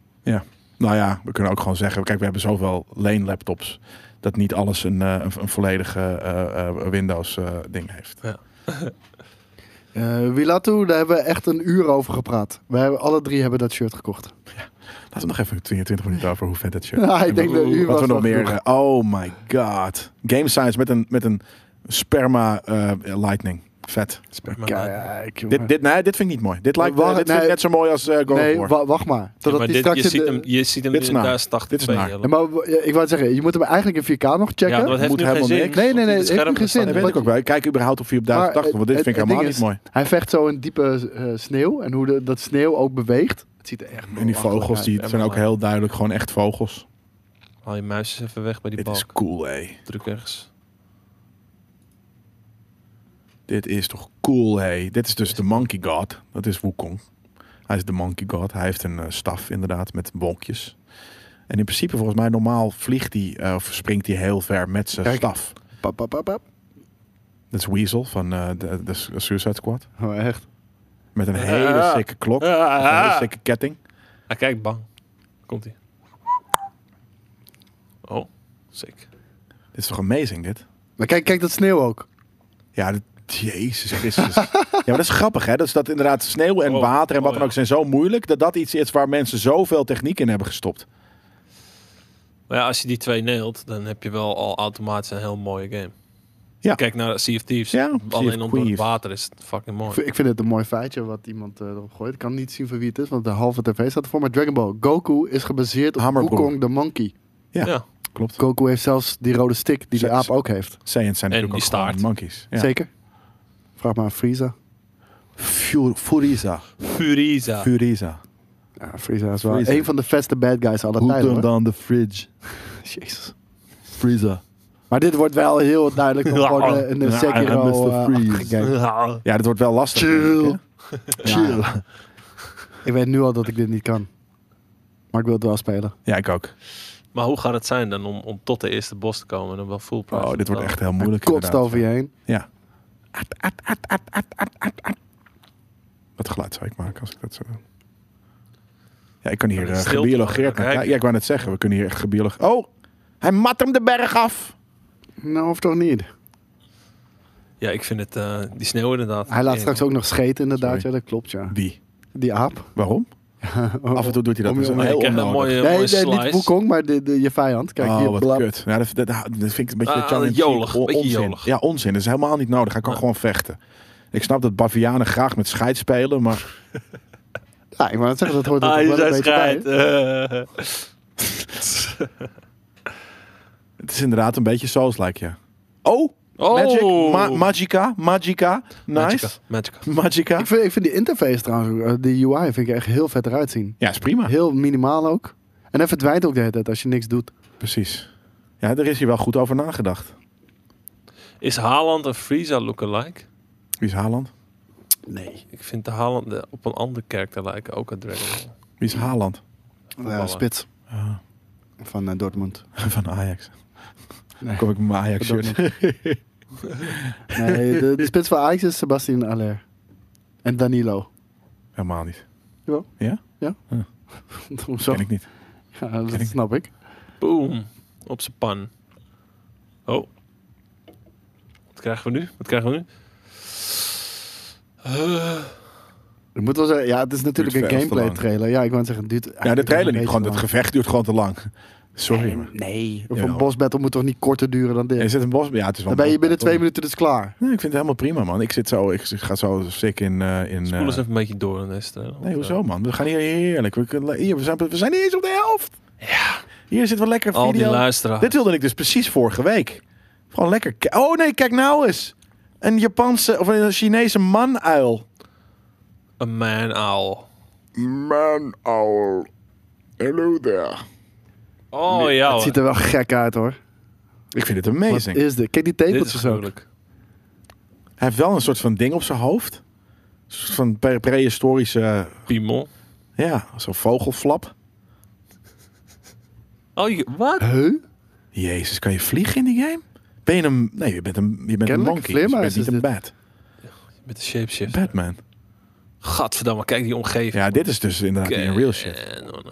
Nou ja, we kunnen ook gewoon zeggen... Kijk, we hebben zoveel lane laptops... dat niet alles een, eh, een, een volledige eh, eh, Windows eh, ding heeft.
Eh Wilatu, daar hebben we echt een uur over gepraat. We hebben, alle drie hebben dat shirt gekocht.
Laten we nog even 22 minuten over hoe vet dat shirt
[laughs] Ja, ik denk dat u
Wat we
was
nog
wel
meer...
genoeg.
eh, oh my god. Game science met een, met een sperma eh, lightning. Vet.
Maar,
Kijk,
eh,
jongen.
Dit, dit, nee, dit vind ik niet mooi. Dit, lijkt,
Wacht,
eh, dit vind ik
nee.
net zo mooi als eh God of
nee,
War.
wa- wacht maar.
Ja,
Totdat
maar
die
dit,
straks
je,
in
ziet
de-
hem, je ziet hem
Dit
in
is
de
naar.
1080p.
Dit is naar.
Ja, maar w- ja, ik wou zeggen, je moet hem eigenlijk in 4K nog checken.
Ja, dat heeft
Moet
nu geen
helemaal
zin.
niks.
Nee, nee, nee,
Het
heeft
scherm
nu geen zin.
dat
bestaat
weet
wat-
ik ook wel. Ik kijk überhaupt of je op 1080,
Maar,
want dit
eh,
vind ik
het- het
helemaal
ding
niet
is-
mooi.
Hij vecht zo in diepe eh, sneeuw en hoe de- dat sneeuw ook beweegt. Het ziet er echt
En die
belachelijk
vogels
uit.
die
Ja,
zijn
maar-
ook heel duidelijk gewoon echt vogels.
Haal je muis eens even weg bij die
Dit
bal.
is cool, hé.
Druk ergens.
Dit is toch cool, hé. Dit is dus de Monkey God. Dat is Wukong. Hij is de Monkey God. Hij heeft een eh, staf inderdaad met wolkjes. En in principe, volgens mij, normaal vliegt hij eh, of springt hij heel ver met zijn
Kijk.
staf.
Pap, pap, pap, pap.
Dat is Weasel van eh, de, de Suicide Squad.
Oh, echt.
Met een
Ah.
hele sikke klok. Of Een hele sikke ketting.
Hij kijkt bang. Komt hij. Oh, sick.
Dit is toch amazing, dit?
Maar kijk, kijk dat sneeuw ook.
Ja, dit-
[laughs]
Jezus Christus. ja, maar dat is grappig, hè? Dat is dat inderdaad sneeuw en
Oh,
water en wat
oh,
dan
ja.
ook zijn zo moeilijk... dat dat iets is waar mensen zoveel techniek in hebben gestopt.
Maar ja, als je die twee neelt, dan heb je wel al automatisch een heel mooie game.
Ja.
Kijk naar Sea of Thieves.
Ja, Sea
Alleen
of
onder het
Thieves.
water is het fucking
Ik
mooi.
vind- Ik vind het een mooi feitje wat iemand eh, erop gooit. Ik kan niet zien van wie het is, want de halve tv staat ervoor. Maar Dragon Ball Goku is gebaseerd op
Hammerbroer.
Wukong the Monkey.
Ja.
Ja.
Klopt.
Goku heeft zelfs die rode stick die de
Zes.
aap ook heeft.
Saiyans zijn
En
natuurlijk ook
die
gewoon
staart.
monkeys. Ja.
Zeker? Vraag maar aan Frieza.
Fu- Furiza.
Furiza.
Furiza.
Ja, Frieza is wel
Frieza.
een van de vetste bad guys aller tijden. hoor.
dan de fridge?
Jezus.
Frieza.
Maar dit wordt wel heel duidelijk nog gewoon eh, een, een
[laughs] Ja,
Sekiro
en Mr.
eh,
Freeze.
achtige game.
Ja, dat wordt wel lastig.
Chill.
denk ik, hè? [laughs] Ja.
[laughs] Ik weet nu al dat ik dit niet kan. Maar ik wil het wel spelen.
Ja, ik ook.
[laughs] Maar hoe gaat het zijn dan om, om tot de eerste bos te komen en dan wel full price?
Oh, dit wordt
Oh.
echt heel
Moeilijk
moeilijk.
kotst
inderdaad.
over je heen.
Ja. Wat geluid zou ik maken als ik dat zo doe? Ja, ik kan hier
Maar
eh
dat is stilte,
gebiologeerd
hoor.
naar kijken. Ja, ik wou net zeggen, we kunnen hier echt gebiologeerd... Oh, hij mat hem de berg af!
Nou, of toch niet?
Ja, ik vind het, eh, die sneeuw inderdaad.
Hij laat
Ja.
straks ook nog scheten inderdaad.
Sorry.
Ja, dat klopt, ja.
Wie?
Die aap.
Waarom? [laughs] Af en toe doet hij dat.
Om je-
dus
om je-
Maar
heel
je krijgt een
onnodig.
mooie,
Nee,
mooie
nee,
slice.
niet Wukong, maar de, de, je vijand. Kijk,
oh,
hier,
wat
blap.
kut. Ja, dat, dat, dat vind ik een beetje
Ah,
tongue-in-cheek
jolig,
on-
beetje
onzin.
jolig.
Ja, onzin. Dat is helemaal niet nodig. Hij kan
Ja.
gewoon vechten. Ik snap dat Bavianen graag met scheid spelen, maar
Ja, ik wou net zeggen, dat
[laughs]
hoort er
Ah,
toch
je
wel een
zei
beetje bij.
schijt.
hè?
het is inderdaad een beetje Souls-like, ja. Oh,
[laughs] oh!
Magic, Ma- Magica, Magica, nice.
Magica,
Magica.
Magica.
Ik vind, ik vind die interface trouwens, ook, eh, die UI vind ik echt heel vet eruit zien.
Ja, is prima.
Heel minimaal ook. En hij verdwijnt ook de hele tijd als je niks doet.
Precies. Ja, er is hier wel goed over nagedacht.
Is Haaland een Frieza lookalike?
Wie is Haaland?
Nee.
Ik vind de Haaland eh, op een ander karakter lijken, ook een Dragon Ball.
Wie is Haaland?
Voetballer.
spits
Ah,
van eh, Dortmund.
[laughs] van Ajax.
Nee.
Kom ik met mijn Ajax shirt.
Nee, de, de spits van Ajax is Sebastian Aller. En Danilo.
[laughs]
[laughs]
Helemaal niet.
Jawel.
Ja?
Hoezo?
Ken ik niet.
Ja, dat
ken ik.
snap ik.
Boom. Op zijn pan. Oh. Wat krijgen we nu? Wat krijgen we nu? Eh,
Ik moet wel zeggen, ja, het is natuurlijk
Duurt
een
veel te
gameplay
lang.
trailer. Ja, ik wou zeggen, duurt
Ja, de
eigenlijk
trailer
een
niet.
beetje
Gewoon, het
lang.
gevecht duurt gewoon te lang. [laughs] Sorry. maar-
Nee, of
Jawel.
een bosbattle moet toch niet korter duren dan dit?
Is het een bos? Ja, het is wel
dan
een
ben je
bos-
binnen twee minuten dus klaar.
Nee, ik vind het helemaal prima, man. Ik zit zo, ik ga zo sick in. eh, in
Spoel
eh,
eens even een beetje door in deze trailer.
nee, hoezo, man? We gaan hier heerlijk. We, kunnen, hier, we, zijn, we zijn niet eens op de helft. Ja. Hier zit wel lekker
Al die
video.
Ah.
luisteraars.
Dit wilde ik dus precies vorige week. Gewoon lekker. ki- Oh nee, kijk nou eens. Een Japanse of een Chinese manuil.
Een man-owl.
Man owl. Hello there.
Oh ja
het
hoor.
ziet er wel gek uit hoor.
Ik vind het
Wat
amazing.
is dit? Kijk die
Dit is
tepeltjes ook.
gruwelijk.
Hij heeft wel een soort van ding op zijn hoofd. Een soort van pre- prehistorische, eh,
Piemel.
ja, zo'n vogelflap.
Oh, je- wat?
Huh?
Jezus, kan je vliegen in die game? Ben je een... Nee, je bent een, je bent een
Kennelijk
monkey. Dus je
vleermuis
bent niet
is
een
dit.
bat.
Met de shapeshift.
Batman.
Gadverdamme, kijk die omgeving.
Ja, dit is dus inderdaad
Oké,
in real shit.
en dan, eh,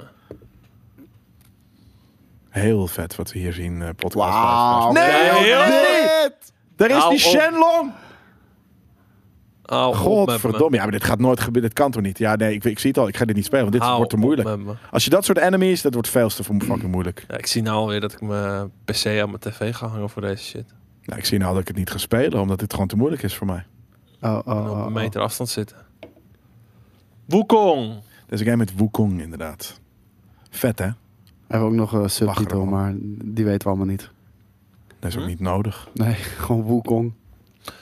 Heel vet wat we hier zien. eh podcast
Wauw.
Nee,
Nee,
joh,
joh.
nee! Daar is
Hou
die
op.
Shenlong!
Hou op met me.
Godverdomme. Ja, maar dit gaat nooit gebeuren. Dit kan toch niet? Ja, nee, ik, ik zie het al. Ik ga dit niet spelen, want dit
Hou
wordt te
op
moeilijk.
met me.
Als je dat soort enemies, dat wordt veel te voor fucking moeilijk.
Ja, ik zie nou alweer dat ik mijn PC aan mijn tv ga hangen voor deze shit.
Nou, ik zie nou dat ik het niet ga spelen, omdat dit gewoon te moeilijk is voor mij.
Oh, oh,
En op
oh,
een
oh.
meter afstand zitten. Wukong!
Dit is een game met Wukong, inderdaad. Vet, hè?
We hebben ook nog een
Lachen,
subtitel,
man.
maar die weten we allemaal niet.
Dat is ook
Hm?
niet nodig.
Nee, [laughs] gewoon Wukong.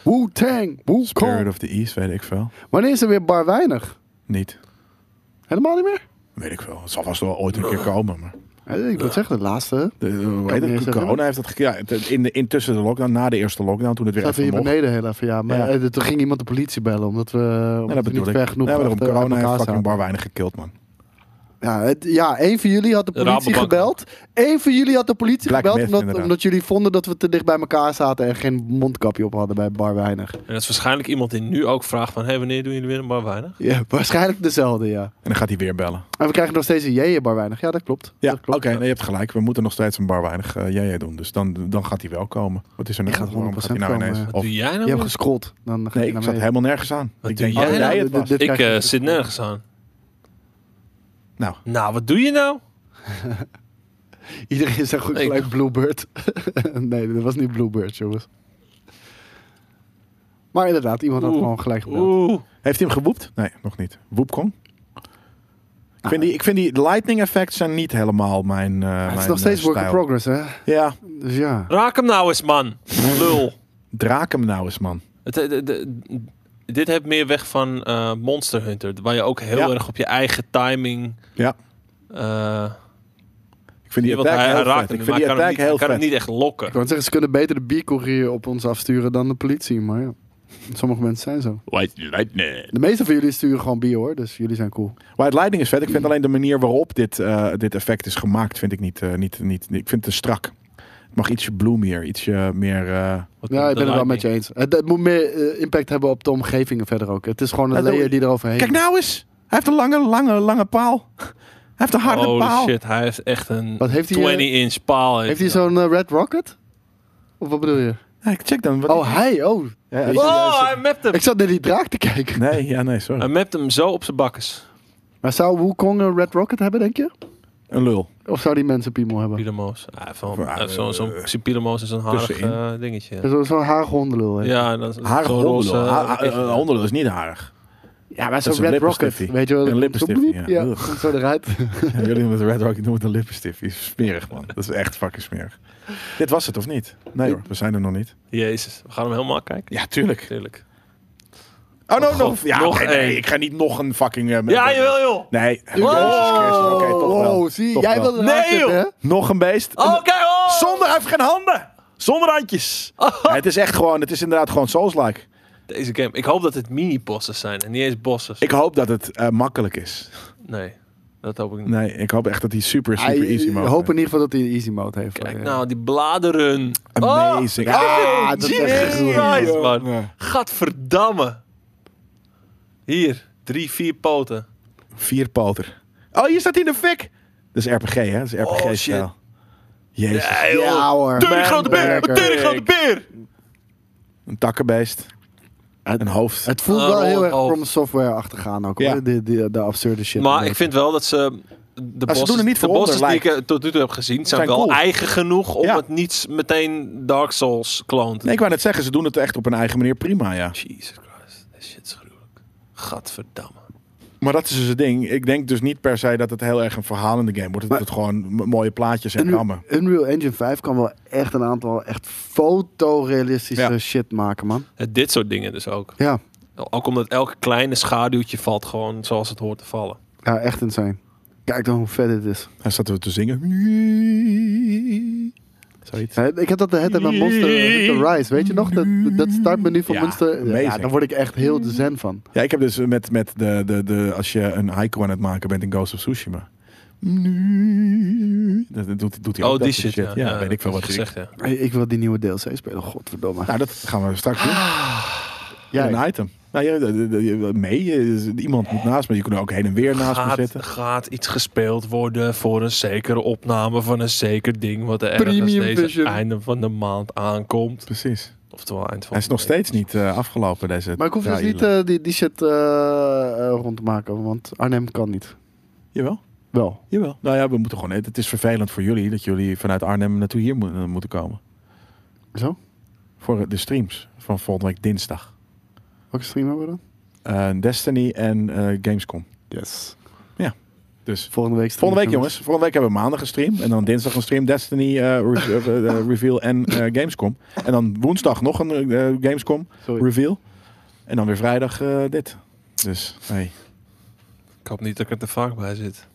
Wu-Tang,
Spirit
Wukong.
of the East, weet ik veel.
Wanneer is er weer bar weinig?
Niet.
Helemaal niet meer?
Weet ik veel. Het zal vast wel ooit een keer komen, maar...
Eh, Ik wil zeggen, de laatste
De, eh, hoe
me
heet
niet
het?
eens
Corona
herinneren.
heeft dat... ge- Ja, het- in de, intussen de lockdown, na de eerste lockdown, toen het weer
zaten
even
hier
mocht.
beneden heel even, ja. Maar
Ja.
eh, toen ging iemand de politie bellen, omdat we, omdat
Ja, dat
we niet
bedoel ik.
ver genoeg
Ja, maar daarom,
achter- uit
corona heeft
elkaar
fucking
zaten.
bar weinig gekild, man.
Ja, het, ja, één van jullie had de politie
Rabobank.
gebeld. Eén van jullie had de politie
Black
gebeld.
Myth,
Omdat,
inderdaad.
omdat jullie vonden dat we te dicht bij elkaar zaten en geen mondkapje op hadden bij Bar Weinig.
En dat is waarschijnlijk iemand die nu ook vraagt van... hey, wanneer doen jullie weer een bar weinig?
Ja, waarschijnlijk dezelfde, ja.
En dan gaat hij weer bellen.
En we krijgen nog steeds een jeeën Bar Weinig. Ja, dat klopt.
Ja,
dat
oké,
klopt.
nee, je hebt gelijk. We moeten nog steeds een bar weinig eh, jij doen. Dus dan, dan gaat hij wel komen. Wat is er nou?
gaat
Waarom gaat hij
100%
nou
komen,
ineens?
ja.
Of,
Doe jij nou
Je hebt
weer?
gescrollt. Dan ga
nee,
je naar
ik zat
beneden.
helemaal nergens aan.
Wat
ik
doe
denk
jij
dat
nou?
jij het
Dit-
was.
dit-
Ik
krijg je dus.
eh,
niet.
zit nergens aan.
Nou,
Nou, wat doe je nou?
Iedereen zegt goed
Nee,
gelijk Bluebird. [laughs] nee, dat was niet Bluebird, jongens. Maar inderdaad, iemand had
Oeh.
gewoon gelijk gebeld.
Oeh.
heeft hij hem gewoept? Nee, nog niet. Woepkong? Ik vind, die, ik vind die lightning effects zijn niet helemaal mijn eh,
Ja, het Ah. is
mijn,
nog steeds
eh,
work in
stijl.
progress, hè?
Ja,
Dus ja.
Raak hem nou eens,
[laughs]
man. Lul.
draak hem nou eens, man.
Het, het- het- het- dit heeft meer weg van eh, Monster Hunter. Waar je ook heel
Ja.
erg op je eigen timing...
Ja.
eh,
Ik vind die
want
attack
hij, hij
heel
raakt
vet.
hem,
Ik
maar
vind die
hij kan, hem
attack
niet, hij
heel
kan hem
vet.
niet echt lokken.
Ik wou zeggen, ze kunnen beter de biercourier op ons afsturen dan de politie, maar ja. Sommige mensen zijn zo.
White Lightning.
De meeste van jullie sturen gewoon bier, hoor. Dus jullie zijn cool.
White Lightning is vet. Ik vind alleen de manier waarop dit, eh, dit effect is gemaakt, vind ik niet, eh, niet, niet, Ik vind het te strak. Het mag ietsje bloomier, ietsje meer... eh,
Wat
Ja,
de
ik ben het wel
lightning.
met je eens. Het, het moet meer eh, impact hebben op de omgevingen verder ook. Het is gewoon een
Dat doe
layer
ik.
die eroverheen
Kijk nou eens! Hij heeft een lange, lange, lange paal. Hij heeft een harde
oh
paal.
shit, hij heeft echt een
Wat heeft hij, eh,
20-inch paal.
nou-
Heeft hij
hij.
zo'n eh, Red Rocket? Of wat bedoel je?
Ja, ik check dan. Wat
Oh, hij. Oh.
Ja,
Weet je,
Oh,
juist-
hij mapt hem.
Ik zat naar die draak te kijken.
Nee, ja, nee, sorry.
Hij mapt hem zo op zijn bakkes.
Maar zou Wukong een Red Rocket hebben, denk je?
Een lul.
Of zou die mensen piemel hebben?
Pielemoos. Ah, hij heeft wel-
Maar,
hij heeft zo'n
eh,
zo'n zo'n pielemoos en zo'n harig
tussenin.
eh, dingetje.
Zo- Zo'n haar hondenlul. hè?
Ja, en dan zo'n
Haar
roze,
hondenlul. Ha- ha-
echt-
eh, hondenlul is niet harig.
Ja, maar
Dat is
zo'n
een
Red Rocket.
lippenstiftje.
Weet je wel?
Een
zo-
lippenstiftje,
bloep,
ja.
Ja, komt zo eruit.
Ja, [laughs] jullie met Red Rocket noemen het een lippenstift. Die is smerig, man. Dat is echt fucking smerig. Dit was het, of niet? Nee hoor, we zijn er nog niet.
eh, Jezus, we gaan hem helemaal kijken.
Ja, tuurlijk.
Tuurlijk.
Oh, no,
Oh,
no.
God.
Ja,
Nog
oké, nee,
één.
ik ga niet nog een fucking... eh,
Ja, jawel joh.
Nee. Jezus
Wow,
Christus, Oké, toch wel.
Oh. wow, zie,
Toch
jij
wel.
wilde
Nee,
nee,
joh.
hè?
Nog een beest.
Oké, oh!
Zonder, hij heeft geen handen. Zonder handjes. Ja, het is echt gewoon, het is inderdaad gewoon Souls-like.
Deze game. Ik hoop dat het mini-bossen zijn en niet eens bossen.
Ik hoop dat het eh, makkelijk is.
Nee, dat hoop ik niet.
Nee, ik hoop echt dat hij super, super
Hij-
easy
Ik
mag.
hoop in ieder geval dat hij een easy mode heeft. eh.
Kijk
Ja.
nou, die bladeren.
Amazing.
Oh,
Ah,
dat is echt
Jesus
goed.
Christ, man.
Ja.
Gadverdamme. Hier, drie, vier poten.
Vierpoter. Oh, hier staat hij in de fik. Dat is RPG, hè? Dat is RPG-stijl.
Oh, shit.
Jezus.
Ja, joh.
Ja, hoor.
Tering grote beer,
Lekker.
tering grote beer.
Een takkenbeest.
Het-
Een hoofd.
Het voelt
Ah,
wel heel
rol-
erg
rol.
from software achtergaan ook.
Ja.
Hoor. Die, die, de absurde shit.
Maar ik vind wel dat ze... De
Ah, doen
bosses-
er niet
de
voor onder,
bosses die ik eh, tot nu toe heb gezien zijn,
Zijn
wel
cool.
eigen genoeg om
Ja.
het niet meteen Dark Souls kloont.
Nee, ik wou net zeggen, ze doen het echt op hun eigen manier prima, ja.
Jesus Christ, dit shit is gruwelijk. Gadverdamme.
Maar dat is dus het ding. Ik denk dus niet per se dat het heel erg een verhalende game wordt. Dat
Maar-
het gewoon m- mooie plaatjes en
Unreal,
rammen.
Unreal Engine 5 kan wel echt een aantal echt fotorealistische
Ja.
shit maken, man.
Eh, Dit soort dingen dus ook.
Ja,
Ook omdat elke kleine schaduwtje valt gewoon zoals het hoort te vallen.
ja echt insane. Kijk dan hoe vet dit is.
Hij staat er te zingen. Zoiets.
Ja, Ik heb dat de hele tijd bij Monster Hunter Rise. Weet je nog? Dat, dat startmenu van
Ja,
Monster. Ja,
amazing.
daar word ik echt heel de zen van.
Ja, ik heb dus met, met de, de, de, als je een haiku aan het maken bent in Ghost of Tsushima. Dat, dat doet, doet hij ook.
oh,
dat
die
soort
shit. Ja,
Ja,
Ja,
weet
dat
ik veel
is
wat hij
gezegd. Ja.
Hey, Ik wil die nieuwe DLC spelen. Godverdomme.
Nou, dat gaan we straks doen.
Jij.
Een item. Nou, je, de- de- je- mee. je- iemand moet naast me. Je kunt er ook heen en weer naast me
Gaat,
zitten.
gaat iets gespeeld worden voor een zekere opname van een zeker ding wat er ergens
Premium
deze
Vision.
einde van de maand aankomt.
Precies.
Oftewel eind van
Hij is
de
nog
week.
steeds niet eh, afgelopen, deze
Maar ik hoef dus
trailer.
niet eh, die, die shit eh, eh, rond te maken, want Arnhem kan niet.
Jawel.
Wel.
Jawel. Nou ja, we moeten gewoon. Het is vervelend voor jullie dat jullie vanuit Arnhem naartoe hier mo- eh, moeten komen.
Zo?
Voor de streams van volgende week dinsdag.
Welke stream hebben we dan?
Eh, Destiny en eh, Gamescom.
Yes.
Dus
Volgende week.
volgende week, jongens. Volgende week hebben we maandag een stream. En dan dinsdag een stream Destiny eh, re- eh, eh, reveal en eh, Gamescom. En dan woensdag nog een eh, Gamescom
Sorry.
reveal. En dan weer vrijdag eh, dit. Dus hey,
Ik hoop niet dat ik er te vaak bij zit.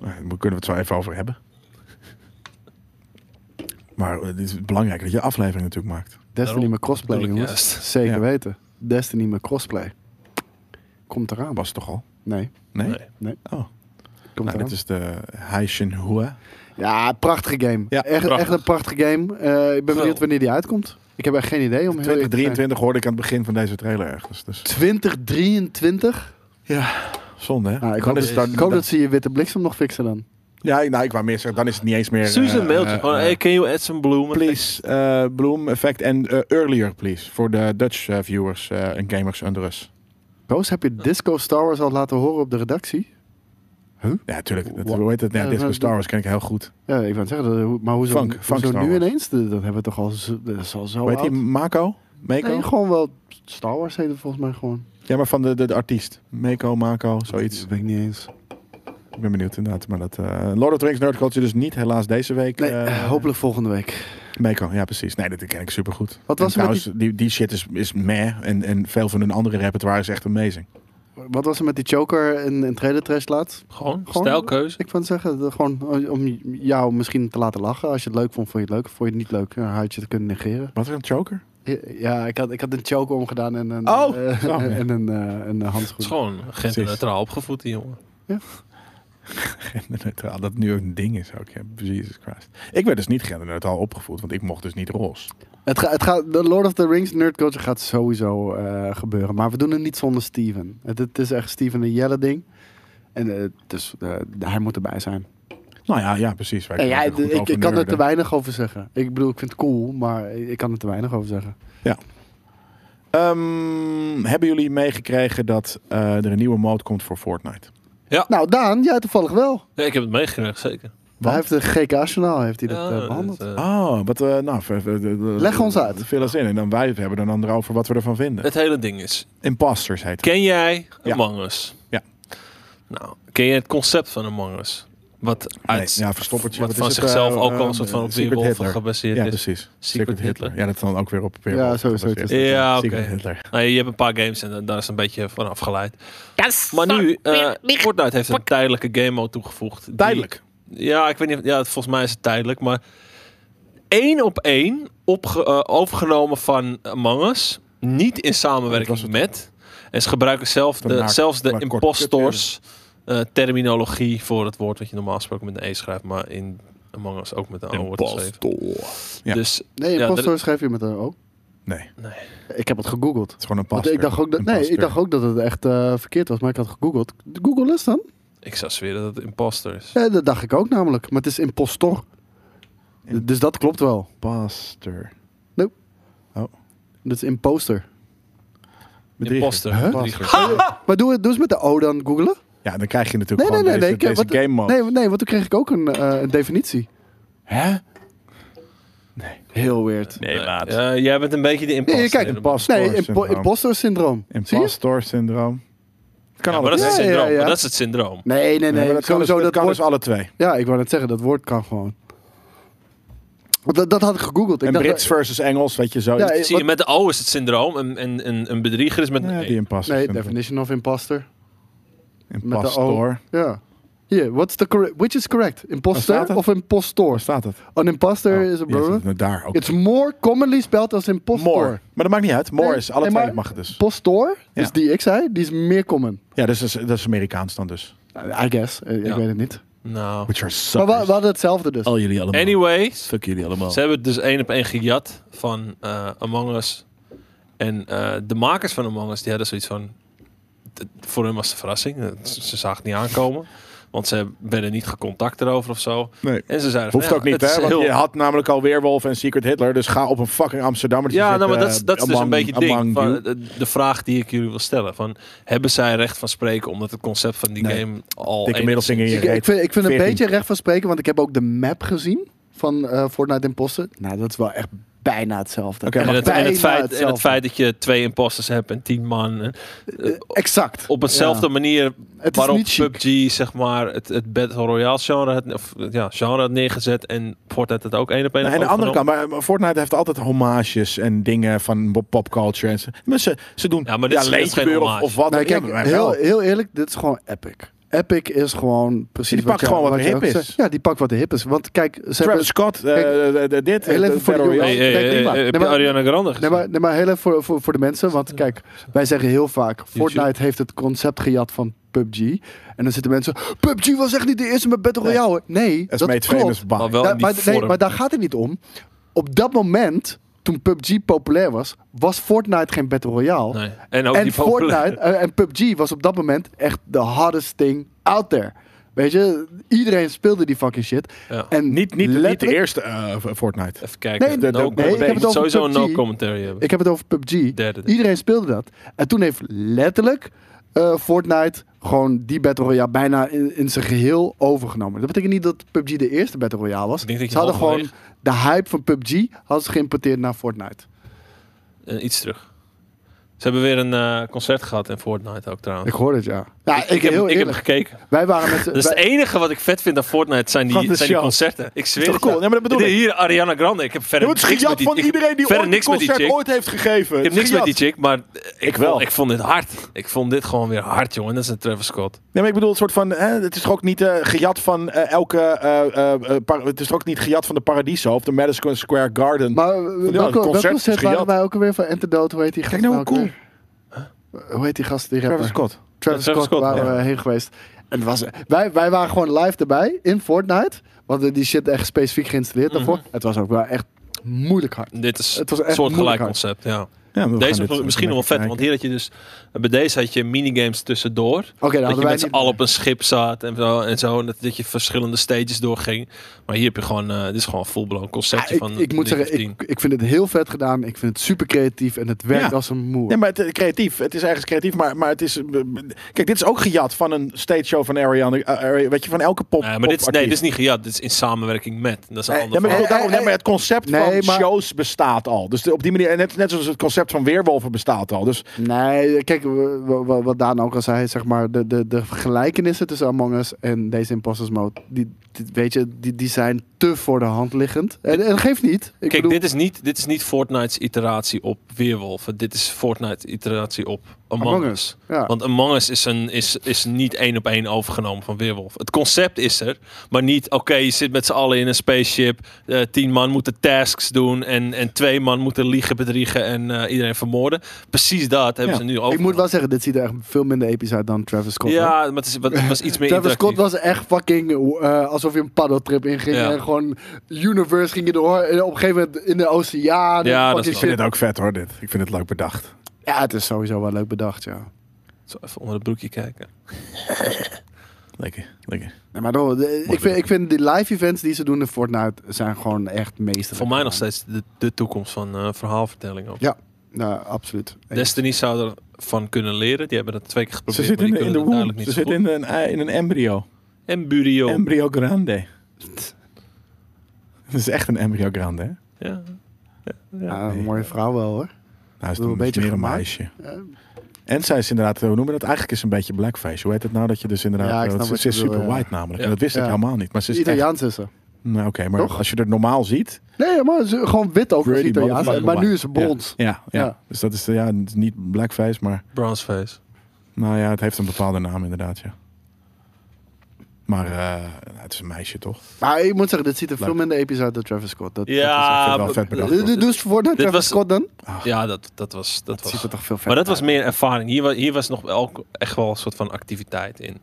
nou, daar kunnen we het zo even over hebben. Maar eh, het is belangrijk dat je aflevering natuurlijk maakt.
Destiny
Daarom.
met crossplay,
Bedoel ik
jongens.
juist.
Zeker
Ja.
weten. Destiny met crossplay. Komt eraan.
Was het toch al?
Nee.
Nee?
Nee.
Nee.
Oh.
Komt
Nou,
eraan.
dit is de Haishin Hua.
Ja, prachtige game.
Ja,
echt,
prachtig.
echt een prachtige game. Eh, ik ben benieuwd
Geweldig.
wanneer die uitkomt. Ik heb echt geen idee. Om heel eerlijk te zijn.
2023 hoorde ik aan het begin van deze trailer ergens. Dus
2023?
ja, zonde hè.
Nou, ik
Dan
hoop,
is
dat,
het
dan-
ik hoop dat ze je witte bliksem nog fixen dan.
Ja, nou, ik wou meer zeggen, dan is het niet eens meer...
Susan
eh,
mailtje. Oh,
eh,
Gewoon,
eh,
hey, can you add some bloom?
please, eh Bloom Effect en eh, Earlier, please. Voor de Dutch eh, viewers eh, en gamers under us.
Roos, heb je Disco Star Wars al laten horen op de redactie?
Ja, natuurlijk. Dat,
Wa-
hoe heet het? Ja,
Ja, Oh,
Disco
maar-
Star Wars ken ik heel goed.
Ja, ik wou het zeggen, dat- hoe- maar hoezo,
Funk,
hoezo
Funk Star
nu
Wars.
ineens? Dat dat hebben we toch al zo, dat is al zo
Hoe heet
oud.
die? Mako? Mako?
Nee, gewoon wel Star Wars heet het volgens mij gewoon.
Ja, maar van de, de, de artiest. Mako, Mako, zoiets.
Dat weet ik niet eens.
Ik ben benieuwd inderdaad. Maar dat, eh, Lord of the Rings Nerd Culture dus niet, helaas deze week.
Nee,
eh,
hopelijk volgende week.
Mako, ja precies. Nee, dat ken ik supergoed.
Wat
En
was er met
trouwens, die... Die, shit is, is meh. En, en veel van hun andere repertoire is echt amazing.
Wat was er met die choker in, in trailer trash laatst?
Gewoon,
Gewoon-
stijlkeuze.
Ik wou zeggen, dat gewoon om jou misschien te laten lachen. Als je het leuk vond, vond je het leuk. Vond je het niet leuk, dan had je het kunnen negeren.
Wat is een choker?
Ja, ik had, ik had een choker omgedaan en een,
Oh,
eh,
zo.
[laughs] en een, eh, een
Het is
handschoen.
gewoon genderneutraal opgevoed, die jongen.
Genderneutraal, dat nu ook een ding is ook. Ja. Jesus Christ. Ik werd dus niet genderneutraal opgevoed, want ik mocht dus niet roze.
Het ga, het gaat de Lord of the Rings nerd culture gaat sowieso eh, gebeuren. Maar we doen het niet zonder Steven. Het, het is echt Steven een Jelle ding. En eh, dus eh, hij moet erbij zijn.
Nou ja, ja precies. Wij
Nee,
kunnen
ja,
er goed
ik,
over
ik kan er te
nerden.
weinig over zeggen. Ik bedoel, ik vind het cool, maar ik kan er te weinig over zeggen.
Ehm, hebben jullie meegekregen dat eh, er een nieuwe mode komt voor Fortnite?
Nou, Daan, jij toevallig wel.
Ja, ik heb het meegekregen, zeker.
Hij heeft de GK-journaal heeft hij dat
Ja,
eh, behandeld.
dat, eh,
Oh, wat, eh, nou, v- v- d- d-
Leg ons uit.
Vul eens in en dan wij het hebben dan anderen over wat we ervan vinden.
het hele ding is,
Imposters heet het.
Ken jij
Ja.
Among Us?
Ja.
Nou, ken jij het concept van Among Us? Wat, uit,
ja, verstoppertje.
wat
Wat
van
is het,
zichzelf
eh,
ook al
eh,
een soort van op
Secret
Weerwolf
Hitler.
gebaseerd
Ja, dus-
is.
precies. Secret,
Hitler.
Hitler. Ja, dat is dan ook weer op
Ja,
Weerwolf
sowieso.
gebaseerd.
Het is-
Ja, oké.
Secret Hitler.
Nou, je hebt een paar games en eh, daar is een beetje van afgeleid.
Das
Maar nu, eh
nicht
Fortnite heeft een tijdelijke game mode toegevoegd. Die-
Tijdelijk.
ja, ik weet niet. of- Ja, volgens mij is het tijdelijk. Maar één op één opge- eh, overgenomen van Among Us. Niet in samenwerking
Dat was
met. En ze gebruiken zelf
Een
de,
naak-
zelfs de
maar kort-
impostors eh, terminologie voor het woord wat je normaal gesproken met een E schrijft. Maar in Among Us ook met een O wordt geschreven.
Ja.
Dus
Nee,
Ja,
impostor schreef je met een O.
Nee, het
Ik heb het gegoogeld.
is gewoon een
Want
pastor.
ik dacht ook dat,
Een
nee, ik
pastor.
dacht ook dat het echt eh, verkeerd was, maar ik had gegoogeld. Google is dan?
ik zou zweren dat het imposter is.
Ja, dat dacht ik ook namelijk, maar het is impostor.
Im-
Dus dat klopt wel.
Pastor.
Dat is imposter.
Bedrieger.
Imposter.
Huh?
Bedrieger.
Maar doe, het- doe eens met de O dan googelen.
Ja, dan krijg je natuurlijk
Nee, nee,
gewoon
nee. nee,
deze,
ik heb-
deze
wat-
game mode.
nee, nee, want toen kreeg ik ook een, eh, een definitie.
Hè?
Heel weird.
Nee, eh, jij bent een beetje de imposter.
Nee, kijk,
in de-
Imposter
Nee, impo
syndroom.
impostor syndroom. Zie je?
Impostor syndroom. Het Kan
Ja, maar
alle
dat is het
twee.
Ja, ja,
syndroom.
ja.
maar Dat is het syndroom.
Nee, nee,
Nee,
nee.
maar dat kan dus-
sowieso,
dat
dat
kan
woord,
dus alle twee.
ja, ik wou net zeggen, dat woord kan gewoon. Want Dat, dat had ik gegoogeld. Ik
En
dacht,
Brits versus Engels, weet je, zo.
Ja,
Ja,
Zie je, met de O is het syndroom. Een, een, een, een bedrieger is met een
die
E.
imposter
Nee,
syndroom.
definition of imposter. O.
Impostor.
Ja. Hier, what's the correct, which is correct?
Waar staat
Imposter
het?
of
Waar
impostor?
staat Oh, het?
An imposter is a
Ja,
brother.
zit het daar ook.
It's more commonly spelled as impostor.
More. Maar dat maakt niet uit. More
Nee,
is alle
nee,
twee
maar-
mag het dus.
Postor, dus
Ja.
die ik zei, die is meer common.
Ja, dus dat is, dat is Amerikaans dan dus.
I guess. Eh,
Ja.
Ik weet het niet.
Nou.
Which are
Maar
suckers.
we, we hadden hetzelfde
Oh,
dus.
Al jullie allemaal.
Anyway,
Fuck jullie allemaal.
ze hebben het dus één op één gejat van eh, Among Us. En eh, de makers van Among Us, die hadden zoiets van... d- Voor hun was het een verrassing. Eh, Ze ze zagen het niet aankomen. Want ze werden niet gecontact erover of zo.
Nee.
En ze zeiden van,
Hoeft
ja,
ook niet,
het
hè?
is
Want
heel-
je had namelijk al Weerwolf en Secret Hitler. Dus ga op een fucking Amsterdam.
Ja, nou,
eh,
maar dat is, dat is dus een beetje het ding. Van, eh, de vraag die ik jullie wil stellen. Van, hebben zij recht van spreken omdat het concept van die
Nee.
game al...
Dikke
enigszins-
middelvinger in je
Ik, ik
reet.
vind, ik vind een
14.
beetje recht van spreken, want ik heb ook de map gezien van eh, Fortnite Imposter. Nou, dat is wel echt bijna hetzelfde.
Oké,
En
maar
het, en, het
Bijna
feit, en het
hetzelfde.
feit dat je twee imposters hebt en tien man. En
Exact.
op hetzelfde
Ja.
manier
Het is
waarop
niet chic.
PUBG zeg maar, het, het Battle Royale genre, had- of, ja, genre had neergezet. En Fortnite het ook één op één.
Nee, aan de andere
overgenomen.
kant, maar maar Fortnite heeft altijd homages en dingen van bo- popculture. En ze, maar ze, ze doen
Ja, maar dit is- dit is geen
leedjeburen of,
hommage.
of wat.
Nou,
Ja,
kijk,
maar wel.
heel, heel eerlijk, dit is gewoon epic. Epic is gewoon precies
Die pakt
je-
gewoon wat er
je
hip
ook
is.
zegt. Ja, die pakt wat de hip is. Want kijk, ze hebben...
Travis Scott, eh,
Kijk,
de- de- dit.
heel
de-
even
de
voor de
Battle
jongen.
Royale.
Hey,
nee,
hey, hey,
prima.
hey, heb
Nee,
je
maar-
Ariana Grande gezien?
Nee, maar, nee, maar heel even voor, voor, voor de mensen. Want kijk, wij zeggen heel vaak... Fortnite heeft het concept gejat van PUBG. En dan zitten mensen... PUBG was echt niet de eerste met Battle
Nee.
Royale. hoor." Nee,
It's
dat
made
klopt.
famous by.
Maar wel
Da-
in die
maar, nee,
vorm.
maar daar gaat het niet om. Op dat moment, toen PUBG populair was... was Fortnite geen Battle Royale.
Nee. En ook
en
die populaire-
Fortnite eh, en PUBG was op dat moment echt de hardest thing out there. Weet je, iedereen speelde die fucking shit.
Ja.
En
Niet, niet, niet de
letterlijk-
eerste eh, Fortnite.
Even kijken.
Nee,
de- de-
no
nee,
comment.
ik heb het
Moet
over
sowieso een no
PUBG.
commentary hebben.
Ik heb het over PUBG.
Derde.
Iedereen speelde dat. En toen heeft letterlijk eh, Fortnite gewoon die Battle Royale bijna in, in zijn geheel overgenomen. Dat betekent niet dat PUBG de eerste Battle Royale was.
Ik denk dat je
Ze hadden gewoon
halverwege-
de hype van PUBG hadden ze geïmporteerd naar Fortnite.
Eh, iets terug. Ze hebben weer een eh, concert gehad in Fortnite ook trouwens.
Ik hoor het, ja. Ja, ik,
heb,
heel
ik heb
eerlijk.
gekeken.
Wij waren met z'n-
Dat is Dus het
wij-
enige wat ik vet vind aan Fortnite zijn
Van de
die, zijn die
show.
concerten. Ik
Is
zweer
toch
het
cool?
je.
Nee, maar dat bedoel
Dit-
ik.
Hier, Ariana Grande. Ik heb
Je
verder
wordt
niks met
gejat
die
van
ik-
iedereen die
verder
ooit een
niks met die
concert
chick.
ooit heeft gegeven.
Ik heb niks met die chick, maar eh, ik,
wel.
Vond, ik vond dit hard. Ik vond dit gewoon weer hard, jongen. Dat is een Travis Scott.
Nee, maar ik bedoel, het, soort van, hè, het is toch ook niet eh, gejat van eh, elke... eh, eh, eh, par- het is toch ook niet gejat van de Paradiso of de Madison Square Garden.
Maar eh, welke-
het
welke
concert is
concert
gejat.
waren wij ook alweer van Antidote? Hoe heet die gast
nou
nou
hoe
ook weer? Hoe heet die gast, die rapper?
Travis Scott.
Travis
Ja, Travis
Scott,
Scott,
waren
ja.
we heen geweest. En het was, wij, wij waren gewoon live erbij in Fortnite. Want eh, die shit echt specifiek geïnstalleerd daarvoor.
Mhm.
Het was ook wel echt moeilijk hard.
Dit is
Het was echt
een soortgelijk
moeilijk hard.
concept, ja.
Ja, we gaan
Deze
dit eh,
vond ik misschien nog wel vet,
even
want
kijken.
hier had je dus... Bij deze had je minigames tussendoor.
Oké, dan
dat
hadden
je
wij
met z'n
niet...
allen op een schip zat en zo. En zo en dat, dat je verschillende stages doorging. Maar hier heb je gewoon... eh, dit is gewoon een full-blown
Ah,
conceptje
ik,
van...
ik moet
10.
zeggen, ik, ik vind het heel vet gedaan. Ik vind het super creatief en het werkt
Ja.
als een moer.
Ja, maar het, eh, creatief. Het is ergens creatief, maar, maar het is... eh, Kijk, dit is ook gejat van een stage show van Ariana... eh, Ari- weet je, van elke pop
Nee, Eh, maar dit is, nee,
popartiest.
dit is niet gejat. Dit is in samenwerking met. Dat is een
Nee,
ander
ja, maar, ik
verhaal.
bedoel, daarom,
Eh, eh,
nee, maar het concept
nee,
van
maar-
shows bestaat al. Dus de- op die manier, en net, net zoals het concept van weerwolven bestaat al. Dus
Nee, kijk, w- w- w- wat Daan ook al zei, zeg maar, de, de, de gelijkenissen tussen Among Us en deze Imposters Mode, die, die- weet je, die, die zijn te voor de hand liggend. En, en geeft niet. Ik
Kijk,
bedoel,
dit, is niet, dit is niet Fortnite's iteratie op Weerwolven. Dit is Fortnite's iteratie op Among,
Among
Us.
Us, ja.
Want Among Us is, een, is, is niet één op één overgenomen van Weerwolf. Het concept is er, maar niet... Oké, je zit met z'n allen in een spaceship. eh, tien man moeten tasks doen. En, en twee man moeten liegen, bedriegen en eh, iedereen vermoorden. Precies dat hebben
Ja,
ze nu
ik moet
overgenomen.
wel zeggen, dit ziet er echt veel minder episch uit dan Travis Scott. hoor.
Ja, maar het, is, het was iets meer
Travis Scott
interactief.
was echt fucking eh, alsof je een paddeltrip inging
Ja.
en gewoon universe ging je door en op een gegeven moment in de oceaan. en
Ja,
ik
fucking
dat is
vind
shit.
het ook vet hoor, dit. Ik vind het leuk bedacht.
ja, het is sowieso wel leuk bedacht, ja.
Zo even onder het broekje kijken.
Lekker, lekker.
Nee, maar door, de- ik, vind,
bedacht.
ik vind die live events die ze doen in Fortnite zijn gewoon echt meesterlijk.
Voor mij nog
gedaan.
steeds de, de toekomst van eh, verhaalvertelling. Ook.
Ja, nou, absoluut.
Destiny zou ervan kunnen leren. Die hebben dat twee keer
Ze
geprobeerd.
zitten
maar
in,
die
in de
kunnen
womb.
het duidelijk
Ze
niet Oh. zo
zitten in een, ei- in een embryo.
goed. En Burio.
Embryo grande. Dat is echt een embryo grande, hè?
ja. Ja, ja.
Ja,
nee.
een mooie vrouw wel hoor.
Nou, is
Wel
het
een
een
beetje
beetje een
gemaakt.
meisje.
Ja.
En zij is inderdaad, eh, hoe noemen we dat? Eigenlijk is ze een beetje blackface. Hoe heet het nou dat je dus inderdaad...
Ja, ik
eh,
snap
ze
wat
ze
je
is
bedoelt,
super
ja.
white namelijk.
Ja.
En dat wist ik
Ja.
helemaal niet. Maar ze is echt-
Italiaans is ze.
Nou, oké, maar
Toch?
als je er normaal ziet...
Nee, maar ze- gewoon wit ook als
Pretty
Italiaans.
motherfucker
Maar nu
white.
is ze brons.
Ja, ja.
Ja.
Dus dat is eh, ja, niet blackface, maar...
Bronzeface.
Nou ja, het heeft een bepaalde naam inderdaad, ja. Maar eh, het is een meisje, toch?
Maar ik moet zeggen, dit ziet er veel
Leuk.
minder episch uit dan Travis Scott. Dat,
Ja,
wel
b-
vet bedacht.
dat is echt- Dus- Dus Fortnite, Travis
was-
Scott dan?
ja dat, dat was... Dat
ziet
was
er toch veel verder
maar dat was meer ervaring. Hier was, hier was nog wel, echt wel een soort van activiteit in.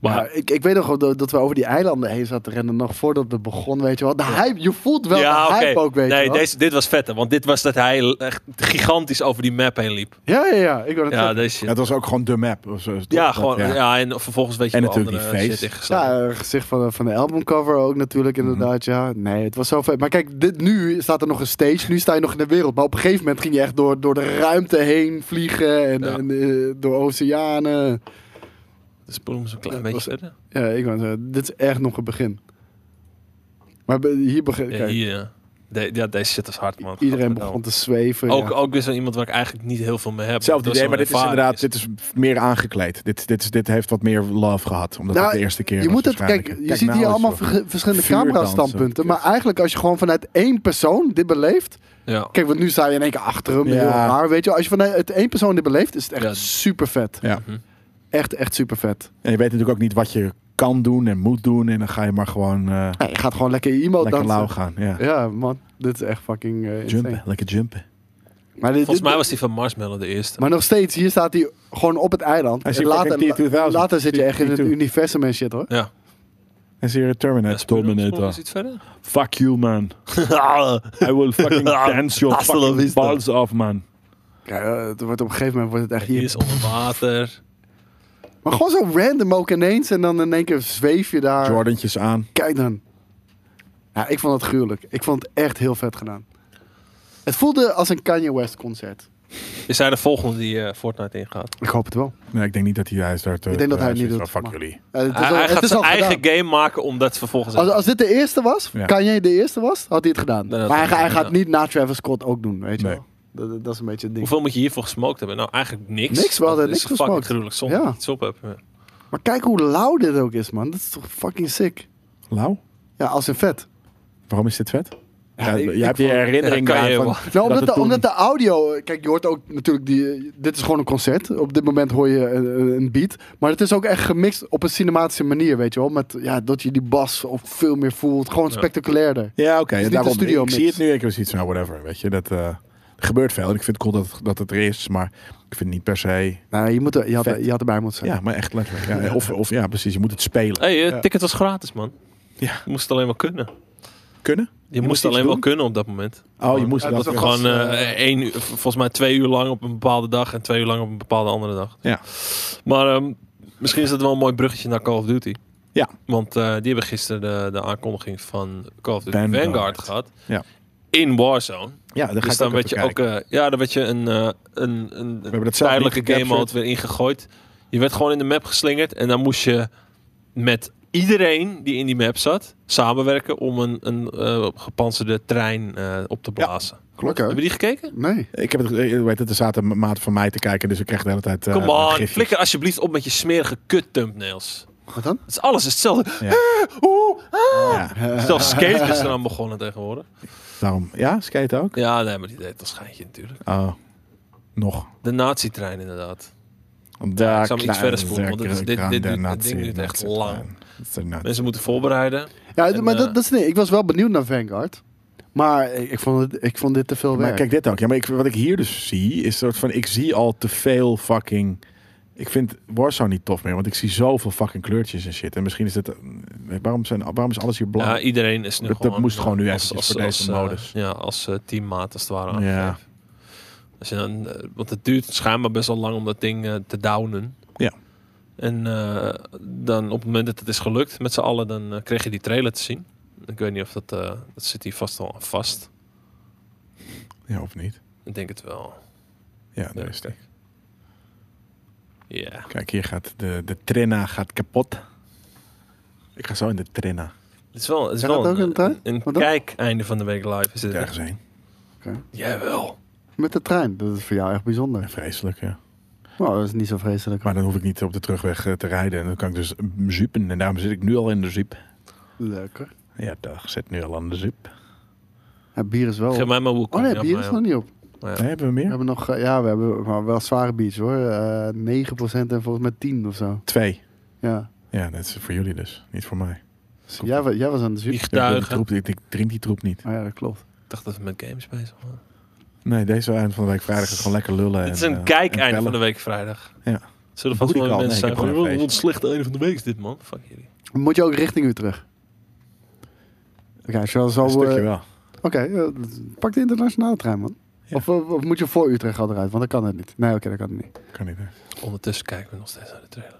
Maar
Ja, ik, ik weet nog wel dat, dat we over die eilanden heen zaten te rennen. Nog voordat het begon, weet je wel. De hype, je voelt wel de hype
oké.
ook, weet
nee,
je wel.
Deze, dit was vetter. Want dit was dat hij echt gigantisch over die map heen liep.
Ja, ja, ja. Ik wil het
Ja,
zeggen.
deze shit.
Ja, het was ook gewoon de map. Was,
eh,
was-
Ja,
dat-
gewoon.
ja.
Ja. en vervolgens weet je
En
wel
natuurlijk die
andere
face.
shit ingeslagen.
Ja, eh, gezicht van, de- van de albumcover ook natuurlijk
Mhm.
inderdaad, ja. Nee, het was zo vet. Maar kijk, dit, nu staat er nog een stage. Nu sta je nog in de wereld. Maar op een gegeven moment ging je echt door, door de ruimte heen vliegen. En,
Ja.
en, eh, door oceanen.
Dus spoelen we eens een klein
Dat
beetje
was-
verder.
Ja, ik wou zeggen, dit is echt nog het begin. Maar be- hier begin,
Ja,
kijk,
hier, ja. De- ja, deze shit is hard, man.
iedereen
Gadverdamme.
begon te zweven.
Ook,
ja.
ook weer zo iemand waar ik eigenlijk niet heel veel mee heb.
Hetzelfde
Dat
idee,
zo'n
maar dit is
ervaring
inderdaad dit is meer aangekleed. Dit, dit, is, dit heeft wat meer love gehad, omdat
Nou,
het de eerste keer
Je
was
moet het, kijk,
waarschijnlijk.
je
Kijk
ziet
nou
hier
eens,
allemaal
joh.
verge- verschillende
Vuurdansen,
camera-standpunten.
kut.
Maar eigenlijk, als je gewoon vanuit één persoon dit beleeft.
Ja.
Kijk, want nu sta je in één keer achter hem.
Ja.
Heel raar, weet je. wel. Als je vanuit één persoon dit beleeft, is het echt
Ja.
super vet.
Ja.
Mhm.
echt, echt super vet.
En je weet natuurlijk ook niet wat je kan doen en moet doen. En dan ga je maar gewoon eh
Ja, je gaat gewoon lekker emo
lekker
dansen.
lauw gaan. Ja.
Ja, man. Dit is echt fucking eh, insane.
Jumpen, lekker jumpen.
Maar, dit-
Volgens
dit-
mij was die van Marshmallow de eerste.
maar nog steeds, hier staat hij gewoon op het eiland.
Hij is
En
hier fucking
later,
T-2000.
later zit je echt in het
T-2000.
universum en shit, hoor.
ja.
En zie je Terminator.
Terminator. Is iets verder?
Fuck you, man.
[laughs]
I will
[laughs]
fucking dance your
Hasta la
fucking
vista.
balls off, man.
Ja, eh, het wordt op een gegeven moment wordt het echt
Die
hier.
is onder water.
Maar gewoon zo random ook ineens. En dan in één keer zweef je daar.
Jordantjes aan.
Kijk dan. Ja, ik vond het gruwelijk. Ik vond het echt heel vet gedaan. Het voelde als een Kanye West concert.
Is hij de volgende die eh, Fortnite ingaat?
Ik hoop het wel.
Nee, ik denk niet dat hij hij is daar te...
Ik denk dat hij het
is
niet
van,
doet,
Fuck
maar-
jullie.
Eh, het is
Hij,
al-
hij
het
gaat
is
zijn
al
eigen
gedaan.
game maken om dat vervolgens...
Als, als dit de eerste was,
Ja.
Kanye de eerste was, had hij het gedaan.
Nee, dat
maar hij,
had hij
hij gaat
gedaan.
niet na Travis Scott ook doen, weet je
Nee.
wel. Dat, dat- dat is een beetje het ding.
Hoeveel moet je hiervoor gesmokt hebben? Nou, eigenlijk niks.
Niks, we hadden
Dat is
niks
fucking
gesmokt.
gruwelijk zonder
Ja.
dat je iets op hebt. Ja.
Maar kijk hoe lauw dit ook is, man. Dat is toch fucking sick.
Lau?
Ja, als een vet.
Waarom is dit vet? Ja,
ik- ik
je hebt je herinnering
Ja, kan
eraan
je
van...
wel.
[laughs]
Nou, omdat,
het
de,
toen-
omdat de audio... eh, Kijk, je hoort ook natuurlijk... Die, eh, dit is gewoon een concert. Op dit moment hoor je een, een beat. Maar het is ook echt gemixt op een cinematische manier, weet je wel. Met, ja, dat je die bas ook veel meer voelt. Gewoon
Ja.
spectaculairder.
Ja, oké.
is niet
daarom,
een studio
ik
mix.
zie het nu, ik was iets, nou whatever, weet je. Dat, eh, er gebeurt veel en ik vind het cool dat, het- dat het er is, maar ik vind het niet per se...
Nou, je, moet er, je, had,
Vet.
je had erbij moeten zijn.
Ja, maar echt letterlijk.
[laughs]
Ja, of, of ja, precies, je moet het spelen.
hey, eh,
Ja.
ticket was gratis, man.
Ja.
Je moest het alleen maar kunnen. Je,
Kunnen?
moest,
moest iets
alleen wel
doen?
kunnen op dat moment.
Oh, je moest
Ja,
dat...
dat is wel
Gewoon
Gast,
eh,
eh,
één uur, v- volgens mij twee uur lang op een bepaalde dag en twee uur lang op een bepaalde andere dag.
Ja.
Maar ehm, misschien is dat wel een mooi bruggetje naar Call of Duty.
Ja.
Want eh, die hebben gisteren de, de aankondiging van Call of Duty
Vanguard.
Vanguard, gehad.
Ja.
In Warzone.
Ja, dan ga
Dus
ik ook
dan
even
werd je
kijken.
ook, eh, ja, dan werd je een, eh, een, een
hebben dat zelf
tijdelijke
niet
game
gecaptured.
mode weer ingegooid. Je werd gewoon in de map geslingerd en dan moest je met iedereen die in die map zat samenwerken om een, een eh, gepantserde trein eh, op te blazen.
Klopt.
Hebben die gekeken?
Nee.
Ik heb het, eh, weet het, er zaten maat van mij te kijken, dus ik kreeg de hele tijd. eh,
Come on,
gifjes.
flikker alsjeblieft op met je smerige kut thumbnails.
Wat dan?
Het is alles hetzelfde. Eh,
Ja,
Zelfs skate is eraan begonnen tegenwoordig.
daarom. Ja, skate ook.
Ja, nee, maar die deed dat schijntje natuurlijk.
Oh, nog.
De nazi-trein inderdaad.
Daar
Ik zal hem iets verder spoelen, want dit is- dit- dit- dit ding duurt echt lang. Mensen moeten voorbereiden.
Ja,
En,
maar
eh,
dat, dat is het ding. Ik was wel benieuwd naar Vanguard. Maar ik, ik vond, het, ik vond dit te veel
Maar
werk.
kijk dit ook. Ja, maar ik, wat ik hier dus zie is soort van ik zie al te veel fucking. Ik vind Warzone niet tof meer, want ik zie zoveel fucking kleurtjes en shit. En misschien is het. eh, Waarom, zijn, waarom is alles hier blauw?
Ja, iedereen is nu
Dat- dat
gewoon...
moest gewoon nu
als-
eventjes
als-
voor
als,
deze
eh,
modus.
ja, als eh, teammaat als het ware
Ja.
aangegeven. Als je dan, eh, want het duurt schijnbaar best wel lang om dat ding eh, te downen.
Ja.
En eh, dan op het moment dat het is gelukt met z'n allen, dan eh, kreeg je die trailer te zien. Ik weet niet of dat... eh, dat zit hier vast al aan vast.
Ja, of niet?
Ik denk het wel.
Ja, daar
Ja,
is die.
kijk. Ja.
Kijk, hier gaat de, de trenna gaat kapot. Ik ga zo in de trenna
Het is wel, het is
Zijn dat
wel een,
ook een trein?
een
Wat dan?
kijk-einde van de week live. Is dit
ergens heen.
Jawel.
Met de trein. Dat is voor jou echt bijzonder.
Vreselijk, ja.
Nou, dat is niet zo vreselijk.
Maar dan hoef ik niet op de terugweg eh, te rijden. En dan kan ik dus mm, zuipen. En daarom zit ik nu al in de zuip.
Leuker.
Ja, dag. Zit nu al aan de zuip.
Ja, bier is wel...
Geef mij maar hoe
Oh nee, bier is nog niet op.
Nee, hebben we
We
meer?
hebben nog, eh, ja, we hebben maar wel zware biertjes hoor. Eh 9% en volgens mij 10 of zo.
Twee.
Ja.
Ja, dat is voor jullie dus. Niet voor mij.
Dus jij, wa- jij was aan de zuur.
Die
Ik, wil die
getuigen.
troep, ik, ik drink die troep niet.
Oh ja, dat klopt.
Ik dacht dat we met games bezig waren.
Nee, deze eind van de week vrijdag is gewoon lekker lullen.
Het is
en,
een
eh, en
kijk-einde
bellen.
van de week vrijdag.
Ja.
Zullen vast
Moet
wel
ik al?
mensen
Nee, ik
zijn
heb
van...
gewoon een
"Wat een
feest."
slechte einde van de week is dit, man. Fuck jullie.
Moet je ook richting Utrecht? Oké, als je wel zo...
Een stukje
eh,
wel.
Oké, eh, d- pak de internationale trein man.
Ja.
Of, eh, of moet je voor Utrecht al eruit? Want dan kan het niet. Nee, oké, dat kan het niet.
Kan niet. hè.
Ondertussen kijken we nog steeds naar de trailer.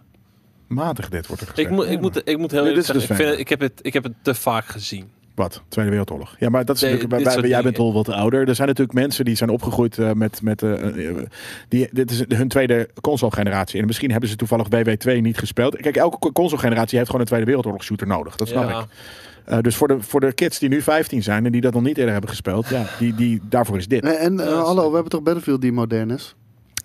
Matig dit wordt er gezegd.
Ik moet,
Ja,
ik moet, ik moet heel
Nee,
eerlijk
dit is dus
zeggen, ik, vind het, ik, heb het, ik heb het te vaak gezien.
Wat? Tweede Wereldoorlog. Ja, maar dat is
Nee,
natuurlijk,
dit
wij-
soort
jij bent
dingen.
al wat ouder. Er zijn natuurlijk mensen die zijn opgegroeid eh, met, met eh, eh, die, dit is hun tweede console-generatie. En misschien hebben ze toevallig WW2 niet gespeeld. Kijk, elke console-generatie heeft gewoon een Tweede Wereldoorlog-shooter nodig. Dat snap
Ja.
ik. Eh, dus voor de, voor de kids die nu 15 zijn en die dat nog niet eerder hebben gespeeld, ja, die, die, daarvoor is dit.
Nee, en eh,
Ja,
hallo,
zeker.
we hebben toch Battlefield die modern is?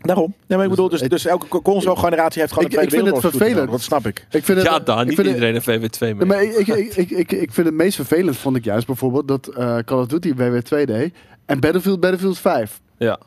Daarom. Nee, maar ik bedoel, dus,
ik-
dus elke console-generatie heeft gewoon
Ik-
een Tweede
ik vind
Wereldoorlog-shooter
het vervelend.
nodig. Dat snap ik.
Ik vind het,
Ja, dan.
ik
Niet
vind het-
iedereen heeft VW2
Nee,
mee.
maar ik, ik, ik, ik, ik, ik vind het meest vervelend, vond ik juist bijvoorbeeld, dat eh, Call of Duty WW2 deed en Battlefield Battlefield 5.
Ja.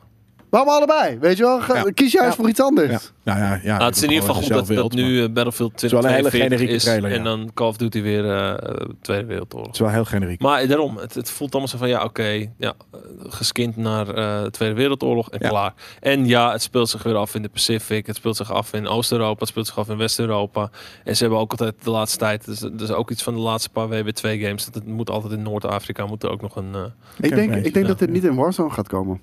Waarom allebei? Weet je wel? Ga-
Ja.
Kies juist
Ja.
voor iets
Ja.
anders.
Nou ja, ja,
Nou, het is in ieder geval goed dat, dat nu eh, Battlefield
is wel een hele
2042
generieke
is
trailer, ja.
en dan Call of Duty weer eh, Tweede Wereldoorlog.
Het is wel heel generiek.
Maar eh, daarom, het, het voelt allemaal zo van ja, oké, ja, eh, geskind naar eh, de Tweede Wereldoorlog en
Ja.
klaar. En ja, het speelt zich weer af in de Pacific, het speelt zich af in Oost-Europa, het speelt zich af in West-Europa. En ze hebben ook altijd de laatste tijd, dus, dus ook iets van de laatste paar WW2-games, dat het moet altijd in Noord-Afrika, moet er ook nog een... eh,
Ik denk, ik denk
Ja.
dat dit niet in Warzone gaat komen.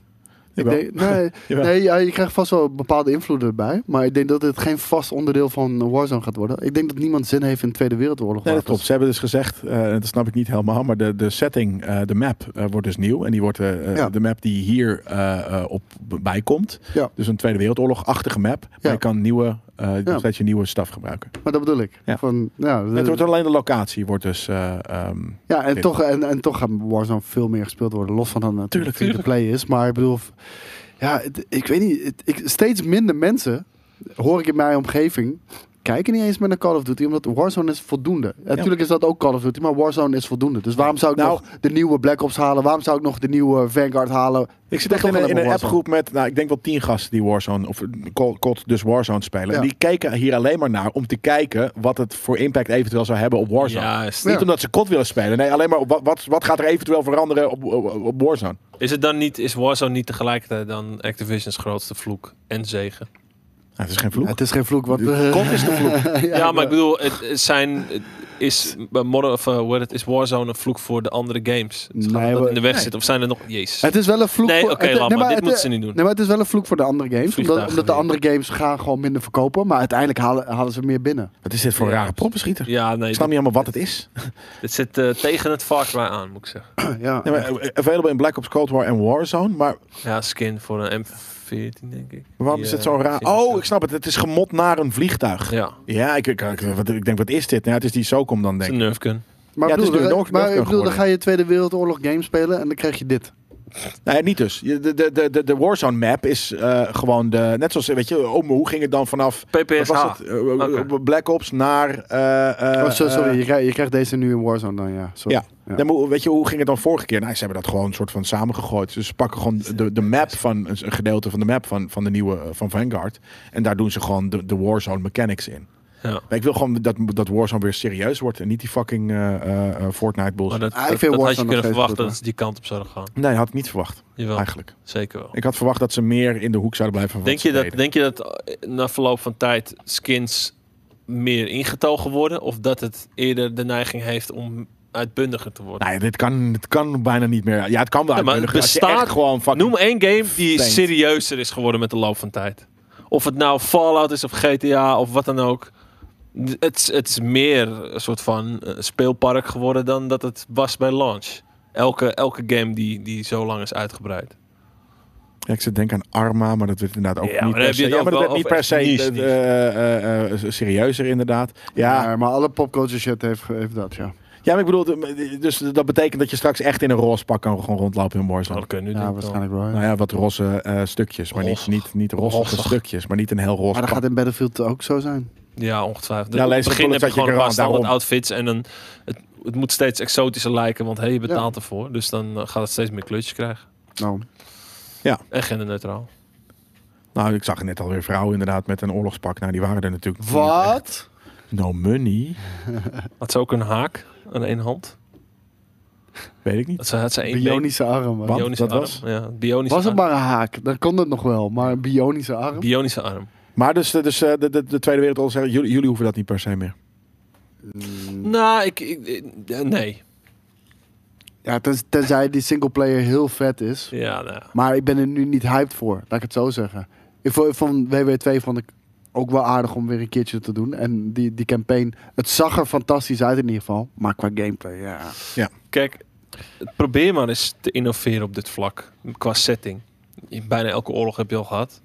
Ik
Jawel.
denk, nee,
[laughs] Jawel.
nee ja, je krijgt vast wel bepaalde invloeden erbij. Maar ik denk dat dit geen vast onderdeel van Warzone gaat worden. Ik denk dat niemand zin heeft in de Tweede Wereldoorlog.
Nee, dat
wapens.
klopt. Ze hebben dus gezegd, eh, dat snap ik niet helemaal, maar de, de setting, eh, de map eh, wordt dus nieuw. En die wordt eh, eh,
Ja.
de map die hier eh, eh, op bijkomt.
Ja.
Dus een Tweede Wereldoorlog-achtige map. Maar
Ja.
je kan nieuwe, eh
Ja.
nog steeds je nieuwe staf gebruiken.
Maar dat bedoel ik.
Ja.
Van, ja,
Het wordt alleen de locatie wordt dus... eh, ehm,
ja, en, toch, en, en toch gaat Warzone veel meer gespeeld worden. Los van dan natuurlijk wie de
tuurlijk.
play is. Maar ik bedoel, f- ja, het- ik weet niet. het- ik, steeds minder mensen, hoor ik in mijn omgeving, kijken niet eens meer naar Call of Duty. Omdat Warzone is voldoende. En Natuurlijk is dat ook Call of Duty, maar Warzone is voldoende. Dus waarom zou ik
Nou-
nog de nieuwe Black Ops halen? Waarom zou ik nog de nieuwe Vanguard halen?
ik zit echt
toch
in, een- in
alleen
een
maar Warzone.
appgroep met, nou, ik denk wel tien gasten die Warzone, of Call- COD dus Warzone spelen.
Ja.
En die kijken hier alleen maar naar om te kijken wat het voor impact eventueel zou hebben op Warzone.
Juist.
Niet omdat ze COD willen spelen. Nee, alleen maar op wat, wat, wat gaat er eventueel veranderen op, op, op Warzone.
Is het dan niet, is Warzone niet tegelijkertijd dan Activision's grootste vloek en zegen?
Nou, het is geen
Ja,
vloek.
het is geen vloek. eh, Wat,
COD is de vloek.
[laughs]
Ja, maar ik bedoel, het, het zijn, het is, bij Modern, of, eh, hoe heet het, is Warzone een vloek voor de andere games? Dus
Nee,
gaat dat
we-
in de weg
nee.
zit, of zijn er nog, jezus.
Het is wel een vloek
nee,
voor...
oké,
het-
laat maar, dit
het-
moeten ze niet doen.
Nee, maar het is wel een vloek voor de andere games. Omdat,
Vliegtuigen
omdat de
weer.
andere games gaan gewoon minder verkopen. Maar uiteindelijk halen, halen ze meer binnen.
Wat is dit voor een
Ja.
rare proppenschieter?
Ja, nee,
Ik snap
dit,
niet helemaal wat het is.
dit zit eh, tegen het Far Cry aan, moet ik zeggen.
[clears throat] ja.
Nee, maar, eh, available in Black Ops Cold War en Warzone, maar
Ja, skin voor een M14, denk ik.
waarom
Die,
is het
eh,
zo raar?
zit er
Oh,
zo.
ik snap het. Het is gemot naar een vliegtuig. Ja,
Ja,
ik, ik, ik, wat- ik denk, wat is dit? Nou, het is die Socom dan,
het
denk
is een
ik.
Nerf gun.
Maar,
Ja, het
ik
is
bedoel,
nu een
dan-
Oorlog-
maar ik bedoel, dan
geworden.
ga je Tweede Wereldoorlog game spelen en dan krijg je dit.
Nee, niet dus. Je- De, de, de, de Warzone map is eh, gewoon de... Net zoals, weet je, oh, maar hoe ging het dan vanaf... Wat
PPSH.
was het? Eh, eh,
Oké.
Black Ops naar... eh, eh,
oh, so- sorry,
eh,
je, krijgt, je krijgt deze nu in Warzone dan, ja. Sorry.
Ja. Nee, maar hoe- weet je, hoe ging het dan vorige keer? Nou, ze hebben dat gewoon een soort van samengegooid. Dus ze pakken gewoon de, de map van een gedeelte van de map van, van de nieuwe eh, van Vanguard. En daar doen ze gewoon de, de Warzone mechanics in.
Ja.
Maar ik wil gewoon dat, dat Warzone weer serieus wordt en niet die fucking eh, eh, eh, Fortnite
Maar
bullshit.
dat,
Ah, ik
dat-
vind
dat had
Warzone nog
je kunnen
steeds
verwachten
goed,
dat ze die kant op zouden gaan.
Nee, had ik niet verwacht
Jawel,
eigenlijk.
zeker wel.
Ik had verwacht dat ze meer in de hoek zouden blijven van
Denk
wat
je,
ze
dat,
deden.
denk je dat eh, na verloop van tijd skins meer ingetogen worden? Of dat het eerder de neiging heeft om uitbundiger te worden?
Nee, dit kan, dit kan bijna niet meer. Ja, het kan wel.
Ja, maar het
uitbundigen als je
bestaat-
echt gewoon fucking...
Noem één game die
Thanks.
serieuzer is geworden met de loop van tijd. Of het nou Fallout is of GTA of wat dan ook. D- Het, is- het is meer een soort van eh, speelpark geworden dan dat het was bij launch. Elke, elke game die, die zo lang is uitgebreid.
Ja, ik zit te denken aan Arma, maar dat werd inderdaad ook
Ja, maar
niet
dan
per
heb je
se.
het
Ja,
ook
maar dat
wel
werd niet
over
per se
niche,
eh,
niche.
eh, eh, eh, serieuzer inderdaad. Ja,
Maar, maar alle popculture shit heeft, heeft dat, ja.
ja, maar ik bedoel, dus dat betekent dat je straks echt in een roze pak kan gewoon rondlopen in Warzone.
Dat kunnen nu
Ja, waarschijnlijk wel. ja.
Nou ja, wat roze eh, stukjes, maar niet,
Rossig.
niet, niet rossige
Rossig.
stukjes, maar niet een heel roze
Maar dat
pak.
gaat in Battlefield ook zo zijn.
Ja, ongetwijfeld.
Ja,
Ja,
lees
lees
de
begin heb je
bullets
gewoon
uit je
een paar
kraan, daarom.
standaard outfits en dan het, het moet steeds exotischer lijken, want hey, je betaalt ervoor. Dus dan eh, gaat het steeds meer kleurtjes krijgen.
Nou,
En genderneutraal.
Nou, ik zag net alweer vrouwen inderdaad met een oorlogspak. Nou, die waren er natuurlijk. niet echt.
wat?
No money.
Had ze ook een haak aan één hand?
Weet ik niet.
Dat ze, had ze één been-
Bionische armen.
Wat?
bionische
dat
arm.
was?
Ja, bionische
Was het
arm.
maar een haak, dan kon het nog wel. Maar een bionische arm?
Bionische arm.
Maar dus, eh, dus eh, de, de, de Tweede Wereldoorlog zeggen, jullie, jullie hoeven dat niet per se meer. Hmm.
Nou, ik, ik- ik- eh, nee.
Ja, tens- tenzij die singleplayer heel vet is.
Ja, nou ja.
Maar ik ben er nu niet hyped voor, laat ik het zo zeggen. Ik vond, van WW2 vond ik ook wel aardig om weer een keertje te doen. En die, die campaign, het zag er fantastisch uit in ieder geval. Maar qua gameplay, ja.
Kijk, probeer maar eens te innoveren op dit vlak. Qua setting. Je- Bijna elke oorlog heb je al gehad.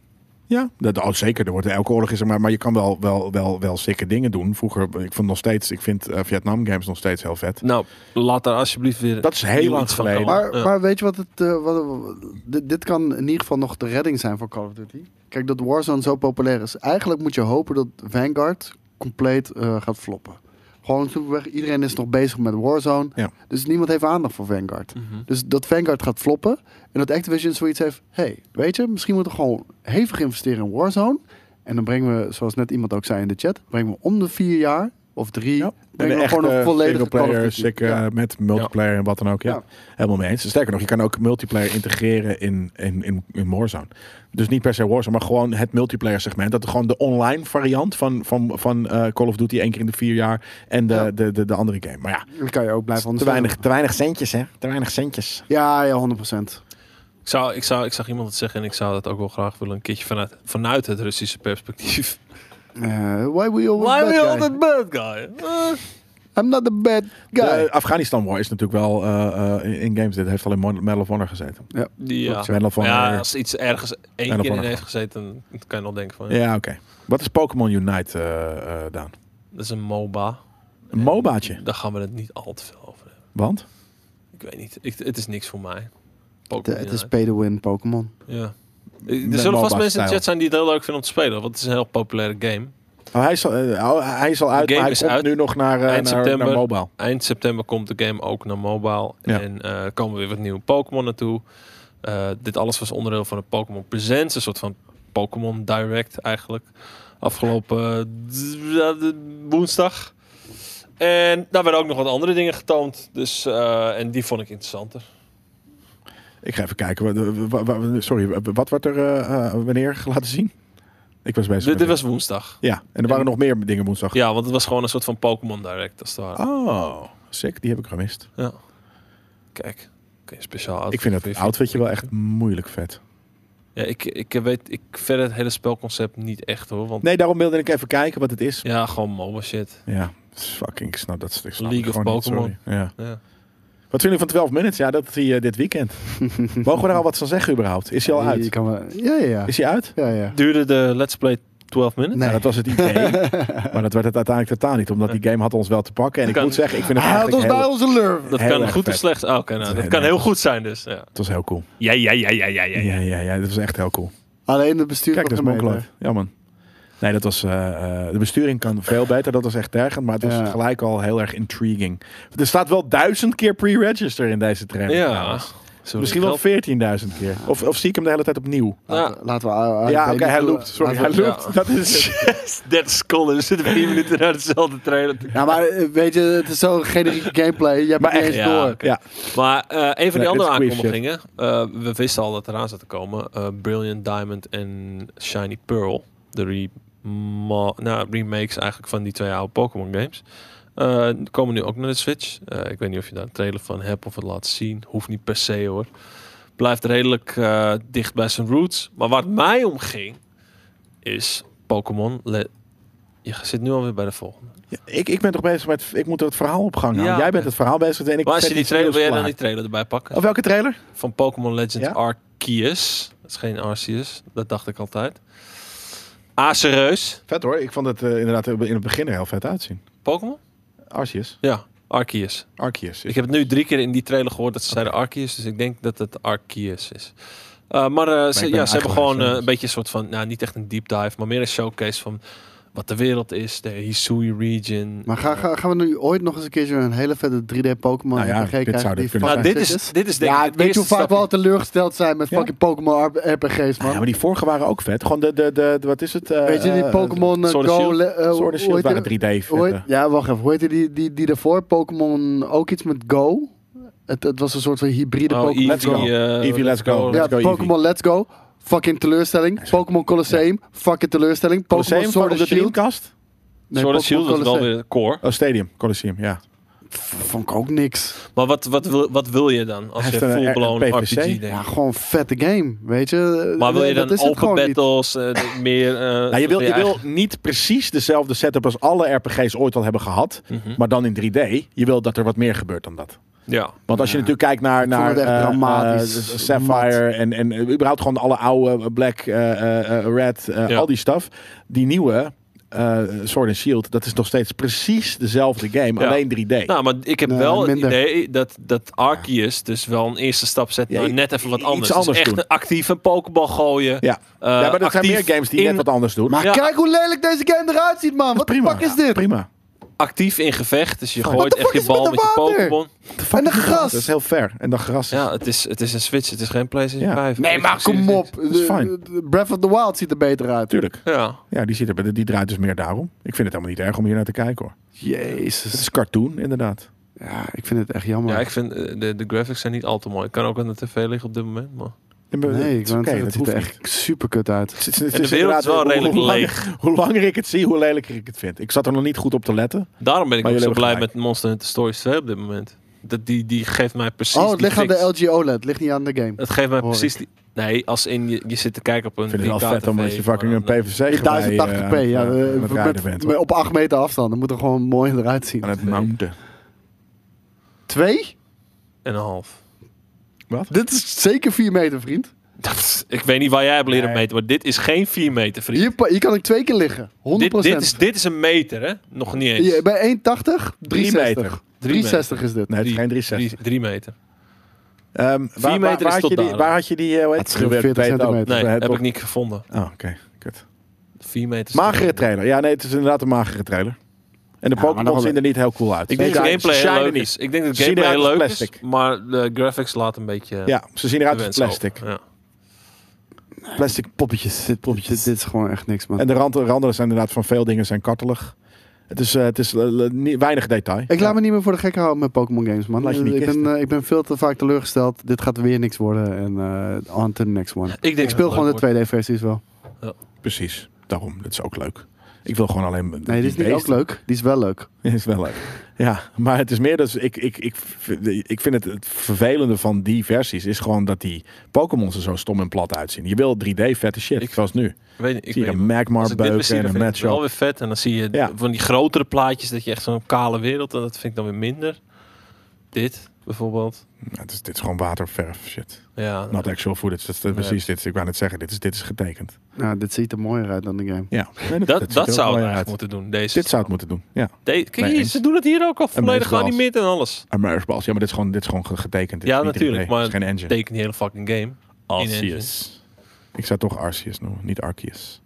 Ja, dat, oh, zeker. Er wordt elke oorlog is er maar. Maar je kan wel, wel, wel, wel zeker dingen doen. Vroeger, ik vond nog steeds, ik vind eh, Vietnam games nog steeds heel vet.
Nou, laat daar alsjeblieft weer...
Dat is heel
Nieuw
lang
iets van
geleden.
komen.
Maar,
Ja.
maar weet je wat het... eh, wat, dit, dit kan in ieder geval nog de redding zijn voor Call of Duty. Kijk, dat Warzone zo populair is. Eigenlijk moet je hopen dat Vanguard compleet eh, gaat floppen. Gewoon superweg. Iedereen is nog bezig met Warzone.
Ja.
Dus niemand heeft aandacht voor Vanguard. Dus dat Vanguard gaat floppen. En dat Activision zoiets heeft. hey, weet je, misschien moeten we gewoon hevig investeren in Warzone. En dan brengen we, zoals net iemand ook zei in de chat, brengen we om de vier jaar of drie.
Ja. En eh,
Brengen we gewoon een volledige Call of
player, eh,
Duty. Ja.
met multiplayer en wat dan ook. Ja,
Ja.
helemaal mee eens. Sterker nog, je kan ook multiplayer integreren in, in, in, in Warzone. Dus niet per se Warzone, maar gewoon het multiplayer segment. Dat gewoon de online variant van, van, van eh, Call of Duty één keer in de vier jaar en de,
Ja.
de, de, de andere game. Maar ja,
Dan kan je ook blijven
te
anders.
weinig, te weinig centjes hè. Te weinig centjes.
Ja, ja, 100 procent.
Ik, zou, ik, zou, ik zag iemand het zeggen en ik zou dat ook wel graag willen. Een keertje vanuit, vanuit het Russische perspectief.
Eh, why we always
Why
bad
we
guy?
all the bad guy? Eh,
I'm not the bad guy.
De Afghanistan War is natuurlijk wel eh, eh, in- in games. Dit heeft al in Mon- Medal of Honor gezeten.
ja.
Medal of Honor.
ja, als iets ergens
En
één
op
keer in
andere
heeft gezeten, dan kan je nog denken van...
Ja, oké. Wat is Pokémon Unite, eh, eh, Daan?
Dat is een MOBA.
Een MOBA'tje.
Daar gaan we het niet al te veel over hebben.
Want?
Ik weet niet. Ik, het is niks voor mij.
De-
Pokémon
het is
Unite.
pay-to-win Pokémon.
Ja. Er
Met
zullen vast
MOBA
mensen in de
stijl.
chat zijn die het heel leuk vinden om te spelen. Want het is een heel populaire game.
Oh, hij, is al, eh, oh, hij is al uit,
game
maar hij
is
komt
uit.
nu nog naar, eh,
Eind
naar, naar
september.
mobile.
Eind september komt de game ook naar mobile.
Ja.
En eh, komen weer wat nieuwe Pokémon naartoe. Eh, dit alles was onderdeel van een Pokémon Presents. Een soort van Pokémon Direct eigenlijk. Afgelopen eh, d- ja, d- woensdag. En daar werden ook nog wat andere dingen getoond. Dus, eh, en die vond ik interessanter.
Ik ga even kijken. eh, Wa- wa- wa- Sorry, wat werd er eh, eh, wanneer [laughs] laten zien? Ik was bezig.
Dit,
met-
dit was woensdag.
Ja, en er waren nog meer dingen woensdag.
Ja, want het was gewoon een soort van Pokémon Direct. Als het ware.
Oh, sick. Die heb ik gemist.
Ja. Kijk. Oké, speciaal
Ik vind dat outfitje wel echt moeilijk vet.
Ja, ik, ik weet ik verder het hele spelconcept niet echt hoor. Want
Nee, daarom wilde ik even kijken wat het is.
ja, gewoon MOBA shit.
Ja, fucking, ik snap dat. Ik snap
League
het
of
gewoon niet,
Pokémon.
sorry. Ja.
Ja.
Wat vinden jullie van 12 Minutes? Ja, dat is hier eh, dit
[laughs]
weekend. Mogen we daar al wat van zeggen überhaupt? Is hij al
Je
uit?
kan wel- ja, ja, ja.
Is hij uit?
ja, ja.
Duurde de Let's Play 12 minuten?
Nou, dat was het
[laughs]
idee. maar dat werd het uiteindelijk totaal niet. Omdat die game had ons wel te pakken. En ik
Kan-
moet zeggen, ik vind het
Hij had
eigenlijk
ons
heel,
bij onze lurven.
Dat
Heel
kan
erg
goed
vet.
of slecht. Oh, oké, nou,
is
dat
heel
kan
erg
heel goed zijn dus. Ja,
het was heel cool.
ja, ja, ja, ja, ja. ja.
Ja, ja, ja, dat was echt heel cool.
Alleen het bestuur
Kijk, dat
van
is Monkeloid. Ja, man. Nee, dat was, eh, eh, de besturing kan veel beter. Dat was echt tergend. Maar het was
Ja.
gelijk al heel erg intriguing. Er staat wel duizend keer pre-register in deze trailer.
ja.
trouwens. Misschien wel 14.000 keer. Of, of zie ik hem de hele tijd opnieuw?
Nou,
Laten, laten we... ah, ah,
ja,
ik
oké,
weet niet
hij
hoe-
loopt. Ah, Sorry, hij
laten we-
loopt.
Ja.
Dat is...
30 seconden. We zitten 4 minuten naar dezelfde trailer. te-
Ja, maar eh, weet je, het is zo'n generieke gameplay. Je hebt
Maar
het niet
echt,
eens
ja.
door.
Ja,
Maar eh, een van die
Nee,
andere
dit is queer
aankondigingen. eh, we wisten al dat eraan zat te komen. eh, Brilliant Diamond en Shiny Pearl. De rema- nou, remakes eigenlijk van die twee oude Pokémon games. Eh, die komen nu ook naar de Switch. Eh, ik weet niet of je daar een trailer van hebt of het laat zien. Hoeft niet per se hoor. Blijft redelijk eh, dicht bij zijn roots. Maar waar het mij om ging, is Pokémon. Le- Je zit nu alweer bij de volgende.
[laughs] Ja, ik, ik ben toch bezig met... Ik moet het verhaal op gang houden.
Ja.
Jij bent het verhaal bezig. En ik
Maar als je
zet
die
iets
trailer, wil
nieuws
jij dan
klaar.
die trailer erbij pakken?
Of welke trailer?
van Pokémon Legend
Ja?
Arceus. Dat is geen Arceus, dat dacht ik altijd. Acereus.
Vet hoor. Ik vond het eh, inderdaad in het begin er heel vet uitzien.
Pokémon?
Arceus.
Ja, Arceus.
Arceus.
Ik heb het nu drie keer in die trailer gehoord dat ze zeiden Arceus, dus ik denk dat het Arceus is. Eh, maar eh, ze,
ben
ja,
een
ze
eigenaar,
hebben gewoon eh,
dus.
een beetje een soort van, nou niet echt een deep dive, maar meer een showcase van wat de wereld is, de Hisui region.
Maar ga, ga, gaan we nu ooit nog eens een keertje een hele vette 3D Pokémon
Nou ja,
RPG
dit
krijgen?
zou dit
die
kunnen
Nou,
fucking
dit,
sick
is, dit is denk ik
ja,
het
weet je
eerste
hoe vaak we
stapje.
al teleurgesteld zijn met
Ja.
fucking Pokémon RPG's, man?
ja, maar die vorige waren ook vet. Gewoon de, de, de, de- wat is het? eh,
weet je, die
eh,
Pokémon eh,
Sword and
Go...
Shield.
le- eh,
Sword and
hoe
Shield
heet
waren
die-
3D
hoe heet-
vette.
Ja, wacht even. Hoe heette die, die, die daarvoor? Pokémon ook iets met Go? Het, het was een soort van hybride
Oh,
Pokémon.
Let's go.
eh,
Eevee, let's go.
Ja,
Let's go,
Pokémon Let's Go. Fucking teleurstelling. Pokémon Colosseum. Fucking teleurstelling. Pokémon
Colosseum
Sword
van
and
de
Shield.
Dreamcast?
Nee,
Sword
Pokémon
and Shield was wel
Colosseum.
weer core.
Oh, Stadium. Colosseum, ja.
Vond ik ook niks.
Maar wat, wat, wil, wat wil je dan als
Hij
je
heeft een-
full blown
een
RPG
PVC?
denkt?
Ja, gewoon vette game. Weet je?
Maar wil je
Dat
dan
is het
open
gewoon niet.
battles,
[laughs]
eh, de- meer... eh,
Nou, je wil, je
eigen-
wil niet precies dezelfde setup als alle RPG's ooit al hebben gehad.
Mhm.
Maar dan in 3D. Je wil dat er wat meer gebeurt dan dat.
Ja.
Want als je natuurlijk kijkt naar,
vond
naar
het echt
eh,
dramatisch.
eh, Sapphire en, en eh, überhaupt gewoon alle oude eh, Black, eh, eh, eh, Red, eh,
Ja.
al die stuff. Die nieuwe eh, Sword and Shield, dat is nog steeds precies dezelfde game,
Ja.
alleen 3D.
Nou, maar ik heb
Nee,
wel
minder.
het idee dat, dat Arceus dus wel een eerste stap zet
Ja,
naar
i-
net even wat
i-
anders.
iets anders
dus echt
doen.
een actief een pokebal gooien.
ja.
eh,
ja, maar dat zijn
actief
meer games die
in-
net wat anders doen.
Maar
Ja.
kijk hoe lelijk deze game eruit ziet, man. Wat de
prima,
fuck is dit?
prima.
actief in gevecht. Dus je
Fuck.
What
gooit
the
echt
fuck
je
is
bal
met
met
dat
je
water?
Pokémon.
En de gras.
Dat is heel ver. En dan gras.
Ja, het is, het is een Switch. Het is geen PlayStation
Ja.
5.
Nee, maar kom op.
is fijn.
De- de Breath of the Wild ziet er beter uit.
Tuurlijk.
Ja.
Ja, die, zit er, die draait dus meer daarom. Ik vind het helemaal niet erg om hier naar te kijken hoor. Het
Jezus.
is cartoon, inderdaad.
Ja, ik vind het echt jammer.
ja, ik vind eh, de, de graphics zijn niet al te mooi. Ik kan ook aan de tv liggen op dit moment. Maar...
Ja, maar
nee, ik
het is
wou net
oké,
zeggen, het
dat
ziet
hoeft
er
niet.
echt super kut uit.
Het is- het
En de
is
wereld is wel
inderdaad- eh,
redelijk
hoe langer-
leeg.
Hoe langer ik het zie, hoe lelijker ik het vind. Ik zat er nog niet goed op te letten.
Daarom ben ik
Maar
ook zo
jullie
blij
hebben
met Monster Hunter Stories 2 op dit moment. Dat die, die geeft mij precies
Oh, het
die
ligt aan de
fix.
LG OLED. Het E ligt niet aan de game.
Het geeft mij
Hoor
precies die... Nee, als in je, je zit te kijken op een
Ik vind het wel
3K
vet omdat
TV,
je fucking eh,
maar
een
dan-
PVC
In 1080p,
gewei, eh,
ja.
aan het, eh, aan het
eh,
rijden
met,
bent.
met-
hoor.
op 8 meter afstand. Dan moet er gewoon mooi eruit zien.
Aan het mounten.
Twee?
En een half. [laughs]
Dit is zeker 4 meter, vriend.
Dat is- ik weet niet waar jij hebt leren
Nee.
meten, maar dit is geen 4 meter, vriend.
Hier, pa- hier kan ik twee keer liggen. 100%.
Dit, dit, is, dit is een meter, hè? Nog niet eens.
Ja, bij 1,80? 360.
meter.
360 is dit.
Nee, het is geen 360.
3 meter.
Ehm, waar, waar,
meter
waar
is
had
tot
je die,
daar.
waar had je die, eh, hoe heet
Het
het?
is geen 40
Weet ook.
centimeter.
Nee,
Het
heb
ook-
ik niet gevonden.
Oh, oké. Kut.
4 meter. is
Magere
toch-
trailer. Ja, nee, het is inderdaad een magere trailer. En de
Ja, maar
Pokémon
nog
zien er niet heel cool uit.
Ik denk
Ze
dat de gameplay
shinen
heel leuk
niet.
is. Ik denk dat
Ze
de
zien
gameplay heel
eruit
leuk
als
is,
plastic.
maar de graphics laat een beetje eh,
Ja, ze zien
te
eruit als
wensen
plastic.
over. Ja.
Plastic poppetjes.
Dit, dit, dit is gewoon echt niks, man.
En de rand- randen zijn inderdaad van veel dingen zijn kartelig. Het is, eh, het is eh, eh, niet- weinig detail.
Ik laat me niet meer voor de gek houden met Pokémon games, man.
Laat je niet
ik, ben,
kisten.
eh, ik ben veel te vaak teleurgesteld. Dit gaat weer niks worden. En eh, on to the next one.
Ik denk
Ik speel gewoon
twee.
de 2D-versies wel.
Precies. Daarom. Dat is ook leuk. Ik wil gewoon alleen...
Nee, dit is niet ook
beesten.
leuk. Die is wel leuk.
Ja, [laughs] is wel leuk. Ja, maar het is meer dat ik, ik, ik, ik vind het, het vervelende van die versies is gewoon dat die Pokémon er zo stom en plat uitzien. Je wil 3D vette shit,
Ik-
zoals nu.
Ik weet niet, ik
Zie je
weet
een
niet. Als
Magmar
ik Dus dit weer zie,
beuken
dan
en een
vind ik het wel
matchup.
weer vet. En dan zie je
Ja.
van die grotere plaatjes dat je echt zo'n kale wereld... En dat vind ik dan weer minder. Dit, bijvoorbeeld.
Ja, het is, dit is gewoon waterverf shit.
Ja, nou,
Not actual footage. Dat is dat is precies dit. Ik wou net zeggen, dit is, dit is getekend.
Nou, dit ziet er mooier uit dan de game.
Ja, Nee,
[laughs] dat,
ziet
dat,
er ook mooi
zou het
uit.
eigenlijk moeten doen. Deze
Dit zou het moeten doen. Ja,
De- Kijk
Nee,
hier,
eens.
ze doen het hier ook al volledig
meestal als-
geanimeerd en alles.
Ah, maar Smalls, ja, maar dit is gewoon, dit is gewoon ge- getekend. Dit
Ja,
is niet 3D.
natuurlijk, maar
Het is geen engine.
Teken die hele fucking game.
Arceus. Ik zou toch Arceus noemen, niet Arceus.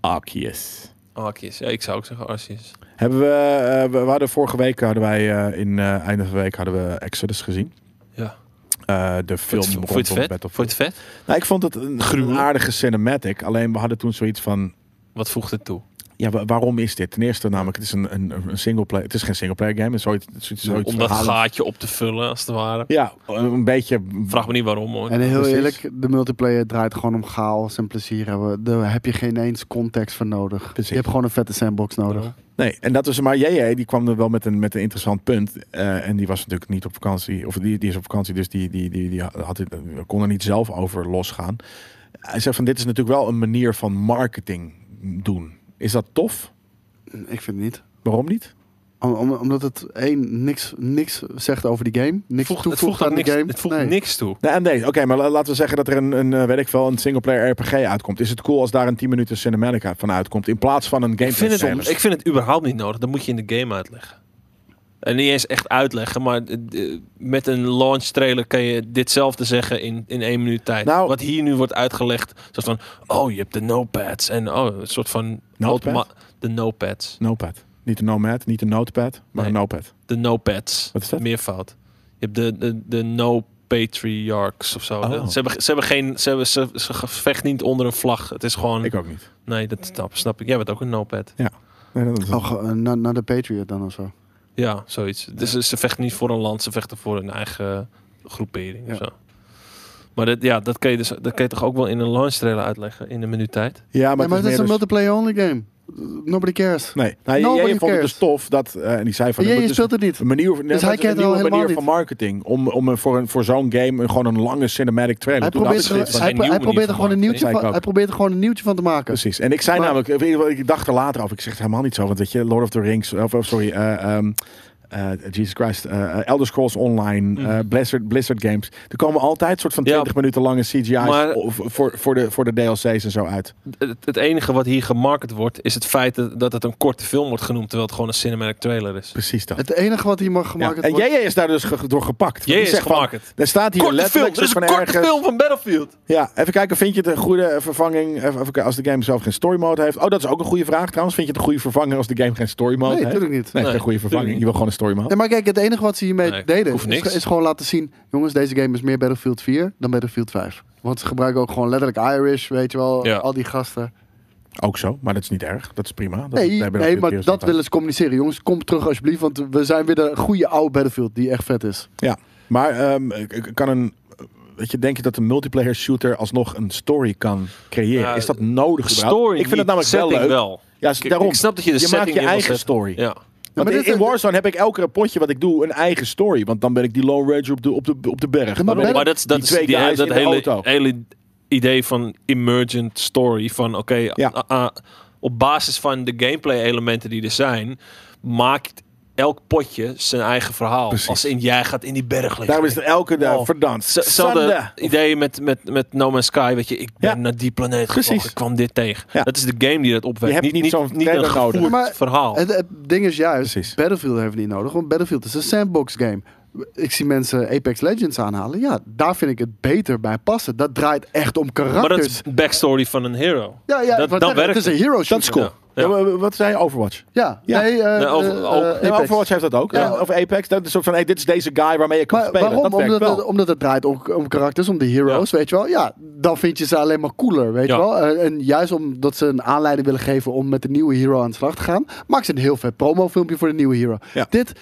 Arceus.
Arceus. Ja, ik zou ook zeggen Arceus.
Hebben we, eh, we, we hadden vorige week hadden wij eh, in eh, einde van de week hadden we Exodus gezien.
Ja.
Eh, de film
Vond je het- vond je
rondom
het vet? Vond
Battlefield.
je het vet?
Nou, ik vond het een, een
Gruwelijk.
aardige cinematic. Alleen we hadden toen zoiets van,
Wat voegt het toe?
ja, wa- waarom is dit? Ten eerste namelijk, het is een, een, een singleplayer. Het is geen singleplayer game. Het is zoiets, het is zoiets
Om dat
verhalend.
gaatje op te vullen, als het ware.
Ja, een beetje.
Vraag me niet waarom, hoor.
En heel
Precies.
eerlijk, de multiplayer draait gewoon om chaos en plezier hebben. Daar heb je geen eens context voor nodig.
Precies.
Je hebt gewoon een vette sandbox nodig.
Nee, en dat was maar JJ, die kwam er wel met een, met een interessant punt. Eh, en die was natuurlijk niet op vakantie, of die, die is op vakantie, dus die, die, die, die had, het- kon er niet zelf over losgaan. Hij zegt van, dit is natuurlijk wel een manier van marketing doen. Is dat tof?
Ik vind het niet.
Waarom niet?
Om, om- omdat het één niks, niks zegt over die game. Niks
Voegt-
toevoegt
het voegt
aan
ook
de
niks,
game.
het voegt
Nee.
niks toe.
Nee, en deze. Oké, maar la- laten we zeggen dat er een, een eh, weet ik wel, een singleplayer RPG uitkomt. Is het cool als daar een 10 minuten cinematic uit- van uitkomt, in plaats van een
Ik vind,
gameplay
het,
trailer?
ik vind het überhaupt niet nodig. Dat moet je in de game uitleggen. En niet eens echt uitleggen, maar eh, met een launch trailer kan je ditzelfde zeggen in, in één minuut tijd.
Nou-
Wat hier nu wordt uitgelegd, zoals van, oh, je hebt de notepads. En oh, een soort van...
Notepad?
automa- De notepads.
Notepad. Niet een nomad, niet een notepad, maar een
Nee.
notepad.
De notepads.
Wat is dat?
Meervoud. Je hebt de, de, de no patriarchs of zo.
Oh.
Ze, hebben, ze hebben geen... Ze, hebben, ze, ze vechten niet onder een vlag. Het is gewoon...
Ik ook niet.
Nee, dat snap, snap ik. Jij bent ook een nopad.
Nee, dat is
Oh, ge- eh, na- naar de Patriot dan of zo.
Ja, zoiets. Dus ze- ze vechten niet voor een land, ze vechten voor hun eigen groepering of
Ja.
zo. Maar dat, ja, dat kan, je dus, dat kan je toch ook wel in een launch trailer uitleggen in een minuut tijd.
Ja,
Maar,
maar,
maar het is
meer
een
dus-
multiplayer-only game. Nobody cares.
Nee, nou,
Nobody
jij vond het
cares.
dus tof dat, eh, en die zei van,
En
er
jij,
moet
je
dus
speelt het niet.
een manier, nee, maar het
hij
is
kent
een
het
nieuwe
al helemaal
manier
niet.
van marketing, om, om een- voor, een, voor zo'n game een, gewoon een lange cinematic trailer.
Hij
Toen
probeert,
had ik
er,
zoiets
is
van-
hij,
geen nieuwe
hij probeert er
manier
gewoon een
van
nieuwtje
marketing.
van, hij probeert er gewoon een nieuwtje van te maken.
Precies, en ik zei
Maar-
namelijk, ik dacht er later over, ik zeg het helemaal niet zo, want weet je, Lord of the Rings, of, of sorry, eh, ehm, eh, Jesus Christ, eh, Elder Scrolls Online, eh, Blizzard, Blizzard Games. Er komen altijd soort van
Mhm. Ja.
20 minuten lange CGI's
Maar-
of- voor, voor, de, voor de DLC's en zo uit.
Het, het enige wat hier gemarket wordt, is het feit dat, dat het een korte film wordt genoemd, terwijl het gewoon een cinematic trailer is.
Precies dat.
Het enige wat hier mag
Ja.
gemaakt
En
worden...
JJ is daar dus ge- door gepakt. Want die
Jij is
zegt van,
gemarket.
Er staat hier
Korte film,
letterlijk
dit is
soort
een
van
korte
ergens-
film van Battlefield.
Ja, even kijken, vind je het een goede vervanging even, even kijken, als de game zelf geen story mode heeft? Oh, dat is ook een goede vraag trouwens. Vind je het een goede vervanger als de game geen story mode
Nee,
heeft?
natuurlijk niet.
Nee,
Nee,
geen goede vervanging.
tuurlijk
Je wil gewoon een story mode.
Nee, maar kijk, het enige wat ze hiermee
Nee,
deden
hoeft
is,
niks.
is gewoon laten zien... jongens, deze game is meer Battlefield 4 dan Battlefield 5. Want ze gebruiken ook gewoon letterlijk Irish, weet je wel.
Ja.
Al die gasten.
Ook zo, maar dat is niet erg. Dat is prima. Dat, daar
Nee,
hebben we
nee
natuurlijk
maar
eerst
dat
altijd.
willen ze communiceren. Jongens, kom terug alsjeblieft, want we zijn weer de goede oude Battlefield die echt vet is.
Ja, maar ehm, k- k- kan een... Weet je, denk je dat een multiplayer shooter alsnog een story kan creëren?
Ja,
is dat nodig? überhaupt?
Nou, Story,
ik vind het namelijk wel
setting
leuk.
wel.
Ja, s-
Ik-
daarom.
Ik snap dat je de
je
setting
maakt je
in wil
eigen
zetten.
story.
Ja.
Ja, maar
Want
dit
in
is-
Warzone heb ik elke potje wat ik doe een eigen story. Want dan ben ik die Lone Ranger op de, op de, op de berg.
Ja, maar
Dan ben ik
Maar dat, is- dat
die
is
twee
die-
guys
dat
in de
hele, Eh,
auto.
hele idee van emergent story. Van oké,
Ja.
a- a- op basis van de gameplay elementen die er zijn, maakt elk potje zijn eigen verhaal.
Precies.
Als in jij gaat in die berg liggen.
Daarom is het elke dag
Oh.
verdanst.
Z- Hetzelfde
Zonde.
idee met, met, met No Man's Sky. Weet je, ik ben
Ja.
naar die planeet
Precies.
gevlogen. Ik kwam dit tegen.
Ja.
Dat is de game die dat opwekt.
Je hebt niet zo'n
niet een
trailer nodig.
gevoerd
Maar-
verhaal.
Het, het ding is juist,
Precies.
Battlefield heeft het niet nodig, want Battlefield is een sandbox game. Ik zie mensen Apex Legends aanhalen. Ja, daar vind ik het beter bij passen. Dat draait echt om
maar dat
karakters.
is backstory van een hero.
dus- ja, ja,
dat-
ik wou
dan
zeggen,
werkt
het is een hero shooter.
Dat is cool.
Ja.
Ja, maar Wat zei je? Overwatch?
Ja,
Ja.
nee, eh,
Nee, over-
eh, eh,
ook-
Ja,
Apex.
Overwatch heeft dat ook.
Ja.
Ja, Of Apex. Dat is soort van, hey, dit is deze guy waarmee je kan
Maar
spelen.
waarom?
Dat werkt
omdat,
wel.
het, omdat het draait om, om karakters, om de heroes, weet je wel. Ja, dan vind je ze alleen maar cooler, weet
Ja.
je wel. En, en juist omdat ze een aanleiding willen geven om met de nieuwe hero aan de slag te gaan, maakt ze een heel vet promofilmpje voor de nieuwe hero.
Ja.
Dit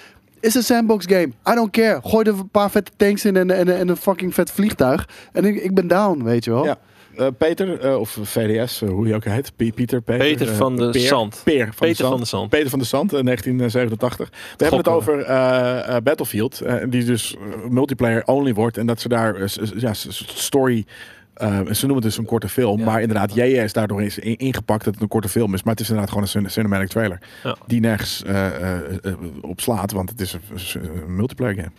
is een sandbox game. I don't care. Gooi er een paar vette tanks in en, en, en een fucking vet vliegtuig. En ik, ik ben down, weet je wel.
Ja. Eh, Peter, eh, of VDS, eh, hoe je ook heet. Pie- Pieter, Peter.
Peter
eh,
van de
Peer.
Zand.
Peer van
Peter
de Zand.
van de Zand.
Peter van de Zand, eh, 1987. We hebben het over eh, eh, Battlefield, eh, die dus eh, multiplayer only wordt. En dat ze daar eh, s- s- ja, s- s- story... eh, ze noemen het dus een korte film,
Ja.
maar inderdaad, JJ is daardoor eens in- ingepakt dat het een korte film is. Maar het is inderdaad gewoon een cin- cinematic trailer
Ja.
die nergens eh, eh, eh, op slaat, want het is een, is een multiplayer game.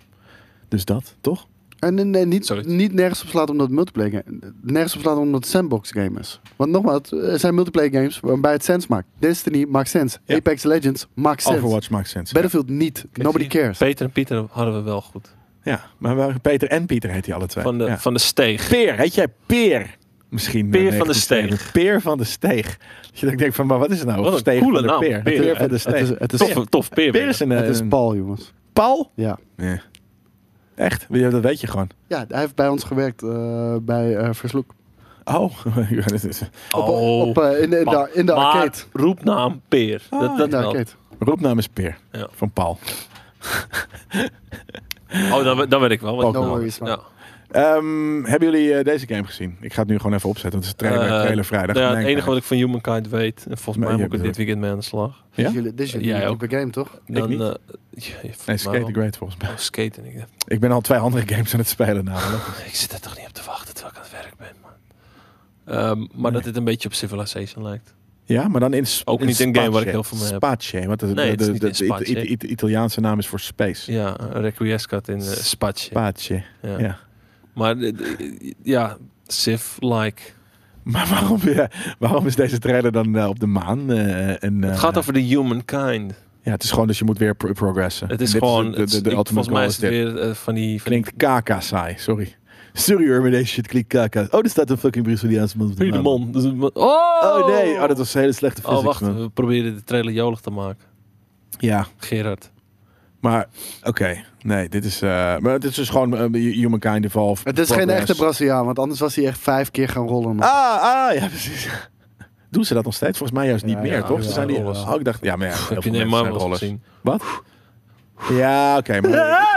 Dus dat, toch?
En, en- en niet,
Sorry.
niet nergens op slaat omdat het multiplayer game- Nergens op slaat omdat het sandbox game is. Want nogmaals, er zijn multiplayer games waarbij het sens maakt. Destiny maakt sens.
Ja.
Apex Legends maakt sens.
Overwatch maakt sens.
Battlefield niet. Nobody
Zie je?
cares.
Peter en Pieter hadden we wel goed.
Ja, maar wel- Peter en Pieter heet die alle twee.
Van de,
ja.
van de steeg.
Peer, heet jij Peer? Misschien.
Peer
eh,
van de
1970. Peer van de Steeg. Dat je dan denkt van, maar wat is het nou?
Wat een
Steeg
coole
van de
naam.
Peer.
Peer.
Peer van de Steeg.
Het is, het is,
Tof, tof Peer.
Peer is een,
het is
een-
Paul, jongens.
Paul?
Ja.
Nee. Echt? Ja, Dat weet je gewoon.
ja, hij heeft bij ons gewerkt eh, bij eh Versloek.
Oh. [laughs] Ja, dat is-
Oh,
Op, op, eh, in, de- in
maar-
de, in de
maar
arcade. Ah,
roepnaam Peer. dat dat
In de
wel.
arcade.
Roepnaam is Peer.
Ja.
Van Paul.
Oh, dan, we- dan weet ik wel. Wat
No
ik nou-
worries, man.
ja.
Ehm, hebben jullie eh, deze game gezien? Ik ga het nu gewoon even opzetten, want het is trailer,
Eh,
trailer vrijdag. eh,
Ja,
Nee,
het enige
nee.
wat ik van Humankind weet, en volgens
Maar
mij
je
moet ik er
bedoelt-
dit weekend mee aan de slag.
Ja?
Dit is jullie, dit is jullie
Jij ook.
type game, toch?
Dan,
niet.
eh, ja, volgens
Nee,
mij
Skate the
wel.
Great volgens mij.
Oh, skaten. Ik, dacht,
Ik ben al twee andere games aan het spelen namelijk.
ik zit er toch niet op te wachten terwijl ik aan het werk ben, man. Ehm, maar dat dit een beetje op Civilization lijkt.
Ja, maar dan in
Ook niet een game waar ik heel veel mee heb.
Space, want de,
Nee,
de,
het is
de,
niet
de-
in
de- de-
Space.
de- de- Italiaanse naam is voor space.
Ja, Requiescat in uh, Spatje.
Space.
ja.
Ja.
Maar eh, eh, ja, Civ-like.
Maar waarom, ja, waarom is deze trailer dan eh, op de maan? eh, en, eh,
Het gaat over de humankind.
Ja, het is gewoon dus je moet weer pro- progressen.
Het
En
is
dit
gewoon...
de-
het
de,
is-
de,
ik-
ultimate
volgens mij
goal
is
is
het
dit.
weer eh, van die... Van die
Klinkt kaka saai, sorry. Sorry hoor, maar deze shit klinkt kaka. Oh, er staat een fucking Braziliaanse man op de maan.
Friedemann. Dus- Oh!
nou- Oh nee, oh, dat was een hele slechte physics,
Oh, wacht.
man.
We proberen de trailer jolig te maken.
Ja,
Gerard.
maar oké. Nee, dit is... eh, maar dit is dus gewoon eh, Humankind Evolved.
Het is geen
Progress.
echte Braziliaan, want anders was hij echt vijf keer gaan rollen.
Ah, ah, ja, precies. [laughs] Doen ze dat nog steeds? Volgens mij juist niet
Ja,
meer,
ja,
toch?
ja,
ze zijn die...
rollers.
Oh, ik dacht... Ja, maar ja, heel
Heb je
veel
nee
mensen zijn
Marvel
rollers.
gezien?
Wat? Ja, oké. maar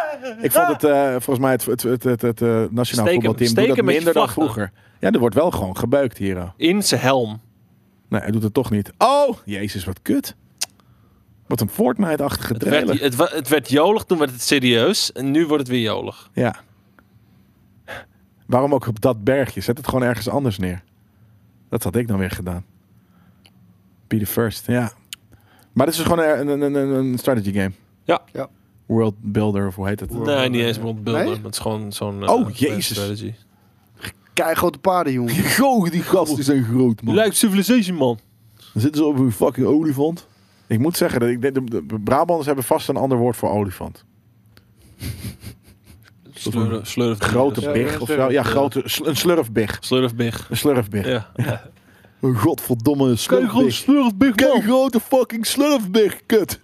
ik vond het eh, volgens mij het, het, het, het, het, eh, nationaal
Steek hem-
voetbalteam
steek
doet dat
hem met je
minder dan
vlag dan.
vroeger. Ja, er wordt wel gewoon gebeukt hier. eh.
In zijn helm.
Nee, hij doet het toch niet. Oh, jezus, wat kut. Wat een Fortnite-achtige
Het werd,
trailer.
het, wa- het werd jolig, toen werd het serieus. En nu wordt het weer jolig.
Ja. Waarom ook op dat bergje? Zet het gewoon ergens anders neer. Dat had ik dan weer gedaan. Be the first, ja. Maar dit is dus gewoon een, een, een, een strategy game.
Ja.
Ja.
World Builder of hoe heet het?
Nee, niet eens World Builder.
Nee?
maar Het is gewoon zo'n... eh,
Oh,
advanced
jezus.
Strategy.
Kei grote paarden,
[laughs]
jongen.
Goh, die gasten zijn groot, man.
Lijkt Civilization, man.
Dan zitten ze op een fucking olifant. Ik moet zeggen, dat ik, denk- de, de Brabanders hebben vast een ander woord voor olifant.
Slurf, slurf
Grote
Ja,
big
ja,
of zo. Ja,
slurf.
grote, sl- een slurfbig.
Slurfbig.
Een slurfbig. [laughs]
Ja.
Een godverdomme
Kijk gewoon
slurfbig.
slurfbig,
Kijk,
man.
grote fucking slurfbig,
[laughs]
kut.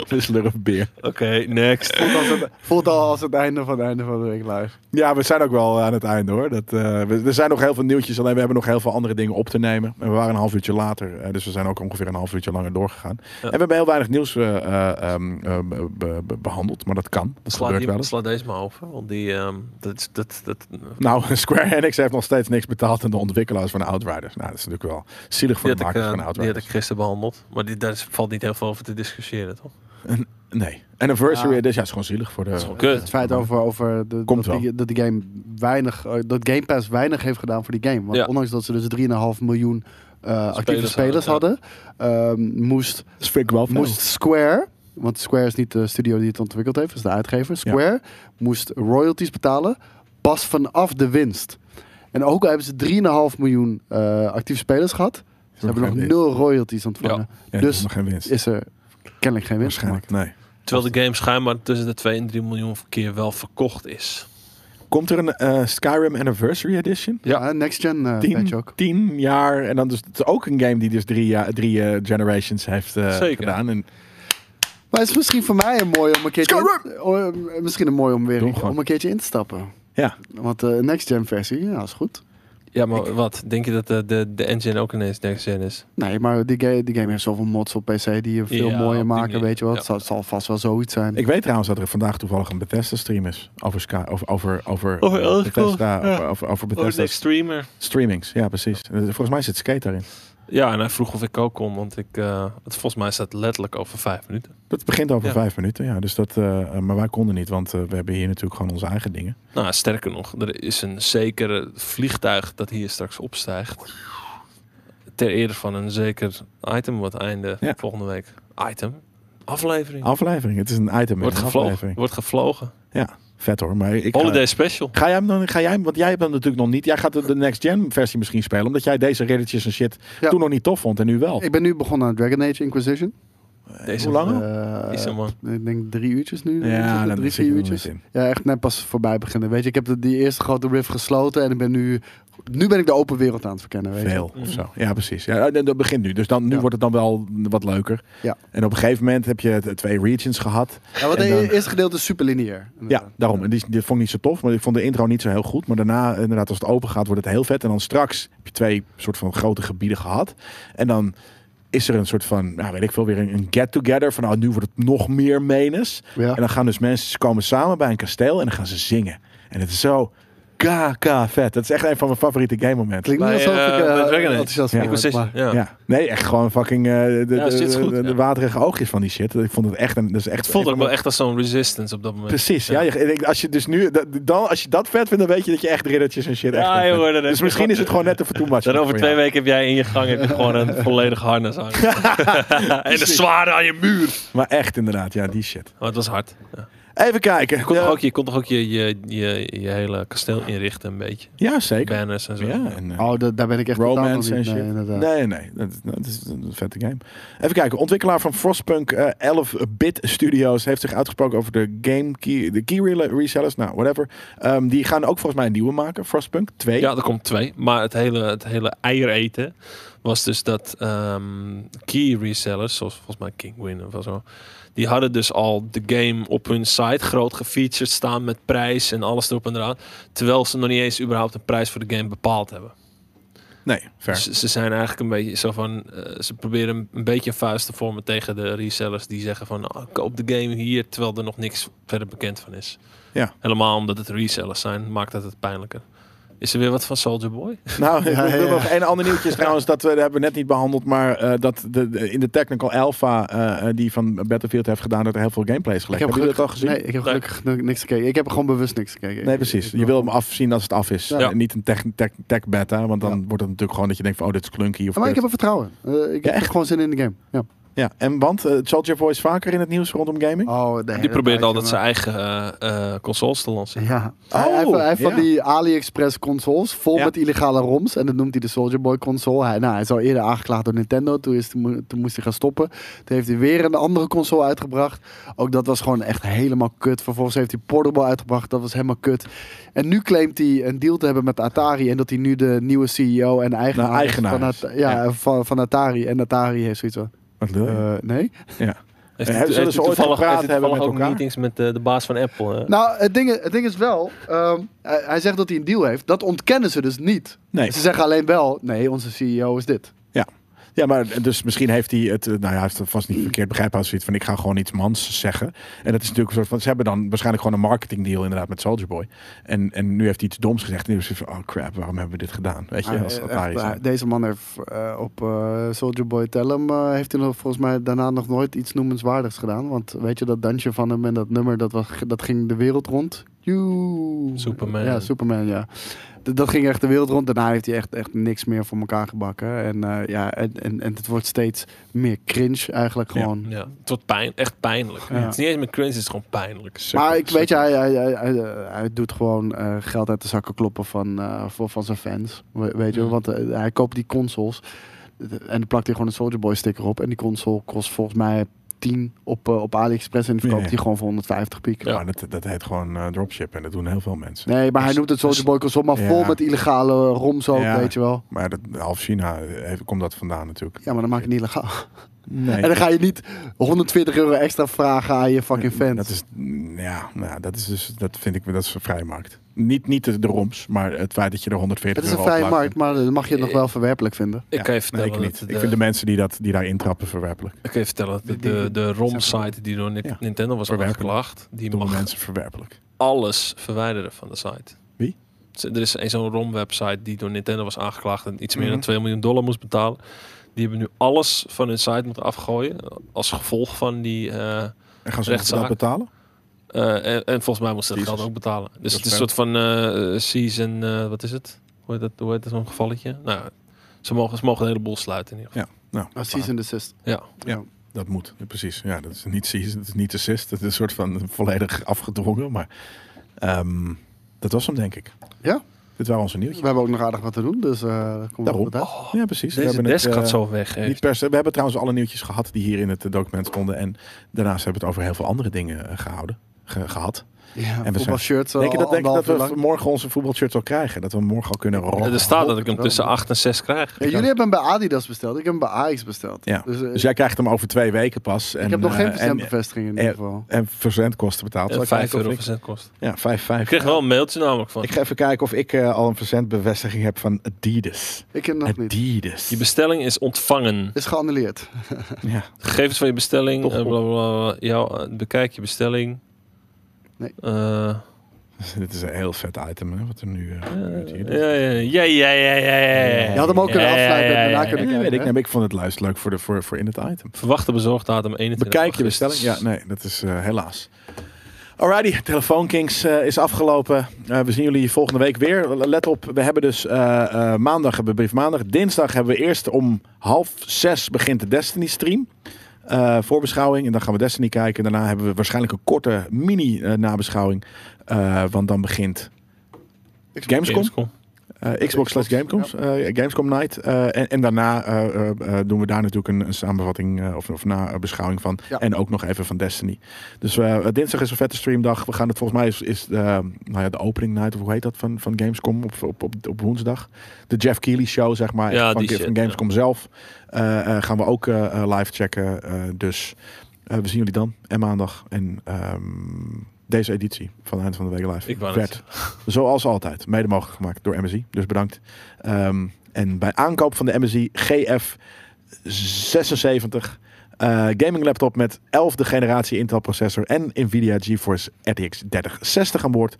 Of een slurfbeer.
Oké, next.
Voelt als, het, voelt al als het einde van het einde van de week live.
Ja, we zijn ook wel aan het einde hoor. Dat, eh, we, er zijn nog heel veel nieuwtjes, alleen we hebben nog heel veel andere dingen op te nemen. En we waren een half uurtje later, eh, dus we zijn ook ongeveer een half uurtje langer doorgegaan. En we hebben heel weinig nieuws eh, eh, ehm, eh, be- be- be- behandeld, maar dat kan. Dat
Sla,
gebeurt wel
die,
eens.
sla deze maar open, want die... ehm, dat, is- dat, dat,
Nou, [laughs] Square Enix heeft nog steeds niks betaald aan de ontwikkelaars van Outriders. Nou, dat is natuurlijk wel zielig voor
die,
de
had ik,
makers
eh,
van
die had
Outriders.
ik gisteren behandeld. Maar die, daar is- valt niet heel veel over te discussiëren, toch?
Nee. Anniversary
Ja.
Edition, ja, is gewoon zielig voor de...
Dat is gewoon kut.
Het feit over, over de,
Komt
dat, die, dat die game weinig, eh, dat Game Pass weinig heeft gedaan voor die game. Want
Ja.
ondanks dat ze dus 3,5 miljoen eh, actieve
Spelers
spelers hadden,
hadden,
ehm, moest,
Dat vind ik wel veel.
moest Square, want Square is niet de studio die het ontwikkeld heeft, dus de uitgever, Square moest royalties betalen pas vanaf de winst. En ook al hebben ze 3,5 miljoen eh, actieve spelers gehad, ze hebben nog
geen
nul royalties ontvangen.
Ja,
dus-
dus nog geen winst.
Is er kennelijk geen winst gemaakt.
Waarschijnlijk, nee.
Terwijl de game schijnbaar tussen de 2 en 3 miljoen keer wel verkocht is.
Komt er een eh, Skyrim Anniversary Edition?
Ja, next gen eh patch
Tien,
ook.
tien jaar. En dan dus het is ook een game die dus drie, jaar, drie eh, generations heeft eh,
Zeker.
gedaan. En
Maar het is misschien voor mij een mooi om een keertje. In, oh, misschien een mooi om weer
Doe hem gewoon.
om een keertje in te stappen.
Ja.
Want de next gen versie, ja, is goed.
Ja, maar wat? Denk je dat de, de, de engine ook ineens next gen is?
Nee, maar die, ga- die game heeft zoveel mods op PC die je veel
Ja, op
mooier
die
maken,
manier.
weet je wel.
Ja.
Het zal, zal vast wel zoiets zijn.
ik weet trouwens dat er vandaag toevallig een Bethesda stream is. Over, Sky, over, over, over,
Over
eh,
Elder Scrolls,
Bethesda,
ja.
over, over, over
Oh,
Bethesda
de streamer.
streamings. Ja, precies. Eh, Volgens mij zit Skate daarin.
Ja, en hij vroeg of ik ook kon, want ik, eh, het, volgens mij staat letterlijk over vijf minuten.
Dat begint over
Ja.
vijf minuten. Ja, dus dat, eh, maar wij konden niet, want eh, we hebben hier natuurlijk gewoon onze eigen dingen.
Nou, sterker nog, er is een zekere vliegtuig dat hier straks opstijgt. Ter ere van een zeker item wat einde
Ja.
volgende week. Item? Aflevering.
Aflevering. Het is een item in
Wordt
een
gevlogen.
aflevering.
Wordt gevlogen.
Ja, vet hoor. Maar ik ga,
Holiday special.
Ga jij hem dan? Ga jij hem? Want jij hebt hem natuurlijk nog niet. Jij gaat de, de next gen versie misschien spelen, omdat jij deze redditjes en shit
Ja.
toen nog niet tof vond en nu wel.
Ik ben nu begonnen aan Dragon Age Inquisition.
Deze
hoe lang? Oh.
Eh,
Is er, man.
ik denk drie uurtjes nu.
ja,
drie,
dan
drie
zit je
vier
er
uurtjes.
nog niet in.
Ja, echt net pas voorbij beginnen. Weet je, ik heb de, die eerste grote riff gesloten en ik ben nu, nu ben ik de open wereld aan het verkennen. Weet je.
Veel
Mhm.
of zo. Ja, precies. Ja, dat dat begint nu. Dus dan, nu
Ja.
wordt het dan wel wat leuker.
Ja.
En op een gegeven moment heb je t- twee regions gehad.
Ja, want
En
het
dan-
eerste gedeelte is super lineair.
Ja, daarom. En die, die vond ik niet zo tof, maar ik vond de intro niet zo heel goed. Maar daarna, inderdaad, als het open gaat, wordt het heel vet. En dan straks heb je twee soort van grote gebieden gehad. En dan is er een soort van, nou weet ik veel, weer een, een get-together. Van, nou, nu wordt het nog meer menes.
Ja.
En dan gaan dus mensen, ze komen samen bij een kasteel en dan gaan ze zingen. En het is zo kaka vet. Dat is echt een van mijn favoriete game momenten.
Klinkt niet
Bij,
alsof ik
eh, bij
eh,
Dragon Age.
enthousiast
Ja.
van word,
Inquisition.
maar-
Ja.
Ja. Nee, echt gewoon fucking eh, de,
Ja,
de,
shit is goed,
de- de
ja.
waterige oogjes van die shit. Ik vond het echt een, dat is echt
Het voelt
een
ook
van
wel echt als zo'n resistance op dat moment.
mijn- Precies, ja. je- ik- als je dus nu, dat- dan, als je dat vet vindt, dan weet je dat je echt riddertjes en shit echt
Ja,
vet
joh,
vindt.
dat
Dus
heb je
misschien
gewoon-
is het gewoon
[laughs]
net een too much
Dan over
voor
twee
jou.
weken heb jij in je gang heb je gewoon
[laughs]
een volledig harnas aan. [laughs] en een zwaarde aan je muur.
Maar echt inderdaad, ja, die shit.
Maar Oh, het was hard. Ja.
Even kijken.
Kon
Ja,
toch ook, je kon toch ook je, je, je, je hele kasteel inrichten een beetje.
ja zeker.
Banners en zo.
Ja, en, eh,
Oh, da- daar ben ik echt totaal nog
romance
niet.
en
Nee,
shit.
inderdaad.
Nee, nee, dat, dat is een vette game. Even kijken, ontwikkelaar van Frostpunk eh, 11-bit Studios heeft zich uitgesproken over de game key, de key rela- resellers, nou whatever. Ehm, die gaan ook volgens mij een nieuwe maken, Frostpunk 2.
Ja, er komt twee. Maar het hele, het hele eier eten was dus dat ehm, key resellers, zoals volgens mij Kingwin of zo, die hadden dus al de game op hun site groot gefeatured staan met prijs en alles erop en eraan. Terwijl ze nog niet eens überhaupt een prijs voor de game bepaald hebben.
Nee, ver.
Dus ze zijn eigenlijk een beetje zo van, eh, ze proberen een, een beetje een vuist te vormen tegen de resellers die zeggen van, "Ah, koop de game hier, terwijl er nog niks verder bekend van is.
Ja.
Helemaal omdat het resellers zijn, maakt dat het pijnlijker. Is er weer wat van Soldier Boy?
[laughs] Nou,
Ja,
ik wil
ja.
nog één ander
[laughs]
nieuwtje is trouwens. Dat, we, dat hebben we net niet behandeld. Maar eh, dat de, de- in de Technical Alpha eh, eh, die van Battlefield heeft gedaan... dat er heel veel gameplay is gelekt. Hebben jullie dat al gezien?
Nee, ik heb
Nee.
gelukkig nog niks gekeken. Ik heb gewoon bewust niks gekeken.
Nee,
Ik-
precies.
ik-
Je wil hem afzien als het af is.
Ja.
En Niet een tech, tech, tech beta, want dan wordt het natuurlijk gewoon dat je denkt van... oh, dit is klunky of
Maar ik
kut.
heb er vertrouwen. Eh, ik
Ja,
heb
echt?
gewoon zin in de game. Ja.
Ja, en want eh, Soldier Boy is vaker in het nieuws rondom gaming.
Oh, de hele
Die probeert
tijd,
altijd
jongen.
zijn eigen eh, eh, consoles te lanceren.
Ja.
Oh,
hij heeft, hij heeft
ja.
van die AliExpress consoles vol
Ja.
met illegale roms. En dat noemt hij de Soldier Boy console. Hij, nou, hij is al eerder aangeklaagd door Nintendo. Toen, is, toen moest hij gaan stoppen. Toen heeft hij weer een andere console uitgebracht. Ook dat was gewoon echt helemaal kut. Vervolgens heeft hij Portable uitgebracht. Dat was helemaal kut. En nu claimt hij een deal te hebben met Atari. En dat hij nu de nieuwe CEO en eigenaar,
Nou, eigenaar
Van,
is.
At- ja,
Ja.
Van, van Atari. En Atari heeft zoiets van...
Wat lul je?
eh, nee?
Heeft
Eh,
hij-
zullen ze
heeft hij
ooit
toevallig,
gepraat
heeft hij
hebben
toevallig
met
ook
elkaar?
meetings met eh, de baas van Apple? hè?
Nou, het ding, het ding is wel, ehm, hij, hij zegt dat hij een deal heeft. Dat ontkennen ze dus niet.
Nee.
Ze zeggen alleen wel, nee, onze CEO is dit.
Ja, maar dus misschien heeft hij het, eh, nou ja, hij heeft het vast
Mm.
niet verkeerd begrepen als hij het van ik ga gewoon iets mans zeggen. En dat is natuurlijk een soort van, ze hebben dan waarschijnlijk gewoon een marketingdeal inderdaad met Soldier Boy. En, en nu heeft hij iets doms gezegd en nu is hij van, oh crap, waarom hebben we dit gedaan? Weet je,
Ah,
als
eh,
Atari
echt,
zijn.
eh, deze man heeft eh, op eh, Soldier Boy Tell 'em eh, heeft hij nog, volgens mij daarna nog nooit iets noemenswaardigs gedaan. Want weet je, dat dansje van hem en dat nummer, dat, was, dat ging de wereld rond. Joe.
Superman.
Ja, Superman, ja. D- dat ging echt de wereld rond. Daarna heeft hij echt, echt niks meer voor elkaar gebakken. En, eh, ja, en, en, en het wordt steeds meer cringe eigenlijk
Ja.
gewoon.
Ja, het wordt pijn, echt pijnlijk.
Ja.
Het is niet eens meer cringe, het is gewoon pijnlijk.
Super,
Maar ik weet je,
super.
hij, hij, hij, hij, hij doet gewoon eh, geld uit de zakken kloppen van, eh, voor, van zijn fans. We- weet je,
Ja.
want eh, hij koopt die consoles en dan plakt hij gewoon een Soldier Boy sticker op. En die console kost volgens mij 10 op, eh, op AliExpress en die verkoopt
Ja.
hij gewoon voor 150 piek.
Ja.
Maar dat, dat heet gewoon eh, dropship en dat doen heel veel mensen.
Nee, maar hij noemt het Soldier Boy console, maar
Dus Ja.
vol met illegale eh, roms ook,
Ja.
weet je wel.
Maar dat, half China eh, heeft, komt dat vandaan natuurlijk.
Ja, maar dan maak je het niet illegaal.
Nee.
En dan ga je niet 120 euro extra vragen aan je fucking fans.
Dat is, mm, ja, nou, ja, dat is dus, dat vind ik, dat is een vrijmarkt. Niet, niet de, de roms, maar het feit dat je er 140
het is een
euro
vrije
op laat.
markt, maar eh, dat mag je
Eh,
nog wel verwerpelijk vinden.
Ik
Ja,
kan
Nee,
je vertellen
ik
dat
niet.
het,
Ik
eh,
vind de mensen die, dat, die daar intrappen verwerpelijk.
Ik kan je vertellen dat de,
Die- die-
de, de ROM-site die door Ni-
Ja.
Nintendo was
Verwerpelijk.
aangeklaagd, die
Domme
mag
mensen verwerpelijk.
alles verwijderen van de site.
Wie?
Z- Er is een- zo'n ROM-website die door Nintendo was aangeklaagd en iets meer
Mhm.
dan 2 miljoen dollar moest betalen. Die hebben nu alles van hun site moeten afgooien als gevolg van die... eh,
En gaan ze
Rechtszaak.
dat betalen?
eh, en, en volgens mij moesten ze dat
Jezus.
geld ook betalen. Dus
Dat
het is
is
een soort van eh, eh, season... eh, wat is het? Hoe heet dat, hoe heet dat zo'n gevalletje? Nou, ze mogen, ze mogen een heleboel sluiten in ieder
Nou,
Oh, cease and desist.
geval. Ja.
dat moet. Ja, precies. Ja, dat is niet season, dat is niet assist. Dat is een soort van volledig afgedwongen. Maar ehm, dat was hem, denk ik.
Ja.
Dit waren onze
We
nieuwtjes.
hebben ook nog aardig wat te doen, dus eh dat komt wel
Daarom. Oh.
goed uit.
Ja, precies. We
Deze
hebben het,
desk gaat
eh,
zo weg. echt.
Niet per se. We hebben trouwens alle nieuwtjes gehad die hier in het eh, document stonden. En daarnaast hebben we het over heel veel andere dingen eh, gehouden. ge- gehad.
Ja,
zijn-
voetbalshirts al
Denk je dat, denk je dat
anderhalf
we
uur lang.
morgen onze voetbalshirts al krijgen? Dat we hem morgen al kunnen rollen?
Eh, er staat dat ik hem
wel.
tussen 8 en 6 krijg.
Ja, jullie hebben hem bij Adidas besteld, ik heb hem bij Ajax besteld.
Ja.
Dus, eh,
Dus jij krijgt hem over twee weken pas. En,
ik heb nog
eh,
geen
en,
bestembevestiging in
eh,
ieder geval.
en verzendkosten betaald. Zal
En
ik
5
kijken of
Eh, euro
ik-
verzend kost.
Ja, vijf, vijf.
Ik kreeg wel een mailtje namelijk van.
Ik ga even kijken of ik eh, al een verzendbevestiging heb van Adidas.
Ik heb nog niet.
Adidas.
Je bestelling is ontvangen.
Is geannuleerd.
ja.
Gegevens van je bestelling.
Toch
eh, bla, bla, bla. Ja, eh, bekijk je bestelling.
Nee.
Eh,
Dus Dit is een heel vet item, hè, wat er nu eh, gebeurt hier.
ja, ja, ja, ja, ja, ja, ja.
Je had hem ook kunnen
Ja, ja,
afsluiten en
ja, ja,
daarna
ja.
Nee,
kunnen-
weet ik, nee, maar ik vond het luister leuk voor, de, voor, voor in het item.
Verwachte bezorgdatum 21
Bekijk je
augustus.
bestelling? Ja, nee, dat is eh, helaas. Alrighty, Telefoon Kings eh, is afgelopen. Eh, we zien jullie volgende week weer. Let op, we hebben dus eh, eh, maandag hebben we brief maandag. Dinsdag hebben we eerst om half zes begint de Destiny stream. Eh, voorbeschouwing en dan gaan we Destiny kijken. Daarna hebben we waarschijnlijk een korte mini eh, nabeschouwing. Eh, want dan begint Gamescom.
Gamescom.
Eh, Xbox slash Gamescom, eh, Gamescom Night. Eh, en, en daarna eh, eh, eh, doen we daar natuurlijk een, een samenvatting eh, of, of nabeschouwing van.
Ja.
En ook nog even van Destiny. Dus eh, dinsdag is een vette streamdag. We gaan het volgens mij is, is eh, nou ja, de opening night, of hoe heet dat, van, van Gamescom op, op, op, op woensdag. De Jeff Keighley show, zeg maar,
Ja,
van,
die shit,
van Gamescom zelf. Eh, eh, gaan we ook eh, eh, live checken. Eh, dus eh, we zien jullie dan en maandag. En ehm, deze editie van Eind van de Week Live.
Ik wou net
werd Zoals altijd, mede mogelijk gemaakt door MSI. Dus bedankt. Ehm, en bij aankoop van de MSI GF76 eh, gaming laptop met 11e generatie Intel processor en Nvidia GeForce RTX 3060 aan boord.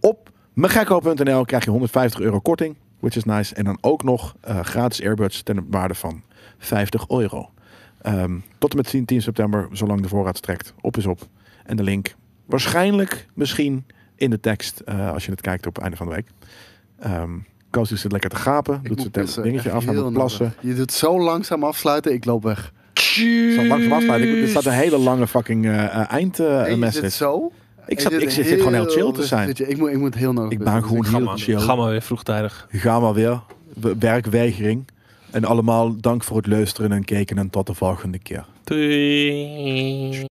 Op Megacco.nl krijg je 150 euro korting, which is nice. En dan ook nog eh, gratis earbuds ten waarde van 50 euro. Ehm, tot en met 10, 10 september, zolang de voorraad strekt. Op is op. En de link waarschijnlijk misschien in de tekst eh, als je het kijkt op het einde van de week. Ehm Koos die zit lekker te gapen, doet
moet
zijn
pissen.
dingetje
Echt
af, hij
heel
moet plassen.
nodig. Je doet zo langzaam afsluiten, ik loop weg.
Zal langzaam afsluiten. Ik- Er staat een hele lange fucking eh,
En je
eindmessage.
zit zo.
ik
En
zat,
je
ik zit gewoon heel chill te
rustig
zijn.
zit je. Ik moet, ik moet heel nodig.
Ik
pissen,
ben
dus
gewoon
ik-
heel
Gamma,
chill.
Gamma weer vroegtijdig.
Ga maar weer. W- Werkweigering. En allemaal dank voor het luisteren en kijken en tot de volgende keer.
Doei.